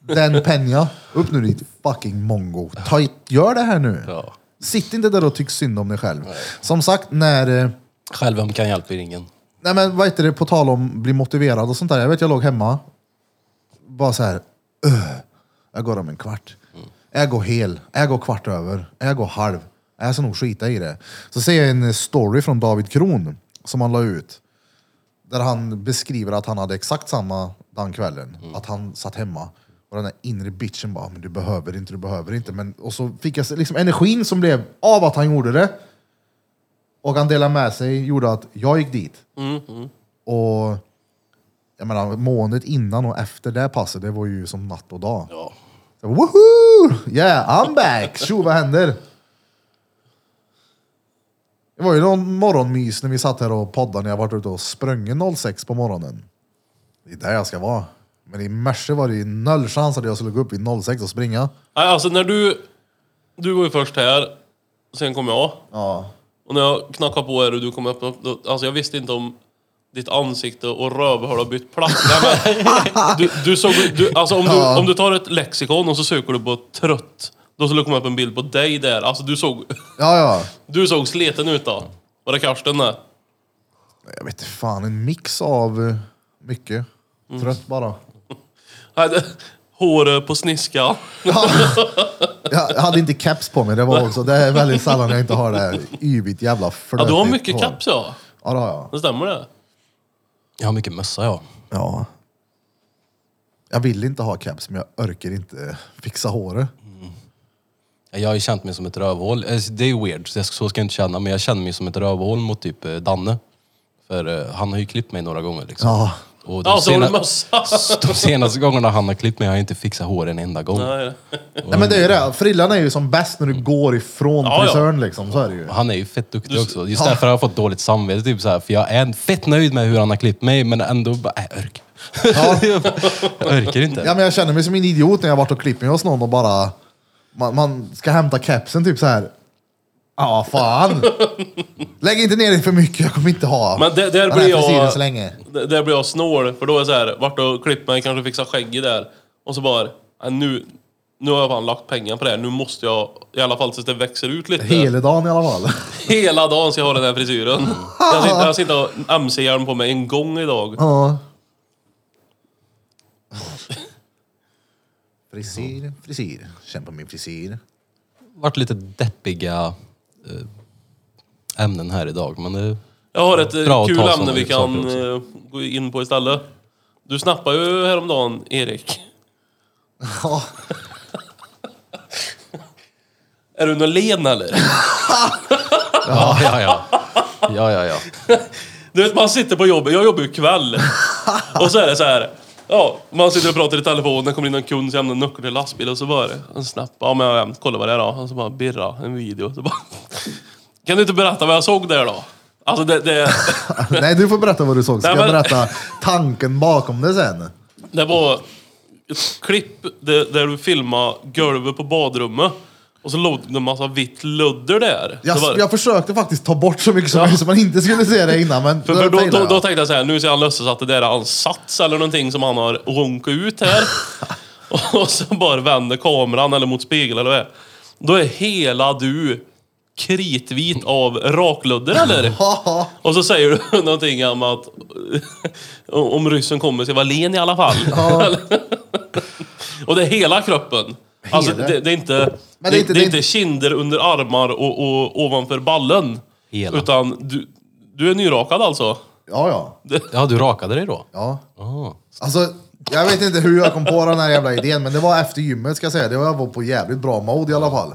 B: Den penja, upp nu ditt fucking mongo. Ta, i- gör det här nu.
A: Ja.
B: Sitt inte där och tyck synd om dig själv. Som sagt, när... eh,
A: Självöm kan hjälpa er ingen.
B: Nej men vad heter det, på tal om bli motiverad och sånt där. Jag vet jag låg hemma, bara så här. "Ugh." Jag går om en kvart. Jag går hel, jag går kvart över, jag går halv. Jag ska nog skita i det. Så ser jag en story från David Kron som han la ut. Där han beskriver att han hade exakt samma den kvällen. Att han satt hemma. Och den där inre bitchen bara, men du behöver inte, du behöver inte. Men, och så fick jag se- liksom energin som blev av att han gjorde det. Och han delade med sig, gjorde att jag gick dit. Och jag menar, måendet innan och efter det passet, det var ju som natt och dag.
A: Ja.
B: Så, Woohoo! Yeah, I'm back! Tjo, vad händer? Det var ju någon morgonmys när vi satt här och poddade när jag varit ute och sprungit 06 på morgonen. Det är där jag ska vara. Men i morse var det ju noll chans att jag skulle gå upp vid 06 och springa.
C: Nej, alltså när du... Du var ju först här, sen kom jag.
B: Ja.
C: Och när jag knackade på er och du kom upp, då, alltså jag visste inte om ditt ansikte och rövhål har bytt plats. Nej, men, du, du såg, du, alltså om, du, om du tar ett lexikon och så söker du på trött, då skulle det komma upp en bild på dig där. Alltså du såg,
B: Ja, ja.
C: du såg sliten ut då. Var det Karsten där?
B: Jag vet inte fan, en mix av eh, mycket. Trött bara.
C: Nej, det- Håret på sniskan.
B: Jag hade inte caps på mig, det var också. Det är väldigt sällan jag inte har det här yvigt jävla
C: Ja,
B: flötigt
C: du har mycket
B: hår.
C: caps ja.
B: Ja, det har jag.
C: Det stämmer det?
A: Jag har mycket mössa ja.
B: Ja. Jag vill inte ha caps, men jag orkar inte fixa håret.
A: Jag har ju känt mig som ett rövhål. Eh, Det är ju weird, så jag- så ska jag inte känna. Men jag känner mig som ett rövhål mot typ eh, Danne. För eh, han har ju klippt mig några gånger liksom.
B: Ja.
A: Och de,
C: Ja, så har du
A: sena-
C: mössa.
A: de senaste gångerna han har klippt mig har jag inte fixat hår en enda gång.
C: Nej.
B: Nej, men det är ju det. Frillan är ju som bäst när du går ifrån
C: Ja, ja.
B: frisören liksom. Så är det ju.
A: Han är ju fett duktig
C: Du-
A: också. Just därför har jag fått dåligt samvete. Typ så här, för jag är fett nöjd med hur han har klippt mig, men ändå bara, äh, örk. jag örker inte.
B: Ja, men jag känner mig som en idiot när jag varit och klippt mig hos någon och bara... Man, man ska hämta capsen typ så här. Ja, fan. Lägg inte ner det för mycket, jag kommer inte ha
C: Men där,
B: den
C: där
B: här
C: blir
B: frisyren så
C: jag...
B: länge.
C: Där där blir jag snål, för då är jag så här, vart och klippt mig, kanske fixa skägget där. Och så bara, "Ja, nu, nu har jag fan lagt pengar på det här, nu måste jag, i alla fall tills det växer ut lite.
B: Hela dagen i alla fall.
C: Hela dagen ska jag ha den här frisyren. Jag sitter, jag sitter och har mc-hjälm på mig en gång idag.
B: Ja. Frisyr, frisyr. Känn på min frisyr.
A: varit lite deppiga eh, ämnen här idag. Men det,
C: Jag har ett eh,
A: Bra att
C: kul
A: ta
C: ämne
A: såna liksom
C: vi kan
A: saker
C: eh, gå in på istället. Du snappade ju häromdagen, Erik.
B: Ja.
C: Är du någon len eller?
A: ja, ja, ja. ja, ja, ja.
C: Du vet, man sitter på jobbet, jag jobbar ju kväll. Och så är det så här. Ja, man sitter och pratar i telefon, det kommer in någon kund som lämnar nyckeln till lastbil och så bara en snapp. Ja men jag kollar vad det är då. Och så bara birra, en video. Så bara, kan du inte berätta vad jag såg där då? Alltså det, det,
B: Nej, du får berätta vad du såg. Ska
C: Nej,
B: jag
C: men-
B: berätta tanken bakom det sen?
C: det var ett klipp där, där du filmade golvet på badrummet. Och så låg det en massa vitt ludder där.
B: Jag,
C: Så bara-
B: jag försökte faktiskt ta bort så mycket som möjligt så man inte skulle se det innan. Men
C: För, för då,
B: failade
C: då,
B: jag.
C: då tänkte jag så här, nu ser han lösas att det där är hans sats eller någonting som han har ronkat ut här. och så bara vänder kameran eller mot spegeln eller vad det är. Då är hela du kritvit av rakludder eller? och så säger du någonting om att om ryssen kommer ska vara len i alla fall. och det är hela kroppen. Alltså
B: Hela?
C: det, det är inte...
B: Men
C: det, är inte, det är inte kinder under armar och, och ovanför ballen.
A: Hela.
C: Utan du, du är nyrakad alltså.
B: Ja, ja.
A: Ja, du rakade dig då?
B: ja.
A: Ah.
B: Alltså, jag vet inte hur jag kom på den här jävla idén, men det var efter gymmet ska jag säga. Det var jag var på jävligt bra mode i alla fall.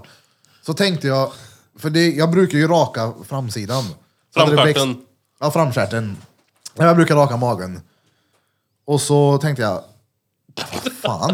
B: Så tänkte jag, för det, jag brukar ju raka framsidan. Så hade det växt-
C: Framstjärten.
B: Ja, framstjärten. Ja, Jag brukar raka magen. Och så tänkte jag, vad fan.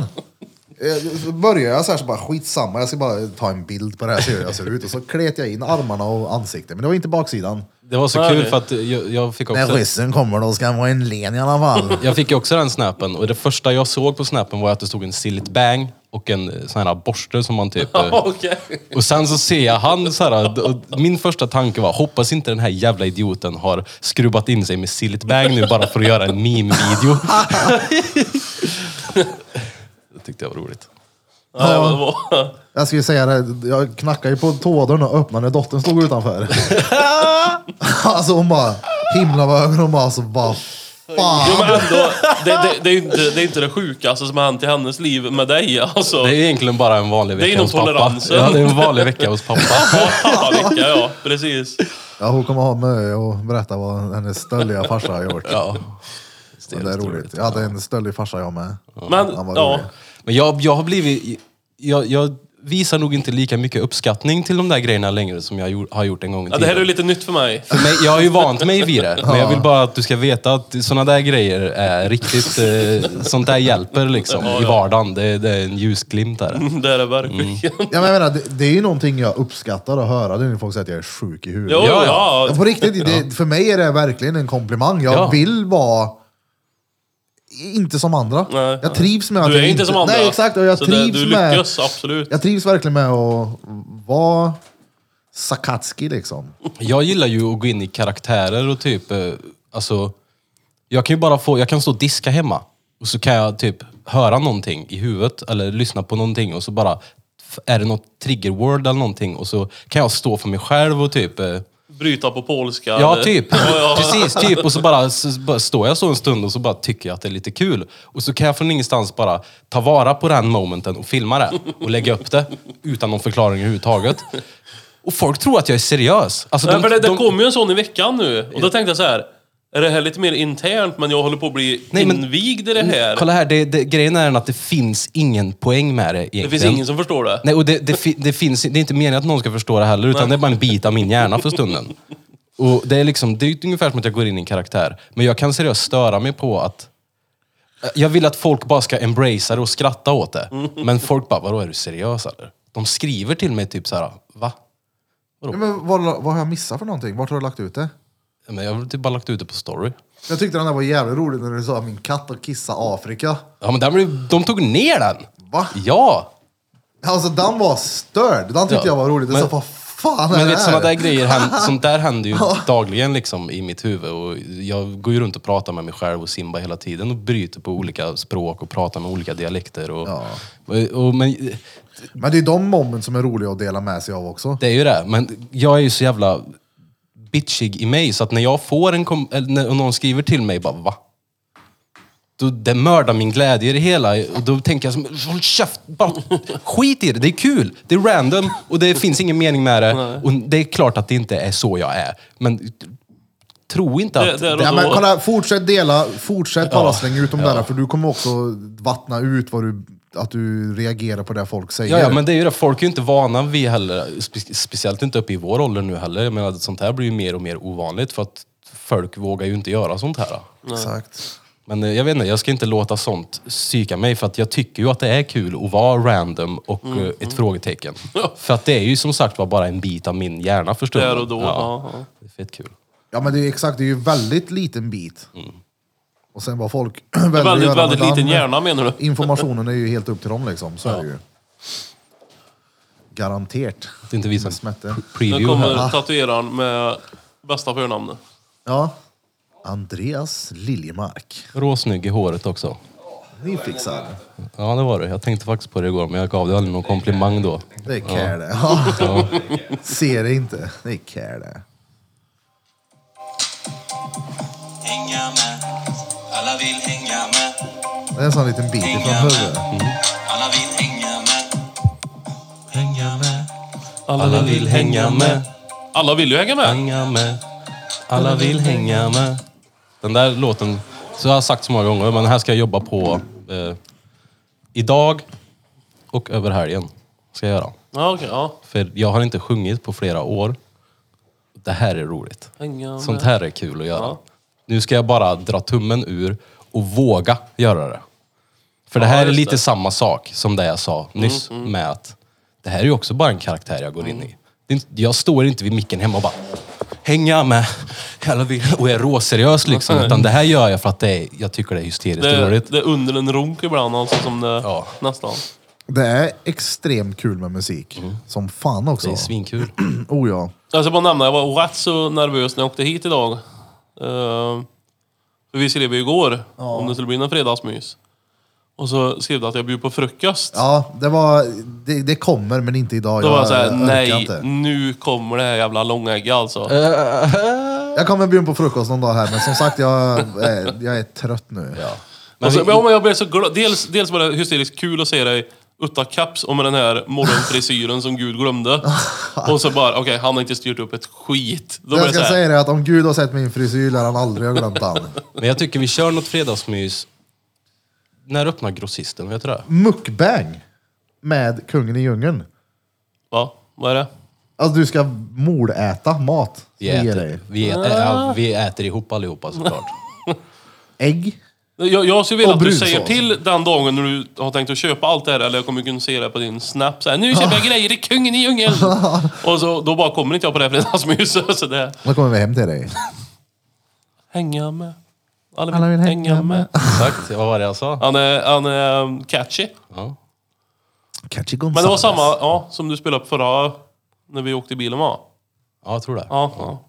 B: Eh, Så började jag så här så bara skitsamma, jag ska bara ta en bild på det här se hur jag ser ut. Och så klet jag in armarna och ansiktet, men det var inte baksidan.
A: Det var så
C: Nej.
A: kul för att jag, jag fick
B: När
A: också...
B: ryssen kommer då ska han vara en len i alla fall.
A: Jag fick ju också den snappen och det första jag såg på snappen var att det stod en sillit bang och en eh, sån här borste som man typ... eh,
C: Okej.
A: Och sen så ser jag han så här, och min första tanke var hoppas inte den här jävla idioten har skrubbat in sig med sillit bang nu bara för att göra en meme-video. det tyckte jag var roligt.
C: Nej, men det var-
B: Jag skulle säga det, jag knackade ju på tådörren och öppnade när dottern stod utanför. alltså hon bara himla med ögonen och bara, alltså, vad
C: Jo, men
B: fan!
C: ändå, det, det, det, är ju inte, det är inte det sjukaste som har hänt i hennes liv med dig alltså.
A: Det är egentligen bara en vanlig
C: Det är
A: vecka
C: inom
A: hos pappa.
C: toleransen.
A: Ja, det är en vanlig vecka hos pappa.
C: Ja, vilka, ja, precis.
B: Ja, hon kommer ha med och berätta vad hennes stöldiga farsa har gjort.
A: Ja.
B: Men det är roligt. Jag hade en stöldig farsa jag med.
C: Men,
B: Han var
C: ja.
B: rolig.
A: Men jag, jag har blivit... Jag, jag visar nog inte lika mycket uppskattning till de där grejerna längre som jag gjort- har gjort en gång i
C: ja,
A: tiden.
C: det här är ju lite nytt för mig.
A: För mig, jag har ju vant mig vid det, men jag vill bara att du ska veta att såna där grejer är riktigt... Eh, sånt där hjälper liksom i vardagen. Det, det är en ljusglimt där.
C: Det är det verkligen.
A: Mm.
B: Ja, men jag menar, det, det är ju någonting jag uppskattar att höra. Det är när folk säger att jag är sjuk i huvudet.
C: Jo,
A: Ja,
C: ja,
A: ja.
B: Ja, på riktigt, det, för mig är det verkligen en komplimang. Jag
A: Ja.
B: vill vara inte som andra.
C: Nej.
B: jag trivs med att
C: Du är
B: jag
C: inte som andra.
B: Nej, exakt. Och jag,
C: Så
B: trivs
C: det, du
B: med,
C: lyckas, absolut.
B: jag trivs verkligen med att vara Sakatski liksom.
A: Jag gillar ju att gå in i karaktärer och typ... Eh, alltså, jag kan ju bara få... Jag kan stå och diska hemma och så kan jag typ höra någonting i huvudet eller lyssna på någonting och så bara... f- Är det något trigger word eller någonting och så kan jag stå för mig själv och typ... Eh,
C: Bryta på polska.
A: Ja,
C: eller-
A: typ.
C: Ja, ja.
A: Precis, typ. Och så bara, så bara står jag så en stund och så bara tycker jag att det är lite kul. Och så kan jag från ingenstans bara ta vara på den momenten och filma det och lägga upp det utan någon förklaring överhuvudtaget. Och folk tror att jag är seriös. Alltså,
C: Nej,
A: de-
C: för det, det
A: de-
C: kom ju en sån i veckan nu. Och då tänkte jag så här. Är det här lite mer internt, men jag håller på att bli
A: Nej, men-
C: invigd i det här?
A: Kolla här, det, det, grejen är att det finns ingen poäng med det egentligen.
C: det finns ingen som förstår det.
A: Nej, och det, det, fi- det, finns, det är inte meningen att någon ska förstå det heller, utan det är bara en bit av min hjärna för stunden. Och det är liksom, det är ungefär som att jag går in i en karaktär. Men jag kan seriöst störa mig på att... Jag vill att folk bara ska embracea det och skratta åt det. Men folk bara, vadå är du seriös eller? De skriver till mig typ så här, va?
B: Ja, men vad, vad har jag missat för någonting? Vart har du lagt ut det?
A: Men jag har typ bara lagt ut det på story.
B: Jag tyckte den där var jävligt rolig när du sa min katt har kissat Afrika.
A: Ja men där blev, de tog ner den!
B: Va?
A: Ja!
B: Alltså den var störd. Den tyckte
A: Ja,
B: jag var rolig. Det
A: men-
B: sa vad fan är
A: Men
B: det
A: vet, såna
B: här?
A: där grejer, händer, sånt där händer ju dagligen liksom i mitt huvud. Och jag går ju runt och pratar med mig själv och Simba hela tiden och bryter på olika språk och pratar med olika dialekter. Och, och, och, men,
B: Men det är de moment som är roliga att dela med sig av också.
A: det är ju det. Men jag är ju så jävla bitchig i mig så att när jag får en kom- eller när någon skriver till mig bara va? Då, det mördar min glädje i det hela. Och då tänker jag som, håll käft! Bara, skit i det, det är kul! Det är random och det finns ingen mening med det. Och det är klart att det inte är så jag är. Men tro inte
C: Det,
A: att...
C: där och
B: Ja,
C: då.
B: men kolla, fortsätt dela, fortsätt bara slänga ut dem där, för du kommer också vattna ut vad du, att du reagerar på det folk säger.
A: Ja, ja, men det är ju det. Folk är ju inte vana vid heller. Spe- speciellt inte uppe i vår ålder nu heller. Jag menar, sånt här blir ju mer och mer ovanligt för att folk vågar ju inte göra sånt här.
B: Exakt.
A: Men eh, jag vet inte, jag ska inte låta sånt psyka mig för att jag tycker ju att det är kul att vara random och
C: Mm,
A: eh, ett frågetecken. För att det är ju som sagt var bara en bit av min hjärna för stunden.
C: Där och då, ja, ja.
A: Det är fett kul.
B: Ja, men det är exakt, det är ju väldigt liten bit.
A: Mm.
B: Och sen vad folk väljer att
C: Väldigt,
B: göra
C: väldigt
B: med
C: liten
B: den
C: hjärna menar du?
B: Informationen är ju helt upp till dem liksom, så är det ju. Garanterat.
A: Det är inte vi som
B: Med smette.
A: pre-
C: Nu
A: preview här.
C: kommer tatueraren med bästa förnamnet.
B: Ja. Andreas Liljemark.
A: Råsnygg i håret också.
B: Nyfixad.
A: Ja, det var det. Jag tänkte faktiskt på det igår, men jag gav dig aldrig någon komplimang då.
B: Det är care det. Ja. Ser det inte. Det är care det.
E: Hänga med, alla vill hänga med,
B: Det är en sån liten bit ifrån huvudet.
E: alla vill hänga med. Hänga med,
A: Alla vill hänga med,
C: Alla vill ju hänga med.
A: hänga med. Alla vill hänga med. Den där låten, så jag har sagt så många gånger, men den här ska jag jobba på eh, idag och över helgen. Ska jag göra.
C: Ja, okej. ja.
A: För jag har inte sjungit på flera år. Det här är roligt.
C: Hänga
A: Sånt
C: med.
A: här är kul att göra.
C: Ja.
A: Nu ska jag bara dra tummen ur och våga göra det. För det här är
C: just
A: lite
C: det. Mm,
A: samma sak som det jag sa nyss med att det här är ju också bara en karaktär jag går in i. Det är inte- Jag står inte vid micken hemma och bara hänga med alla vill och är råseriös liksom. Utan det här gör jag för att det är, jag tycker det är hysteriskt
C: Det,
A: roligt.
C: det är under en ronk ibland alltså, som det
A: Ja.
C: nästan.
B: Det är extremt kul med musik. Som fan också.
A: Mm. Det är svinkul.
B: Oh ja.
C: Jag ska bara nämna, jag var rätt så nervös när jag åkte hit idag. Eh, för vi skrev ju igår om det skulle bli någon fredagsmys. Och så skrev det att jag bjöd på frukost.
B: Ja, det var... Det, det kommer, men inte idag.
C: Då var jag såhär,
B: orkar
C: nej,
B: inte.
C: nu kommer det här jävla långägget alltså.
B: Jag kommer bjuda på frukost någon dag här, men som sagt, jag, är- jag är trött nu.
A: Men
C: alltså,
A: vi-
C: men, ja, men jag blev så glad. Dels, dels var det hysteriskt kul att se dig utan caps och med den här morgonfrisyren som Gud glömde. Och så bara, okej, han har inte styrt upp ett skit. Då blev
B: Jag
C: det
B: ska
C: så här,
B: säga det att om Gud har sett min frisyr lär han aldrig ha glömt den.
A: Men jag tycker vi kör något fredagsmys. När öppnar grossisten? Vet du det?
B: Mukbang med kungen i djungeln.
C: va? Vad är det?
B: Alltså du ska mordäta mat. som
A: Vi
B: vi ger
C: typ.
A: äter,
B: dig.
A: vi, äter, ja, vi äter ihop allihopa såklart.
B: Ägg.
C: Jag, jag skulle vilja
B: Och
C: att du
B: brunsås.
C: säger till den dagen när du har tänkt att köpa allt det här, eller jag kommer kunna se det på din snap så här, nu
B: Ah.
C: köper jag grejer i kungen i djungeln! och så, då bara kommer inte jag på det här fredagsmyset. Så det,
B: Då kommer vi hem till dig.
C: hänga med. Alla vill,
B: Alla vill
C: hänga,
B: hänga
C: med.
A: Exakt, vad var det jag sa?
C: Han är, han är um, catchy.
A: Ja.
B: Catchy
C: Men det var
B: Gonzales.
C: samma ja, som du spelade upp förra, när vi åkte i bilen va?
A: ja, jag tror det.
C: Ja. ja.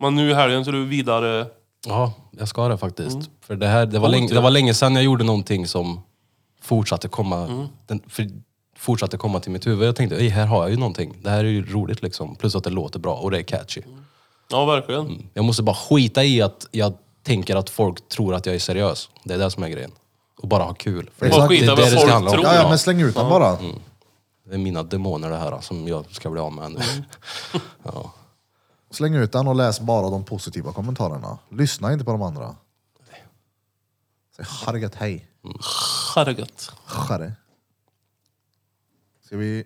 C: Men nu i helgen så är du vidare...
A: Ja, jag ska det faktiskt. För det, här, det, var
C: Coolt
A: länge,
C: ju.
A: det var länge sedan jag gjorde någonting som fortsatte komma, den, för, fortsatte komma till mitt huvud. Jag tänkte, "Ej, här har jag ju någonting. Det här är ju roligt liksom. Plus att det låter bra och det är catchy.
C: Ja, verkligen.
A: Jag måste bara skita i att jag tänker att folk tror att jag är seriös. Det är det som är grejen. Och bara ha kul. För det,
B: Bara
A: är-
B: skita
A: det,
C: i
A: är
C: vad
A: det det
C: folk
A: ska handla om.
C: tror.
B: Ja, ja, men släng ut den bara.
C: Mm.
A: Det är mina demoner det här som jag ska bli av med nu.
C: Mm.
A: Ja.
B: Släng ut den och läs bara de positiva kommentarerna. Lyssna inte på de andra. Säg "Ha det gött, hej.
C: Chargat.
B: Ha det. Ska vi...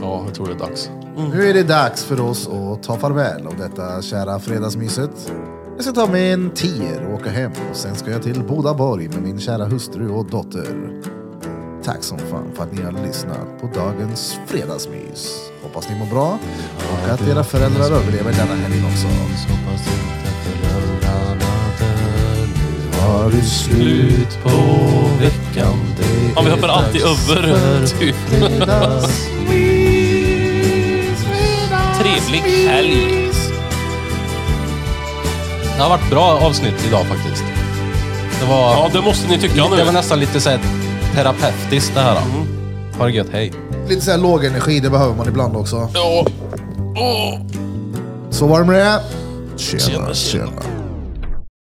A: ja, jag tror det är dags.
B: Nu är det dags för oss att ta farväl av detta kära fredagsmyset. Jag ska ta mig en tier och åka hem och sen ska jag till Bodaborg med min kära hustru och dotter. Tack som fan för att ni har lyssnat på dagens fredagsmys. Hoppas ni mår bra och att era föräldrar överlever denna helg också. Har du
A: Slut på veckan.
C: Ja, vi hoppar alltid över. Typ. Trevlig helg.
A: Det har varit bra avsnitt idag faktiskt. Det var,
C: Ja, det måste ni tycka
A: det var
C: nu.
A: nästan lite så här terapeutiskt det här. då.
C: Mm.
A: Ha det gött, hej.
B: Lite så här låg energi, det behöver man ibland också.
C: Ja. Åh.
B: Så var det med det. Tjena, tjena.